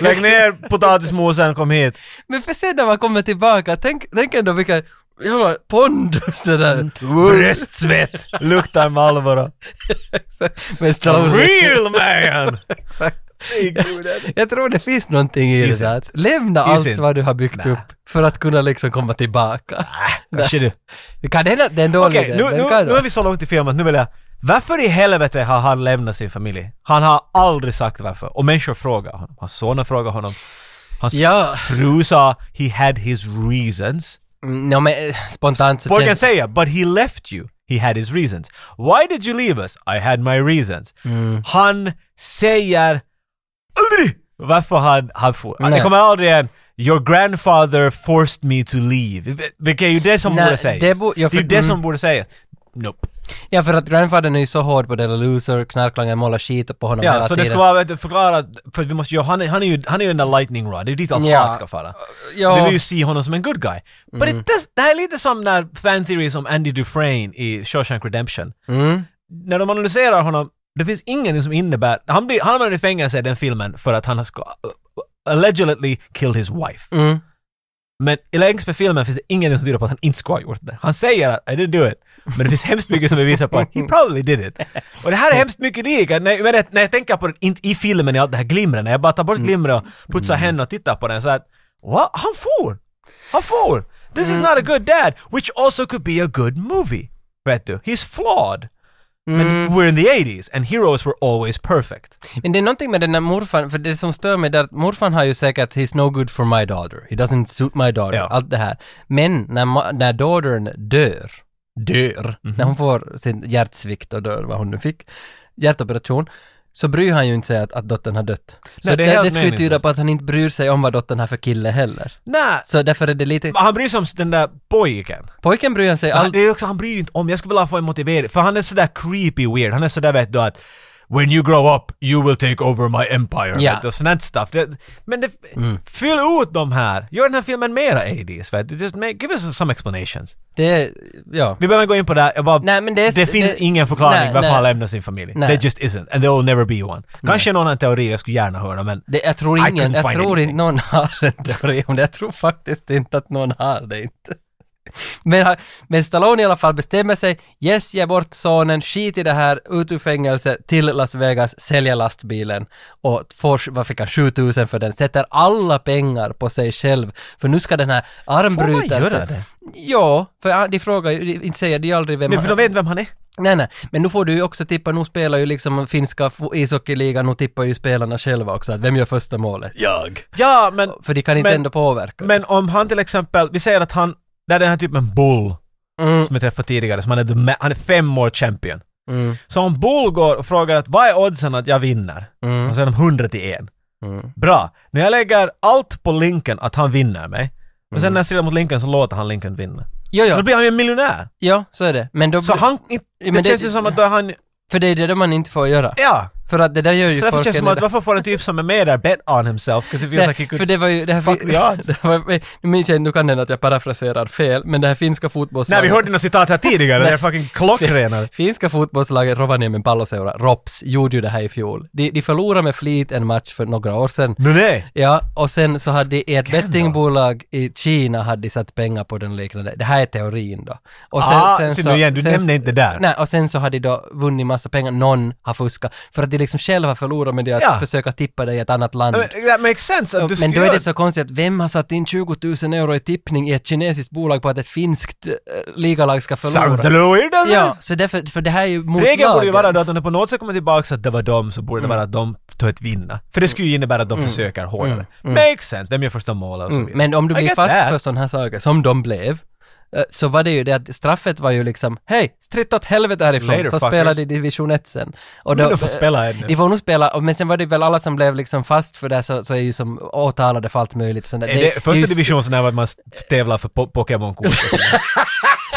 B: Lägg ner potatismosen, kom hit.
A: Men för sen när man kommer tillbaka, tänk, tänk ändå vilka jävla pondus det
B: Mm.
A: där.
B: Bröstsvett! Luktar Malboro.
A: Men Stallone,
B: Real man! Äh,
A: jag tror det finns någonting i det
B: Isn't.
A: där. att Lämna allt
B: Isn't.
A: vad du har byggt
B: Nä.
A: upp för att kunna liksom komma tillbaka.
B: Kanske du.
A: Det kan hända, den dåliga.
B: Okej, nu, nu,
A: den
B: nu
A: kan,
B: är vi så långt i filmen att nu vill jag... Varför i helvete har han lämnat sin familj? Han har aldrig sagt varför. Och människor frågar honom. Hans soner frågar honom. Hans
A: Ja,
B: fru sa he had his reasons.
A: mm, ja men eh, spontant så
B: Folk kan
A: känns...
B: säga, but he left you. He had his reasons. Why did you leave us? I had my reasons. Han säger aldrig varför han, han for.
A: Nej.
B: Det kommer aldrig igen. Your grandfather forced me to leave. Vil- Vilket är ju det som
A: Nej,
B: borde sägas.
A: det bo- ja,
B: det är
A: för-
B: ju det
A: mm.
B: som borde sägas. Nope.
A: Ja, för att grandfadern är ju så hård på det där loser, knarklangaren målar skit på honom hela
B: Ja, så det
A: tiden.
B: ska vara vet du, förklarat, för att vi måste göra, han, är- han är ju, han är ju den där lightning rod, det är ju dit allt
A: Ja.
B: hat ska fara.
A: Ja. Mm.
B: Vi vill ju se honom som en good guy. But it does, det här är lite som när fan theory som Andy Dufresne i Shawshank Redemption.
A: Mm.
B: när de analyserar honom, det finns ingen som innebär... Han blir han hamnar i fängelse i den filmen för att han ska uh, allegedly kill his wife.
A: Mm.
B: Men i längs med filmen finns det ingen som tyder på att han inte ska ha gjort det. Han säger att I didn't do it. Men det finns hemskt mycket som bevisar på att he probably did it. Och det här är hemskt mycket lika. När, men det, när jag tänker på det, inte i filmen i allt det här glimret, när jag bara tar
A: Mm.
B: bort glimret och putsar händerna och tittar på den så att What? Han for! Han for! This is not a good dad, which also could be a good movie. Vet du? He's flawed. Men we're in the 80s and heroes were always perfect.
A: Men det är någonting med den där morfan, för det som stör mig där, att morfan har ju säkert “He's no good for my daughter”, “He doesn't suit my daughter”,
B: Ja.
A: allt det här. Men när, ma- när dottern dör, dör, när hon får sin hjärtsvikt och dör, vad hon nu fick, hjärtoperation, så bryr han ju inte sig att, att dottern har dött. Så
B: Nej, det
A: det,
B: är
A: det,
B: helt
A: skulle ju tyda
B: meningslöst.
A: på att han inte bryr sig om vad dottern har för kille heller.
B: Nej,
A: Så därför är det lite...
B: han bryr sig om den där pojken.
A: Pojken bryr sig
B: Han, det
A: aldrig...
B: är också, han bryr ju inte om, jag skulle vilja få en motivering, för han är sådär creepy weird, han är sådär vet du att When you grow up, you will take over my empire.
A: Ja.
B: Vet du, och sånt här stuff. Det, men det, fyll ut de här. Gör den här filmen mera 80s. Vet du. Just make, give us some explanations.
A: Det... Ja.
B: Vi behöver gå in på det här. Jag bara,
A: Nej, men det är-
B: finns
A: det-
B: ingen förklaring
A: nej,
B: varför
A: nej.
B: han lämnar sin familj.
A: Nej.
B: There just isn't. And there will never be one. Kanske någon annan teori jag skulle gärna höra, men...
A: Det, jag tror
B: I
A: ingen,
B: couldn't
A: jag
B: find
A: tror
B: anything.
A: inte någon har en teori om det. Jag tror faktiskt inte att någon har det inte. Men, han- men Stallone i alla fall bestämmer sig, yes ge bort sonen, skit i det här, ut ur fängelse till Las Vegas, säljer lastbilen och får, vad fick han, 7000 för den, sätter alla pengar på sig själv, för nu ska den här armbrytaren...
B: göra det?
A: Ja, för han- de frågar ju, de- inte säger de aldrig vem
B: Men
A: han-
B: för de vet vem han är.
A: Nej, nej, men nu får du ju också tippa, nu spelar ju liksom finska fo- ishockeyligan, nu tippar ju spelarna själva också att vem gör första målet.
B: Jag. Ja, men,
A: För de kan inte
B: Men-
A: ändå påverka.
B: men om han till exempel, vi säger att han, det är den här typen Bull
A: mm,
B: som vi träffade tidigare, som han är, the ma- han är fem år champion.
A: mm,
B: Så om Bull går och frågar att vad är oddsen att jag vinner?
A: mm,
B: Och så är de 100 till en.
A: mm.
B: Bra. När jag lägger allt på Lincoln att han vinner mig,
A: Mm.
B: men sen när jag strider mot Lincoln så låter han Lincoln vinna.
A: Jo,
B: Så
A: jo,
B: då blir han ju en miljonär.
A: ja, så är det. Men då,
B: Så han, inte- det,
A: Ja, men det-
B: känns ju som att då är han,
A: För det är det man inte får göra.
B: ja.
A: För att det där gör ju
B: Så därför
A: folk...
B: känns det som
A: en-
B: att varför får en typ som är med där bet on himself? 'Cause it feels
A: Nej,
B: like he could...
A: för det var ju... Det här,
B: Fuck the odds.
A: det var, nu minns jag inte, nu kan det hända att jag parafraserar fel, men det här finska
B: Nej,
A: fotbollslaget...
B: vi hörde dina citat här tidigare, det är fucking klockrena.
A: Finska fotbollslaget Rovaniemen Palloseura, ROPS, gjorde ju det här i fjol. De, de förlorade med flit en match för några år sedan.
B: Nu nej.
A: Ja, och sen så hade i ett bettingbolag i Kina hade de satt pengar på den liknande. Det här är teorin då. Och
B: Ah, ser du igen, du nämnde inte där.
A: Nej, och sen så hade de då vunnit massa pengar, någon har fuskat. För att de liksom själva förlorar med det att
B: Ja.
A: försöka tippa det i ett annat land.
B: I mean, That makes sense. Att du
A: men
B: skulle
A: då är
B: göra-
A: det så konstigt att vem har satt in 20 000 euro i tippning i ett kinesiskt bolag på att ett finskt eh, ligalag ska
B: Sounds a
A: förlora?
B: little weird, doesn't
A: Ja,
B: it?
A: så därför, för det här är ju mot
B: alltså. Regeln borde ju
A: lagen.
B: vara då att om det på något sätt kommer tillbaka så att det var dem så
A: Mm.
B: borde det vara att de tar ett vinna. För det skulle ju innebära att de försöker hårdare. Makes sense. Vem gör första målet och så vidare.
A: Mm. Men om du
B: I
A: blir
B: get
A: fast
B: that.
A: för sådana här saker, som de blev, eh, så var det ju det att straffet var ju liksom hej, stritt åt helvete härifrån,
B: Later,
A: så
B: fuckers.
A: spelade de division 1 sen. Och eh,
B: Men de får spela ännu.
A: De får nog spela, och- men sen var det väl alla som blev liksom fast för det här, så, så är ju som åtalade för allt möjligt. Så
B: Är det, första division så när man tävlar för po- Pokémon-kort och sådär.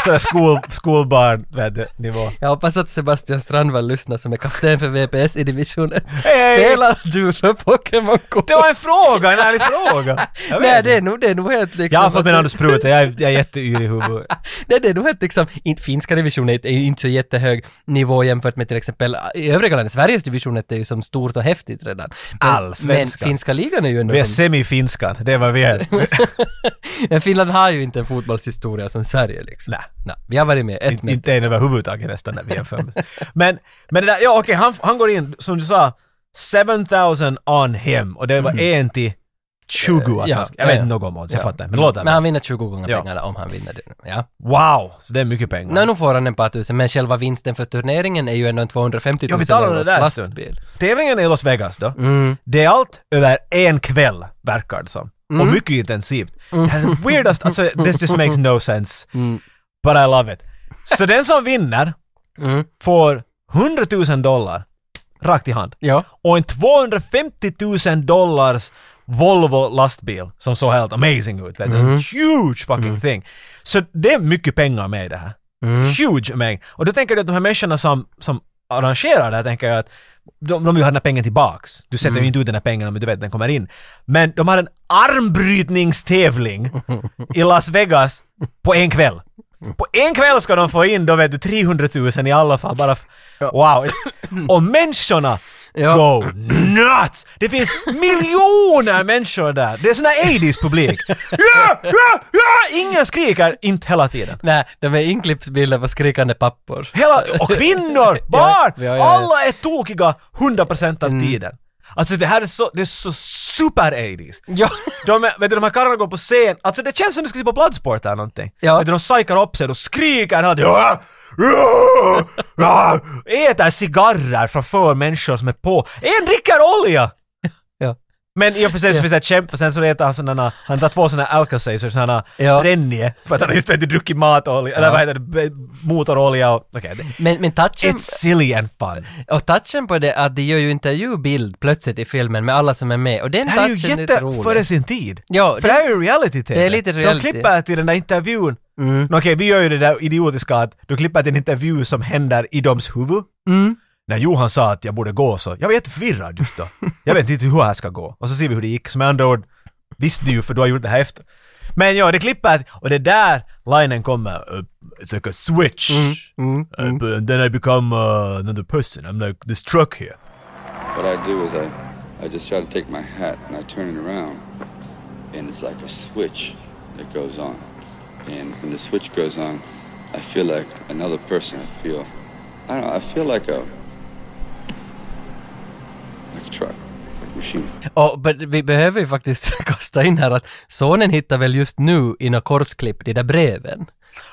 B: Sådär skol, skolbarn, vet du, nivå.
A: Jag hoppas att Sebastian Strandvall lyssnar som är kapten för VPS i division 1.
B: Hej!
A: Spelar du för Pokémon-kort?
B: Det var en fråga, en ärlig fråga! Jag vet
A: Nej,
B: inte.
A: det är nog, det är nog helt liksom...
B: Jag har fått
A: att
B: med
A: det-
B: Anders Pruta, jag är, jag är jätteyr i huvudet.
A: Nej, det är nog helt liksom, inte, finska division 1 är ju inte så jättehög nivå jämfört med till exempel i övriga länder. Sveriges division 1 är ju som stort och häftigt redan. Men, men
B: Allsvenskan.
A: finska ligan är ju ändå
B: Vi är
A: som,
B: semifinskan, det är vad vi är.
A: men Finland har ju inte en fotbollshistoria som Sverige liksom.
B: Nej.
A: vi har varit med ett
B: Inte-
A: med.
B: Inte en överhuvudtaget nästan när vi jämför med. Men, men det där, ja okej, han, han går in, som du sa, 7000 on him och det var en till 20 att han
A: Ja,
B: ska-
A: ja,
B: Jag vet
A: ja.
B: inte något om odds, jag
A: Ja.
B: fattar. Men låt
A: Men
B: det
A: han vinner 20 gånger
B: Ja.
A: pengarna om han vinner det. Ja.
B: Wow! Så det är mycket pengar.
A: Nej, nu får han en par tusen, men själva vinsten för turneringen är ju ändå en 250
B: Ja,
A: 000
B: vi talar om det
A: euros
B: där en stund.
A: lastbil.
B: Tävlingen är i Las Vegas då.
A: Mm.
B: Det är allt över en kväll, verkar det som. Och
A: Mm.
B: mycket intensivt. Det här är det weirdaste, alltså this just makes no sense. But I love it. Så den som vinner
A: Mm.
B: får 100 000 dollar rakt i hand.
A: Ja.
B: Och en 250 000 dollars Volvo lastbil som såg helt amazing ut. Vet du? En huge fucking thing. Så det är mycket pengar med i det här. Huge mängd. Och då tänker du att de här människorna som, som arrangerar det här tänker jag att de, de vill ha den här pengen tillbaks. Du sätter ju inte ut den här pengen om du vet att den kommer in. Men de har en armbrytningstävling i Las Vegas på en kväll. På en kväll ska de få in då vet du 300 000 i alla fall bara f- Wow! it's- Och människorna
A: Ja.
B: go nuts! Det finns miljoner människor där! Det är sån här 80s publik. Ja, ja, ja! Ingen skriker, inte hela tiden.
A: Nej, de är inklippsbilder på skrikande pappor.
B: Hela, och kvinnor, barn!
A: Ja, ja, Mm. ja, ja.
B: Alla är tokiga 100% av tiden. Alltså det här är så, det är så super 80s.
A: Ja.
B: De, är- vet du, de här karlarna går på scen, alltså det känns som du ska se på Bloodsport eller någonting.
A: Ja.
B: Vet du, de psykar upp sig, de skriker allt. Ja, ja, ja. Äter cigarrer framför människor som är på. En dricker olja!
A: Ja.
B: Men i och för sig så finns det ett kämp, för sen så äter han sådana, han tar två sådana Alka-Seltzers, sådana
A: Ja.
B: Rennie, för att han har just vet du, druckit matolja, eller vad heter det, b- motorolja och... Okej, det-
A: Men, men touchen...
B: It's silly and fun.
A: Och touchen på det är att de gör ju intervjubild plötsligt i filmen med alla som är med och den
B: Det här är
A: touchen
B: ju
A: är lite
B: jätte före
A: rolig.
B: sin tid.
A: Ja,
B: För det
A: det-
B: här är ju reality-tv.
A: det är lite reality.
B: De klipper till den där intervjun. Mm. Okej, vi gör ju det där idiotiska att du klipper till en intervju som händer i doms huvud.
A: Mm.
B: När Johan sa att jag borde gå så, jag var jätteförvirrad just då. jag vet inte hur det här ska gå. Och så ser vi hur det gick. Som med andra ord, visste du ju för du har gjort det här efter. Men ja, det klipper till- och det där linen kommer. Uh, it's like a switch.
A: Mm.
B: Uh, but- and then I become uh, another person. I'm like this truck here.
E: What I do is I, I just try to take my hat and I turn it around, and it's like a switch that goes on. And when the switch goes on, I feel like another person. I feel, I don't know, I feel like a, like a truck, like a machine.
A: Och but vi behöver ju faktiskt kasta in här att sonen hittar väl just nu i några korsklipp de där breven.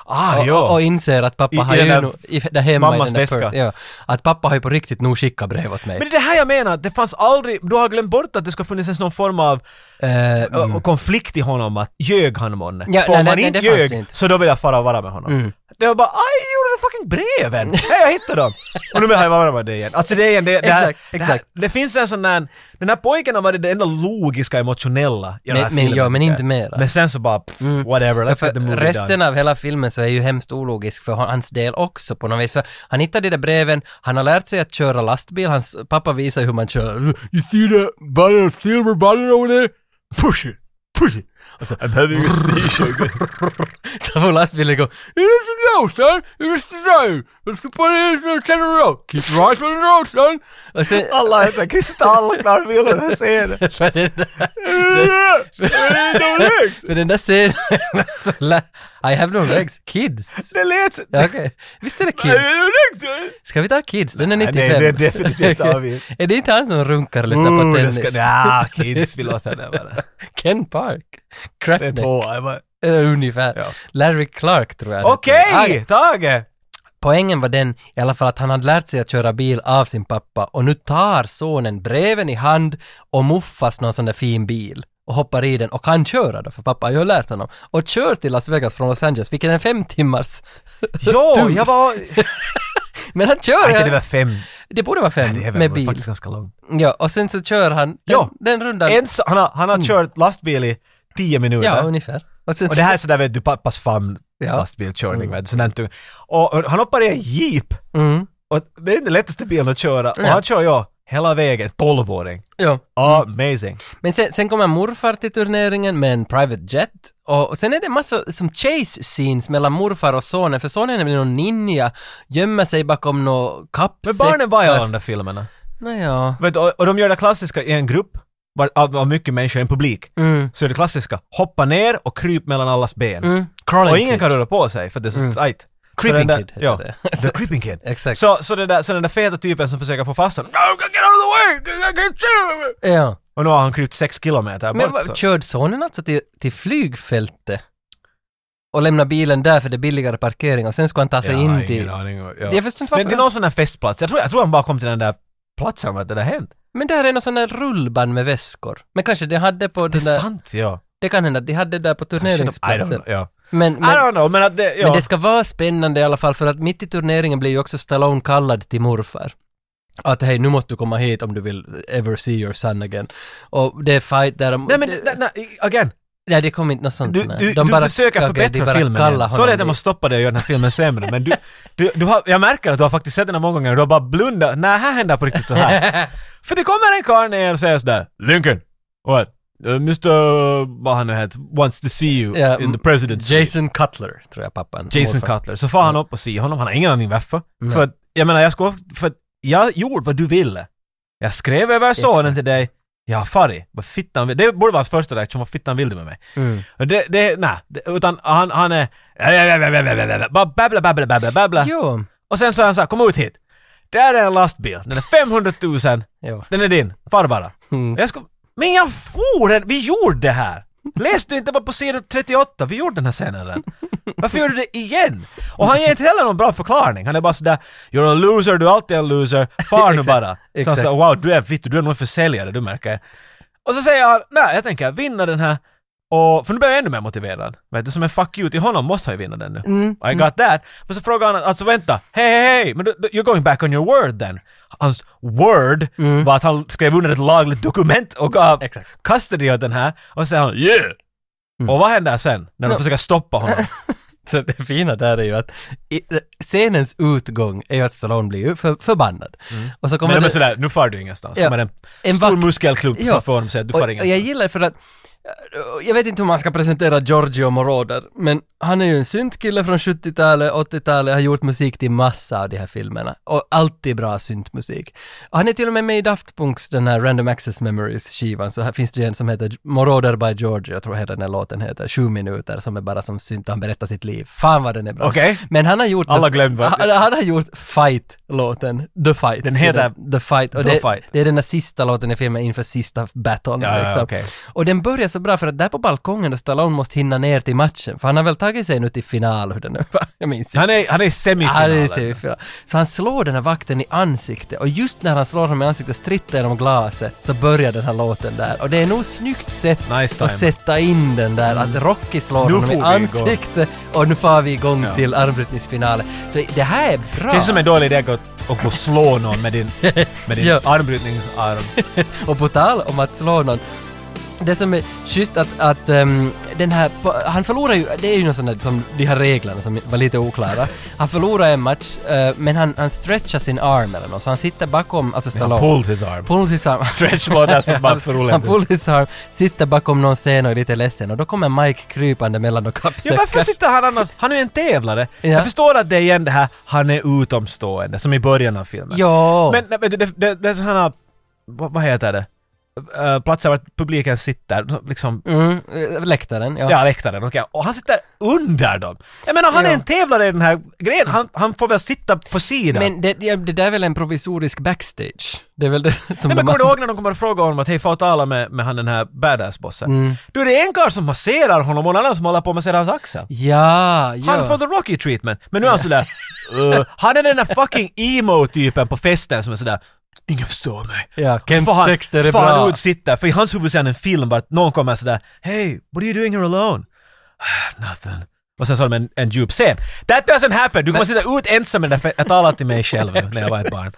B: Ah,
A: och,
B: jo.
A: och, och inser att pappa
B: I- i
A: har
B: den
A: ju
B: där
A: nu, i, där hemma
B: mammas
A: i den där
B: väska.
A: purse, ja, Att pappa har ju på riktigt nog skickat brev åt mig.
B: Men det är det här jag menar, det fanns aldrig, du har glömt bort att det ska funnits ens någon form av
A: Eh,
B: ö, konflikt i honom, att ljög han månne?
A: Ja,
B: För
A: nej,
B: om
A: nej,
B: han
A: nej,
B: inte
A: det fanns
B: ljög
A: det inte. Mm.
B: så då vill jag fara och vara med honom. Det var bara aj, jag gjorde det fucking breven! Nej, jag hittade dem! Och nu vill jag vara med dig igen. Alltså det är igen, det, det, här,
A: Exakt,
B: Det, här,
A: exakt.
B: det finns en sån där, den här pojken har varit det enda logiska emotionella i den här
A: Men- men
B: filmen.
A: ja, men
B: tycker
A: inte
B: jag.
A: mera. Mm.
B: Men sen så bara, pff, whatever,
A: Ja,
B: let's get the
A: för
B: movie
A: resten
B: done.
A: av hela filmen så är ju hemskt ologisk för hans del också på något vis. För han hittar de där breven, han har lärt sig att köra lastbil, hans pappa visar hur man kör. You see that bottle of silver bottle over there? Push it, push it. Och så,
C: I'm having a seizure.
A: så får lastbilen gå. It is the road son, it is the road. It's the police in the center road. Keep right on the road son. Och sen,
B: Alla heter kristallklarbilder, den här scenen.
A: för den där, för den där scenen, så lä- I have no legs, kids.
B: Det lät så...
A: Ja, Okej, visst är det kids? Ska vi ta Kids? Den är 95.
B: nej, det är definitivt avgjort.
A: är det inte han som runkar och lyssnar
B: Ooh,
A: på
B: det
A: tennis?
B: Ska, ja, kids vill låta det vara.
A: Ken Park.
B: Det är
A: Crapneck.
B: två. jag bara-
A: eh, Ungefär.
B: Ja.
A: Larry Clark tror jag. han heter. Ah,
B: Okej,
A: ja.
B: Tage!
A: poängen var den i alla fall att han hade lärt sig att köra bil av sin pappa och nu tar sonen breven i hand och muffas någon sån där fin bil och hoppar i den och kan köra då för pappa har ju lärt honom och kör till Las Vegas från Los Angeles vilket är en fem timmars
B: Jo,
A: tur.
B: jag var...
A: Men han kör!
B: Nej, det var fem.
A: det borde vara fem
B: Det är
A: med
B: väl
A: bil.
B: faktiskt ganska långt.
A: Ja, och sen så kör han den,
B: Ja.
A: den rundan.
B: En, så- han, har, han har kört lastbil i tio minuter.
A: Mm. Ja, ungefär. Och, sen,
B: och det här är sådär vet du, pappas famn
A: Ja.
B: lastbilkörning. vet du, sådär inte- Och, och han hoppar i en jeep.
A: Mm,
B: Och det är den lättaste bilen att köra. Och
A: Ja.
B: han kör ja, hela vägen. Tolvåring.
A: ja.
B: Amazing.
A: Men sen, sen kommer morfar till turneringen med en private jet och, och sen är det en massa som chase scenes mellan morfar och sonen för sonen är någon ninja, gömmer sig bakom några
B: Men
A: kappsäckar.
B: barnen var i alla de där filmerna.
A: Nåja.
B: Vet, du, och, och de gör det klassiska i en grupp, var- av, av mycket människor i en publik.
A: Mm.
B: Så är det klassiska, hoppa ner och kryp mellan allas ben.
A: Mm. Crawling
B: Och ingen
A: kid. Mm.
B: kan röra på sig för det är så tight. Så
A: Creeping
B: den där-
A: kid heter
B: ja,
A: det.
B: The creeping kid.
A: Exakt.
B: Så, så, den där, så den där feta typen som försöker få fast honom. No, get out of the way! I can't see you!"
A: Ja.
B: Och nu har han krypt sex kilometer
A: Men
B: bort.
A: vad-
B: så.
A: körde sonen alltså till, till flygfältet och lämna bilen där för det är billigare parkering och sen ska han ta sig
B: Jag har
A: in
B: ingen
A: till...
B: aning om- ja.
A: Jag förstår inte varför.
B: Men till någon sån där festplats. Jag tror, jag tror han bara kom till den där platsen vad det där hände.
A: Men där är någon sån där rullband med väskor. Men kanske de hade på
B: Det är
A: den där...
B: sant, ja.
A: Det kan hända att de hade det där på
B: I don't
A: turneringsplatsen.
B: know, ja.
A: Men,
B: I
A: men,
B: don't know, men att det, ja.
A: men det ska vara spännande i alla fall för att mitt i turneringen blir ju också Stallone kallad till morfar. Att hej, nu måste du komma hit om du vill ever see your son again. Och det är fight där de...
B: Nej men,
A: det,
B: det, nej, again.
A: nej, det kom inte något sånt.
B: Du,
A: nej.
B: du,
A: de
B: du
A: bara,
B: försöker
A: okej, de
B: förbättra
A: bara
B: filmen.
A: kallar
B: igen. Sorry att jag
A: honom
B: måste stoppa dig och göra den här filmen sämre, men du, du, du har, jag märker att du har faktiskt sett den här många gånger och du har bara blundat. Nej, här händer på riktigt så här. För det kommer en karl ner och säger sådär Lincoln, what? Uh, Mr... vad han nu heter, wants to see you
A: Ja,
B: in the president's
A: dit. Jason Cutler, tror jag pappan.
B: Jason
A: morfar.
B: Cutler. Så far han upp och ser honom, han har ingen aning varför. För att, jag menar, jag ska, för att jag gjorde vad du ville. Jag skrev över sonen till dig, jag har farit. Vad fittan vill. Det borde vara hans första reaktion, vad fittan vill du med mig?
A: Mm.
B: Och Det, det, nej. Det- Utan han, han är... Bara babbla, babbla, babbla, babbla.
A: Jo,
B: Och sen så är han så här, kom ut hit. Där är en lastbil, den är 500 000,
A: jo.
B: den är din, far bara.
A: Mm.
B: Och Jag ska, men jag for den, vi gjorde det här! Läste du inte bara på sidan 38, vi gjorde den här scenen redan. Varför gör du det igen? Och han ger inte heller någon bra förklaring, han är bara sådär “You're a loser, du är alltid en loser, far nu
A: Exakt,
B: bara”. Så han
A: exakt.
B: sa “Wow, du är vittu, du är nog en försäljare, du märker jag." Och så säger han “Nej, jag tänker vinna den här” och, för nu blir jag ännu mer motiverad. Vet du, som en fuck you till honom måste han ju vinna den nu.
A: Mm,
B: I got that. Men så frågar han alltså vänta, hej hej hej, men du- du- you're going back on your word then. Hans word var att han skrev under ett lagligt dokument och gav
A: Mm. Exakt. Mm.
B: custody åt den här och sen han yeah! Och vad händer sen när de
A: No.
B: försöker stoppa honom?
A: Så det fina där är ju att i, scenens utgång är ju att Stallone blir ju för, förbannad. Och så kommer
B: Mm. men de
A: det-
B: är sådär, nu far du ingenstans.
A: Ja.
B: Kommer en,
A: En
B: stor
A: vakt-
B: muskelklump
A: Ja.
B: framför honom och säger du
A: och,
B: far
A: och jag
B: ingenstans.
A: gillar det för att eh, jag vet inte hur man ska presentera Giorgio Moroder, men han är ju en syntkille från 70-talet, 80-talet, har gjort musik till massa av de här filmerna. Och alltid bra syntmusik. Och han är till och med med i Daft Punks, den här Random Access Memories-skivan, så här finns det ju en som heter Moroder by Georgia, jag tror hela den här låten heter, sju minuter, som är bara som synt, han berättar sitt liv. Fan vad den är bra.
B: Okej.
A: Men han har gjort...
B: Alla glömde vad-
A: han, han har gjort Fight-låten, The Fight.
B: Den heter-
A: The Fight. Och
B: The
A: det,
B: Fight.
A: det är den där sista låten i filmen inför sista battlen.
B: Ja, ja,
A: liksom.
B: okej.
A: Och den börjar så bra för att där på balkongen då Stallone måste hinna ner till matchen, för han har väl tagit sig nu till final, hur den nu var. Jag minns inte.
B: Han är, han är
A: Ja,
B: i
A: det
B: semifinalen.
A: är semifinal. Så han slår den här vakten i ansiktet och just när han slår honom i ansiktet stritter genom glaset så börjar den här låten där. Och det är nog snyggt sätt
B: Nice time. Mm.
A: att sätta in den där, att Rocky slår
B: Nu
A: honom i
B: får vi igång.
A: ansiktet och nu far vi igång till armbrytningsfinalen. Så det här är bra.
B: Känns som en dålig idé att, att gå och slå någon med din, med din
A: Ja.
B: armbrytningsarm.
A: Och på tal om att slå någon. Det som är schysst att, att ehm, den här, han förlorar ju, det är ju något sånt där som de här reglerna som var lite oklara. Han förlorar en match, eh, men han, han stretchar sin arm eller något, så han sitter bakom, alltså
B: Han
A: Stallone.
B: pulled his arm.
A: Pulled his arm.
B: Stretch låg där som bara för
A: Han
B: roligt.
A: pulled his arm, sitter bakom någon scen och är lite ledsen och då kommer Mike krypande mellan de
B: Ja, varför
A: kappsäckar.
B: sitter han annars? Han är ju en tävlare.
A: Ja.
B: Jag förstår att det är igen det här, han är utomstående, som i början av filmen.
A: Ja,
B: Men nej, men det, det, det, det är sådana, vad, vad heter det? Eh, platser var publiken sitter, liksom,
A: mm, eh, läktaren, ja.
B: ja läktaren, okej. Och han sitter under dem. Jag menar, han
A: Ja.
B: är en tävlare i den här grejen, han, han får väl sitta på sidan.
A: Men det, ja, det där är väl en provisorisk backstage? Det är väl det som
B: Nej, men
A: de-
B: kommer du ihåg när de kommer att fråga honom att hej, få tala med, med han den här badass-bossen?
A: Mm.
B: Du, det är en karl som masserar honom och en annan som håller på att massera hans axel.
A: Ja, ja.
B: Han får the Rocky treatment. Men nu är han sådär, uh, han är den där fucking emo-typen på festen som är sådär Ingen förstår mig.
A: Ja,
B: Och så
A: Kents
B: får han-
A: texter är
B: så får
A: bra.
B: han ut sitta, för i hans huvud ser han en film bara att någon kommer sådär Hey, what are you doing here alone? "Ah, Nothing. Och sen så har de en, en djup scen. That doesn't happen! Du kommer sitta ut ensam med den där fe- Jag talade till mig själv när jag var ett barn.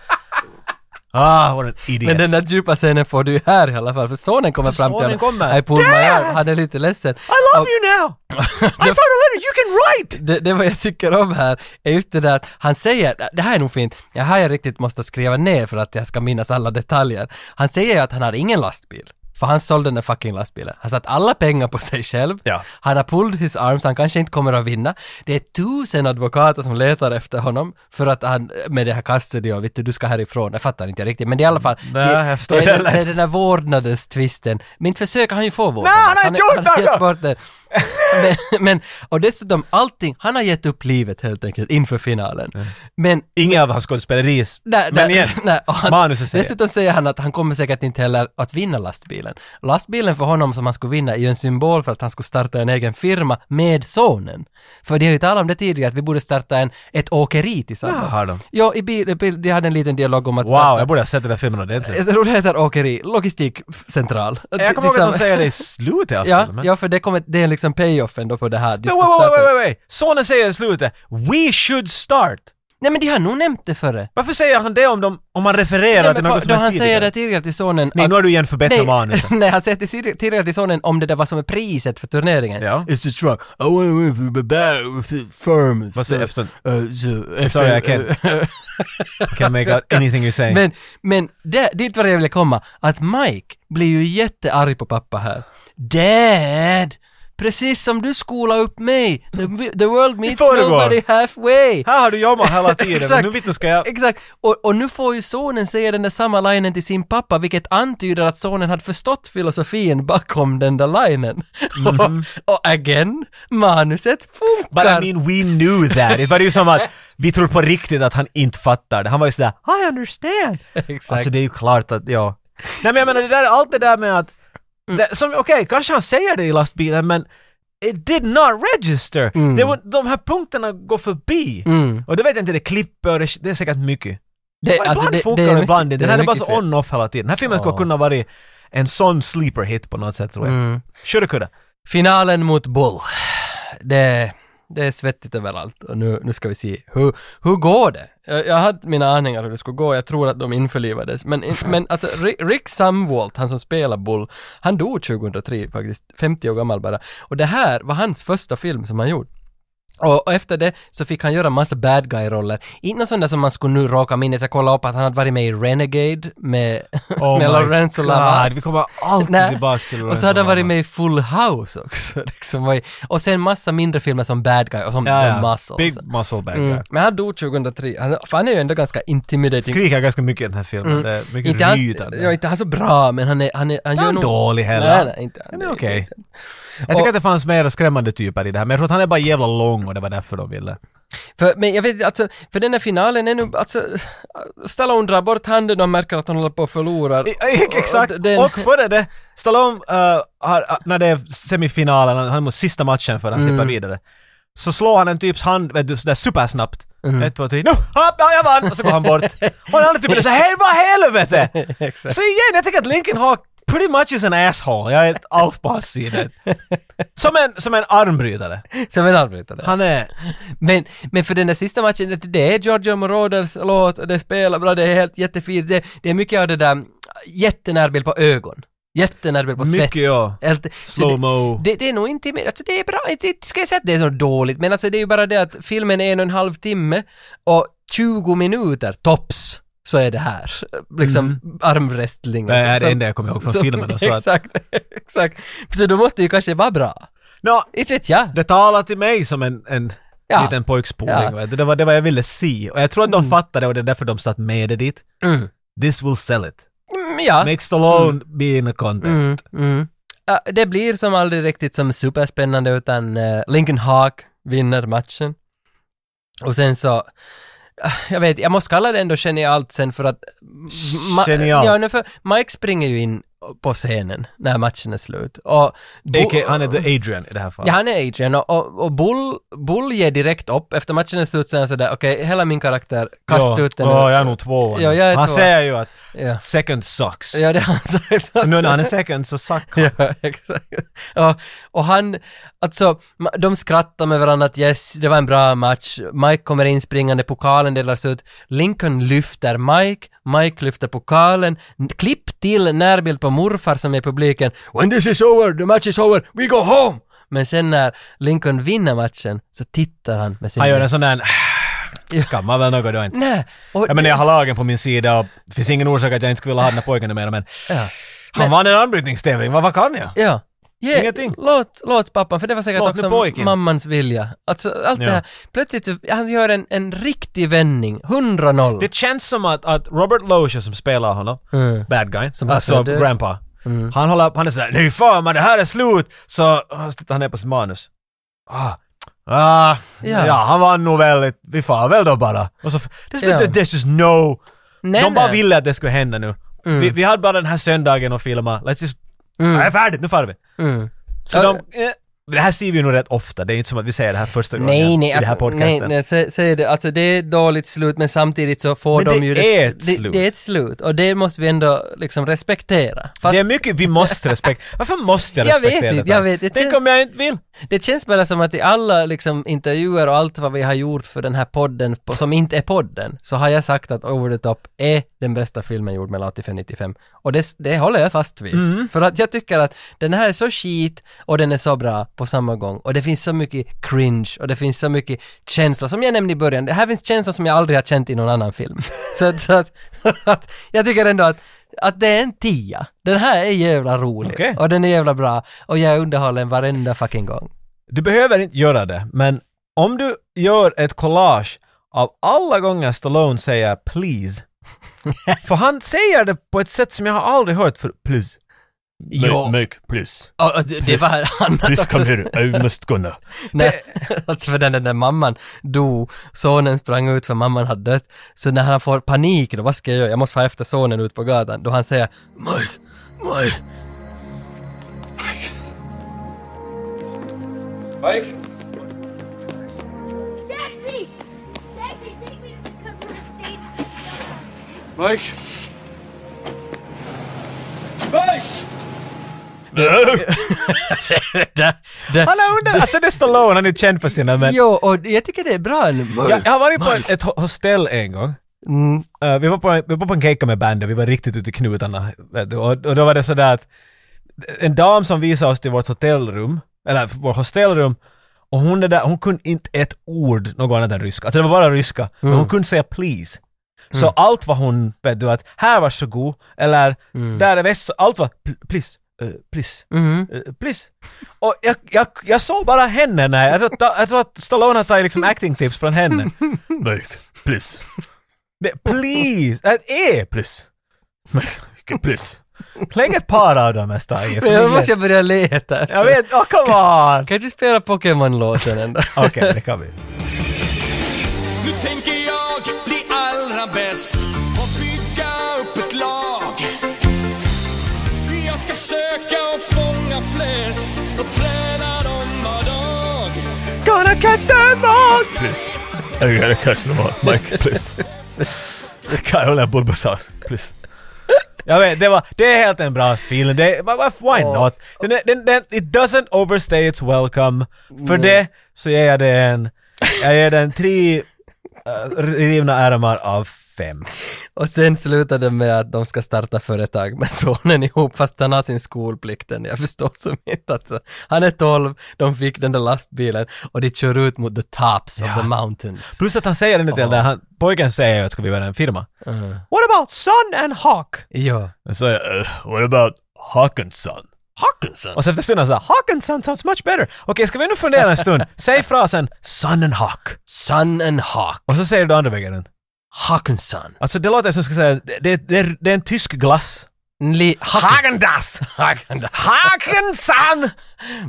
B: Ah, what an idiot.
A: Men den där djupa scenen får du ju här i alla fall, för sonen kommer
B: För
A: fram till
B: sonen kommer.
A: I pulled my
B: Dad!
A: arm. Han är lite ledsen.
B: I love
A: Och
B: you now! I found a letter you can write!
A: Det, det vad jag tycker om här är just det där att han säger, det här är nog fint, det här jag riktigt måste skriva ner för att jag ska minnas alla detaljer. Han säger ju att han har ingen lastbil. För han sålde den där fucking lastbilen. Han satt alla pengar på sig själv.
B: Ja.
A: Han har pulled his arms, han kanske inte kommer att vinna. Det är tusen advokater som letar efter honom för att han, med det här kastet och vet du, du ska härifrån. Jag fattar inte riktigt, men det är i alla fall,
B: Mm, Nej,
A: det,
B: jag förstår
A: det, är
B: det.
A: den, det är den där vårdnadens twisten. Men inte försöker han ju få vårdnaden.
B: Nej, han har inte gjort
A: han, han har gett
B: något!
A: bort den. Men, men, och dessutom allting, han har gett upp livet helt enkelt inför finalen. Men
B: Inga av hans skådespeleri,
A: Nej,
B: men
A: nej,
B: igen,
A: nej, och han,
B: manuset säger.
A: Dessutom säger han att han kommer säkert inte heller att vinna lastbilen. Lastbilen för honom som han skulle vinna är ju en symbol för att han skulle starta en egen firma med sonen. För de har ju talat om det tidigare, att vi borde starta en, ett åkeri tillsammans.
B: Ja, har de.
A: Ja, i bil, bil, de hade en liten dialog om att Eh,
B: Wow, jag borde ha sett den där filmen ordentligt.
A: jag tror det heter åkeri, logistikcentral.
B: Eh, Jag kommer ihåg att
A: Tillsammans-
B: de säger det i slutet av
A: Ja,
B: filmen.
A: ja, för det, kommer, det är liksom payoffen då på det här. De
B: Men
A: ska
B: wait, wait,
A: starta-
B: wait, wait, wait. Sonen säger i slutet “We should start”.
A: Nej men de har nog nämnt det före.
B: Varför säger han det om, de, om han refererar
A: Nej,
B: till
A: men
B: något
A: för,
B: som
A: då
B: är
A: han
B: tidigare?
A: säger det tidigare till sonen
B: Nej,
A: att-
B: nu har du igen förbättrat
A: Nej,
B: manuset.
A: nej, han säger till, Siri- tidigare till sonen om det där vad som är priset för turneringen.
B: Ja.
A: It's a truck. I went with the bag with the firm.
B: Vad säger Efton?
A: Uh, so,
B: sorry, I can't- Can make out anything you're saying.
A: men men det, dit var det jag ville komma. Att Mike blir ju jättearg på pappa här. Dad! Precis som du skolade upp mig. The, the world meets
B: föregår.
A: nobody halfway.
B: här har du jobbat hela tiden, men
A: Exakt.
B: nu vet du ska jag...
A: Exakt, och, och nu får ju sonen säga den där samma linen till sin pappa, vilket antyder att sonen hade förstått filosofin bakom den där linen.
B: Mhm.
A: och, och again, manuset
B: But
A: funkar!
B: I mean, we knew that. Det var ju som att vi tror på riktigt att han inte fattar det. Han var ju sådär “I understand”.
A: Exakt.
B: Alltså det är ju klart att, ja. Nej men jag menar det där, allt det där med att,
A: Mm.
B: det, som, okej, kanske han säger det i lastbilen men It did not register! Det var, de här punkterna går förbi.
A: Mm.
B: Och det vet jag inte, det klipper och det, det är säkert mycket.
A: det,
B: ibland funkar
A: mycket-
B: det, ibland inte. Den här är bara
A: mycket
B: så
A: fel.
B: on-off hela tiden. Den här filmen skulle
A: Ja.
B: kunna vara en sån sleeper hit på något sätt tror jag.
A: Mm.
B: Skulle kunna.
A: Finalen mot Bull. Det, det är svettigt överallt och nu, nu ska vi se hur, hur går det? Jag, jag hade mina aningar hur det skulle gå, jag tror att de införlivades. Men, men alltså Ri- Rick Samwalt, han som spelar Bull, han dog 2003 faktiskt, 50 år gammal bara. Och det här var hans första film som han gjorde. Och, och efter det så fick han göra massa bad guy-roller. Inte någon sån där som man skulle nu råka minnas. Jag kollade upp att han hade varit med i Renegade med,
B: Oh
A: med
B: my
A: Lorenzo
B: God,
A: Lamas.
B: vi kommer alltid
A: Nej.
B: tillbaka till
A: Och så hade han
B: Lorenzo
A: varit
B: Lamas.
A: med i Full House också. Liksom. var i- Och sen massa mindre filmer som Bad Guy och som
B: Ja,
A: The
B: ja.
A: Muscle.
B: Big
A: Så.
B: muscle bag
A: Mm.
B: guy.
A: Men han dog 2003. Han, för han är ju ändå ganska intimidating.
B: Skriker ganska mycket i den här filmen. Det är mycket
A: Mm. Inte han,
B: rytande.
A: ja, inte han så bra, men han är... Han är, han
B: Inte
A: gör
B: han
A: nog-
B: dålig heller.
A: Nej, nej, inte han.
B: Han
A: Det
B: är
A: är
B: okej.
A: inte-
B: Jag tycker
A: Och-
B: att det fanns mer skrämmande typer i det här, men jag tror att han är bara jävla lång och det var därför de ville.
A: För, men jag vet inte, alltså, för den här finalen är nu, alltså, Stallone drar bort handen och märker att han håller på att förlora.
B: I- i- Exakt!
A: Och den-
B: Och före det, Stallone, eh, har, eh, när det är semifinalen, han- han är mot sista matchen för att
A: Mm.
B: han slipper vidare. Så slår han en typs hand, vet du, sådär supersnabbt.
A: Mm.
B: Ett, två, tre, nu! Hopp, ja, jag vann! Och så går han bort. Och den andra typen är såhär, hej vad helvete!
A: Exakt.
B: Så igen, jag tycker att Lincoln har pretty much is an asshole. Jag är inte alls på hans sida. Som en, som en armbrytare.
A: Som en arbetare.
B: Han är...
A: Men, men för den där sista matchen, det- det är Giorgio Moroder låt och det spelar bra, det är helt jättefint. Det, det är mycket av det där, jättenärbild på ögon. Jättenärbild på svett.
B: Mycket, ja.
A: Helt- så det-
B: Slow-mo.
A: Det, det är nog inte mer, alltså det är bra, inte, inte ska jag säga att det är så dåligt, men alltså det är ju bara det att filmen är en och en halv timme och 20 minuter, tops, så är det här. Liksom armwrestling. och
B: Det
A: så-
B: är Mm. det
A: så-
B: enda jag kommer ihåg från
A: så-
B: filmen och så att-
A: Exakt, exakt. Så då måste det ju kanske vara bra.
B: Nå,
A: Inte vet jag.
B: Det talade till mig som en, en
A: Ja.
B: liten
A: Ja.
B: pojkspoling. vet du. Det var det var jag ville se. Och jag tror att de fattade och det är därför de satt med det dit.
A: Mm.
B: This will sell it.
A: Mm, ja.
B: Make Stallone be in a contest.
A: Mm, mm. Ja, det blir som aldrig riktigt som superspännande utan eh, Lincoln Hawk vinner matchen. Och sen så, ah, jag vet, jag måste kalla det ändå genialt sen för att... Ma-
B: Genialt.
A: Ja, nej, för Mike springer ju in på scenen när matchen är slut. Och Bo-
B: A.k.a. han är the Adrian i det här fallet.
A: Ja, han är Adrian och, och, och Bull, Bull ger direkt upp. Efter matchen är slut så är han sådär, okej, hela min karaktär, kasta
B: Ja.
A: ut den.
B: Ja, jag är nog tvåa. nu.
A: Ja, jag är
B: han
A: tvåa.
B: säger ju att
A: Ja.
B: second sucks.
A: Ja, det har han sagt.
B: Så nu när han är second så suck han.
A: Ja, exakt. Ja, och han, alltså, ma- de skrattar med varandra att yes, det var en bra match. Mike kommer in springande, pokalen delas ut. Lincoln lyfter Mike, Mike lyfter pokalen. N- Klipp till närbild på morfar som är i publiken. When this is over, the match is over, we go home! Men sen när Lincoln vinner matchen så tittar han med sin...
B: Han gör en sån där...
A: Ja.
B: Kan man väl något då inte?
A: Nej! och-
B: Jag menar jag har lagen på min sida och det finns ingen orsak att jag inte skulle vilja ha den här pojken numera men...
A: Ja.
B: Han vann en armbrytningstävling, vad, vad kan jag?
A: Ja. Ge-
B: Ingenting.
A: Låt, låt pappan, för det var säkert
B: Låt nu
A: också
B: pojken.
A: mammans vilja. Alltså allt det
B: Ja.
A: här. Plötsligt så, han gör en, en riktig vändning. 100-0.
B: Det känns som att, att Robert Loja som spelar honom,
A: Mm.
B: bad guy,
A: Som
B: alltså
A: alltså död.
B: grandpa. Han håller han är sådär nu fan men det här är slut! Så, och så tittar han ner på sitt manus. Ah, ah,
A: Ja.
B: ja. han vann nog väldigt, vi far väl då bara. Och så, this,
A: Ja.
B: yeah. this is no...
A: Nej,
B: De bara
A: nej.
B: ville att det skulle hända nu. Vi, vi hade bara den här söndagen att filma, let's just...
A: Mm.
B: Jag är färdigt, nu far vi.
A: Mm.
B: Så
A: Ja.
B: de... Eh, det här ser vi ju nog rätt ofta, det är inte som att vi säger det här första gången
A: Nej, nej,
B: i den här
A: alltså, nej,
B: podcasten.
A: nej, sä- säg det, alltså det är ett dåligt slut men samtidigt så får
B: Men
A: de
B: det
A: ju
B: är ett
A: det,
B: slut.
A: det är ett slut och det måste vi ändå liksom respektera. Fast
B: Det är mycket vi måste respektera. Varför måste jag
A: Jag vet
B: respektera
A: inte,
B: detta?
A: jag vet inte.
B: Tänk om jag inte vill?
A: Det känns bara som att i alla liksom, intervjuer och allt vad vi har gjort för den här podden, på, som inte är podden, så har jag sagt att Over the Top är den bästa filmen gjord mellan 85 och 95. Och det, det håller jag fast vid. För att jag tycker att den här är så skit och den är så bra på samma gång. Och det finns så mycket cringe och det finns så mycket känslor. Som jag nämnde i början, det här finns känslor som jag aldrig har känt i någon annan film. så att- så att, att jag tycker ändå att att det är en tia. Den här är jävla rolig
B: Okej.
A: och den är jävla bra och jag är underhållen varenda fucking gång.
B: Du behöver inte göra det, men om du gör ett collage av alla gånger Stallone säger “please”. för han säger det på ett sätt som jag har aldrig hört för “please”.
A: Jo,
C: Make, please.
A: och- och det- det var annat
C: Please come
A: också.
C: here. I must go now.
A: När, alltså för när den där mamman dog, sonen sprang ut för mamman hade dött. Så när han får panik då, vad ska jag göra? Jag måste få efter sonen ut på gatan. Då han säger Mike, Mike.
G: Taxi! Taxi, take me to the Cumberland State.
E: Mike? Mike!
A: Det, det.
B: Han är under... Alltså det är Stallone, han är känd för sina men...
A: Jo, och jag tycker det är bra. nu. Mike.
B: Jag, jag har varit på ett, ett ho- hostell en gång. Eh, vi, var på, en- vi var på en gecko med bandet, vi var riktigt ute i knutarna. vet du. Och, och då var det sådär att en dam som visade oss till vårt hotellrum, eller vårt hostelrum, Och hon, det där, hon kunde inte ett ord något annat än ryska. Alltså det var bara ryska. Men hon kunde säga please. Så allt vad hon, vet du, att här varsågod, eller där är vässan, allt var pl- please, eh, please, eh, please. Och jag, jag, jag såg bara henne när jag, jag, tror- jag tror att Stallone har tagit liksom acting tips från henne.
C: Like, please.
B: Det- Please! Det är please!
C: Please.
B: Lägg ett par av dem nästa
A: Men
B: i. för det är-
A: jag måste börja leta. efter.
B: Jag vet, oh, come on!
A: Kan du spela Pokémon-låten ändå?
B: Okej, det kan vi.
I: Nu tänker jag bli allra bäst och bygga upp ett lag. Jag ska söka och fånga flest och träna dem var dag.
B: Gonna catch them all!
C: I gotta catch them all. Mike, please. Kyle and Bulbasaur, please.
B: Jag vet, det, var, det är helt en bra film. Det, va- va- why not? Den, är- den, den, it doesn't overstay its welcome. För det så ger jag den, jag ger den tre eh, rivna ärmar av fem.
A: Och sen slutar det med att de ska starta företag med sonen ihop, fast han har sin skolplikten. Jag förstår som inte alltså. Han är 12, de fick den där lastbilen och de kör ut mot the tops of the mountains.
B: Plus att han säger den till där han, pojken säger ju att ska vi göra en firma. What about Sun and Hawk?
A: Ja.
C: And so, uh, what about Hawkinson? Hawkinson?
B: Och så efter stunden så här, Hawk and Sun sounds much better. Okej, ska vi nu fundera en stund? Säg frasen Sun and Hawk.
A: Sun and Hawk.
B: Och så säger du andra vägen. runt.
A: Hawkinson.
B: Alltså det låter som jag ska säga, det, det, det, är- det är en tysk glass.
A: Li- Hawk-
B: Hagendas!
A: Hawk-
B: Hakensan!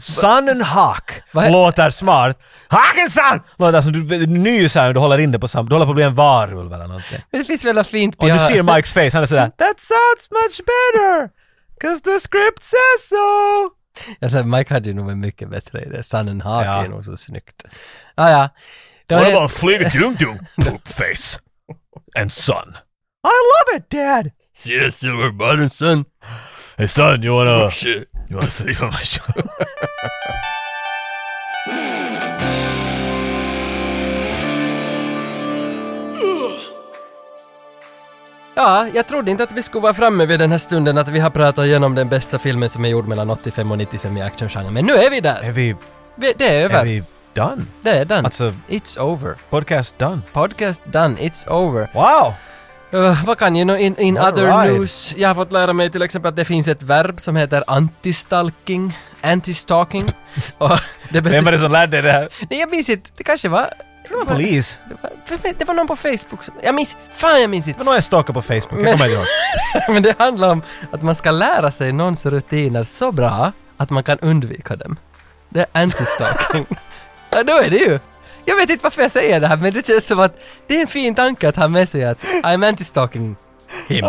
B: Sun and Hawk
A: Vad he-
B: låter smart. Hakensan! Låter som du, du nyser när du håller in det på sam... Du håller på att bli en varulv eller någonting.
A: Det finns väl ett fint
B: Och
A: piano.
B: du ser Mikes face, han är sådär “That sounds much better! Cause the script says so!”
A: Jag tror Mike hade ju nog varit mycket bättre i det. Sun and Hawk
B: Ja.
A: är nog så snyggt. Ah, ja. Det var
C: What
A: helt-
C: about Flick Doom Doom? Poop face. And son.
B: I love it dad!
C: See the silver button, son? Hey, son, you wanna... shit. You wanna sleep on my shoulder?
A: Ja, jag trodde inte att vi skulle vara framme vid den här stunden att vi har pratat igenom den bästa filmen som är gjord mellan 85 och 95 i actiongenren. Men nu är vi där!
B: Är vi...
A: Vi, det är
B: Är
A: över.
B: vi done?
A: Det är done.
B: Alltså-
A: It's over.
B: Podcast done.
A: Podcast done. It's over.
B: Wow!
A: Uh, vad kan jag nu in, in
B: All
A: other
B: right.
A: news? Jag har fått lära mig till exempel att det finns ett verb som heter antistalking. Antistalking. och det
B: Vem var
A: betyder...
B: det som lärde dig det här?
A: Nej, jag minns inte. Det kanske var...
B: Polis.
A: Det var, vem- det var någon på Facebook som... Jag minns... Fan, jag minns inte.
B: Det var någon jag stalkade på Facebook, jag
A: Men-
B: kommer ihåg.
A: Men det handlar om att man ska lära sig någons rutiner så bra att man kan undvika dem. Det är anti-stalking. ja, då är det ju. Jag vet inte varför jag säger det här, men det känns som att det är en fin tanke att ha med sig att I'm anti-stalking him.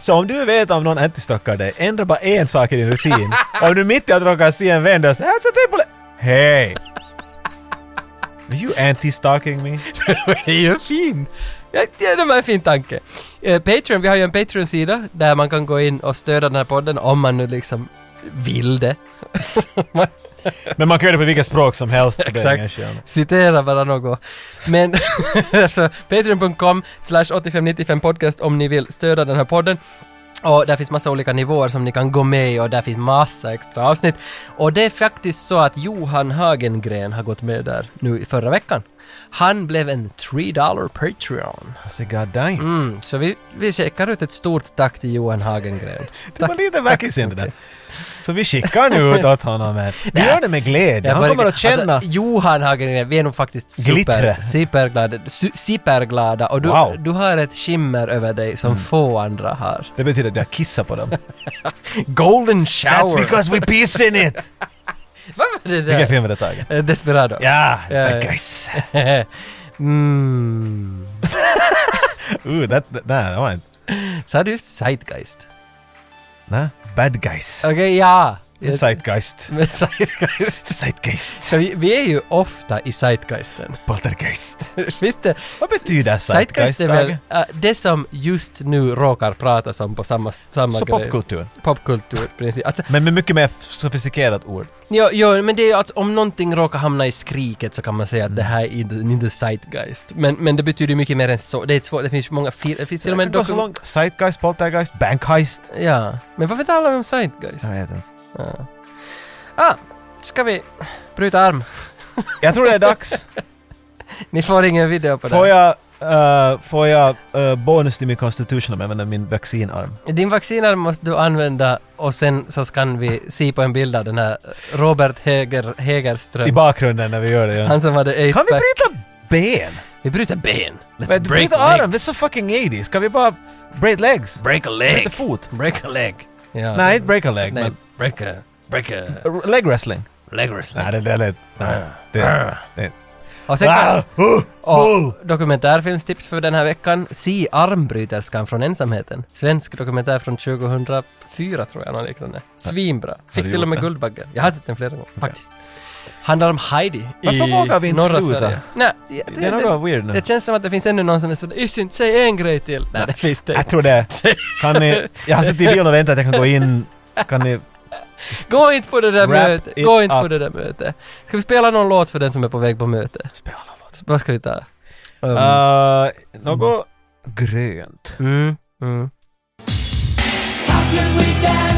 B: Så om du vet om någon antistalkar dig, ändra bara en sak i din rutin. om du mitt i att råkar se en vän och säger “Alltså det är poli-" Hej! Are you anti-stalking me?
A: det är ju fin! Ja, det det var en fin tanke. Eh, Patreon, vi har ju en Patreon-sida där man kan gå in och stödja den här podden om man nu liksom vill det.
B: Men man kan göra det på vilket språk som helst. så det är
A: Exakt.
B: ingen skillnad.
A: Citera bara något. Men alltså, patreon.com slash 8595 podcast om ni vill stödja den här podden. Och där finns massa olika nivåer som ni kan gå med i och där finns massa extra avsnitt. Och det är faktiskt så att Johan Hagengren har gått med där nu i förra veckan. Han blev en 3 dollar Patreon.
B: Alltså god dang.
A: Mm, så vi, vi checkar ut ett stort tack till Johan Hagengren.
B: Det var lite verkligen det där. Så vi skickar nu ut åt honom här. Vi gör det med glädje.
A: Jag
B: Han
A: börjar-
B: kommer att känna...
A: Alltså, Johan Hagengren, vi är nog faktiskt super,
B: Glittre.
A: superglada, su- superglada och du,
B: Wow. Mm.
A: du har ett skimmer över dig som få andra har.
B: Det betyder att vi har kissat på dem.
A: Golden
B: That's
A: shower!
B: because we piss in it!
A: Vad var det där?
B: Vilken film är det taget?
A: Eh, Desperado.
B: Ja,
A: Ja,
B: yeah,
A: ja.
B: guys.
A: mm.
B: Ooh, that, that, nej, det var inte...
A: Så hade du just Zeitgeist.
B: Nej, bad guys.
A: Okej, ja!
B: Zeitgeist.
A: Men Zeitgeist.
B: Zeitgeist.
A: Så vi, vi är ju ofta i Zeitgeisten.
B: Poltergeist.
A: Visst det?
B: Vad betyder
A: Zeitgeist
B: zeitgeist?
A: är väl
B: Tage?
A: eh, det som just nu råkar pratas om på samma, samma
B: Så
A: grej.
B: popkultur.
A: popkultur. precis. Alltså,
B: Men med mycket mer sofistikerat ord.
A: Ja, ja men det är ju att om någonting råkar hamna i skriket så kan man säga att det här är inte inte zeitgeist. Men, men det betyder mycket mer än så. Det är svårt, det finns många fil- det finns till och med
B: Det går så
A: dokumentärer.
B: långt. Zeitgeist, poltergeist, bankheist.
A: Ja, men varför talar vi om zeitgeist?
B: vet inte.
A: Ah, Ska vi bryta arm?
B: Jag tror det är dags.
A: Ni får ingen video på det.
B: Får jag, eh, får jag eh, bonus till min constitution om jag använder min vaccinarm?
A: Din vaccinarm måste du använda och sen så kan vi se på en bild av den här Robert Heger, Hegerström.
B: I bakgrunden när vi gör det, ja.
A: Han som hade 8
B: Kan vi bryta ben?
A: Vi bryter ben. Let's
B: Men
A: break
B: bryta arm, det är
A: legs.
B: så fucking 80s. Kan vi bara break legs?
A: Break a
B: Break
A: leg.
B: a fot.
A: Break a leg. Ja,
B: Nej,
A: det-
B: inte break a leg,
A: Nej,
B: men
A: break a... Break a
B: r- leg wrestling.
A: leg wrestling.
B: Nej, det där lät... Nej, det... det
A: Och sen kan...
B: Ah! Oh!
A: Och dokumentärfilmstips för den här veckan. Si armbryterskan från ensamheten. Svensk dokumentär från 2004 tror jag, något liknande. Svinbra. Fick
B: du
A: till och
B: gjort
A: med
B: den?
A: Guldbagge. Jag har sett den flera gånger, faktiskt. Handlar om Heidi
B: Varför
A: i
B: vågar vi inte
A: norra
B: sluta?
A: Sverige. Nej, jag,
B: Det är något weird nu.
A: det känns som att det finns ännu någon som är sådär ”Yssynt, säg en grej till”. Nej, det finns det
B: Jag tror det. Kan ni... Jag har suttit i bilen och väntat att jag kan gå in. Kan ni...
A: Gå inte på det där
B: Wrap
A: mötet.
B: it
A: Gå inte på
B: up.
A: det där mötet. Ska vi spela någon låt för den som är på väg på möte? Spela någon låt. Vad ska vi ta? Um,
B: Uh, något grönt.
A: mm, mm.
G: How could we dare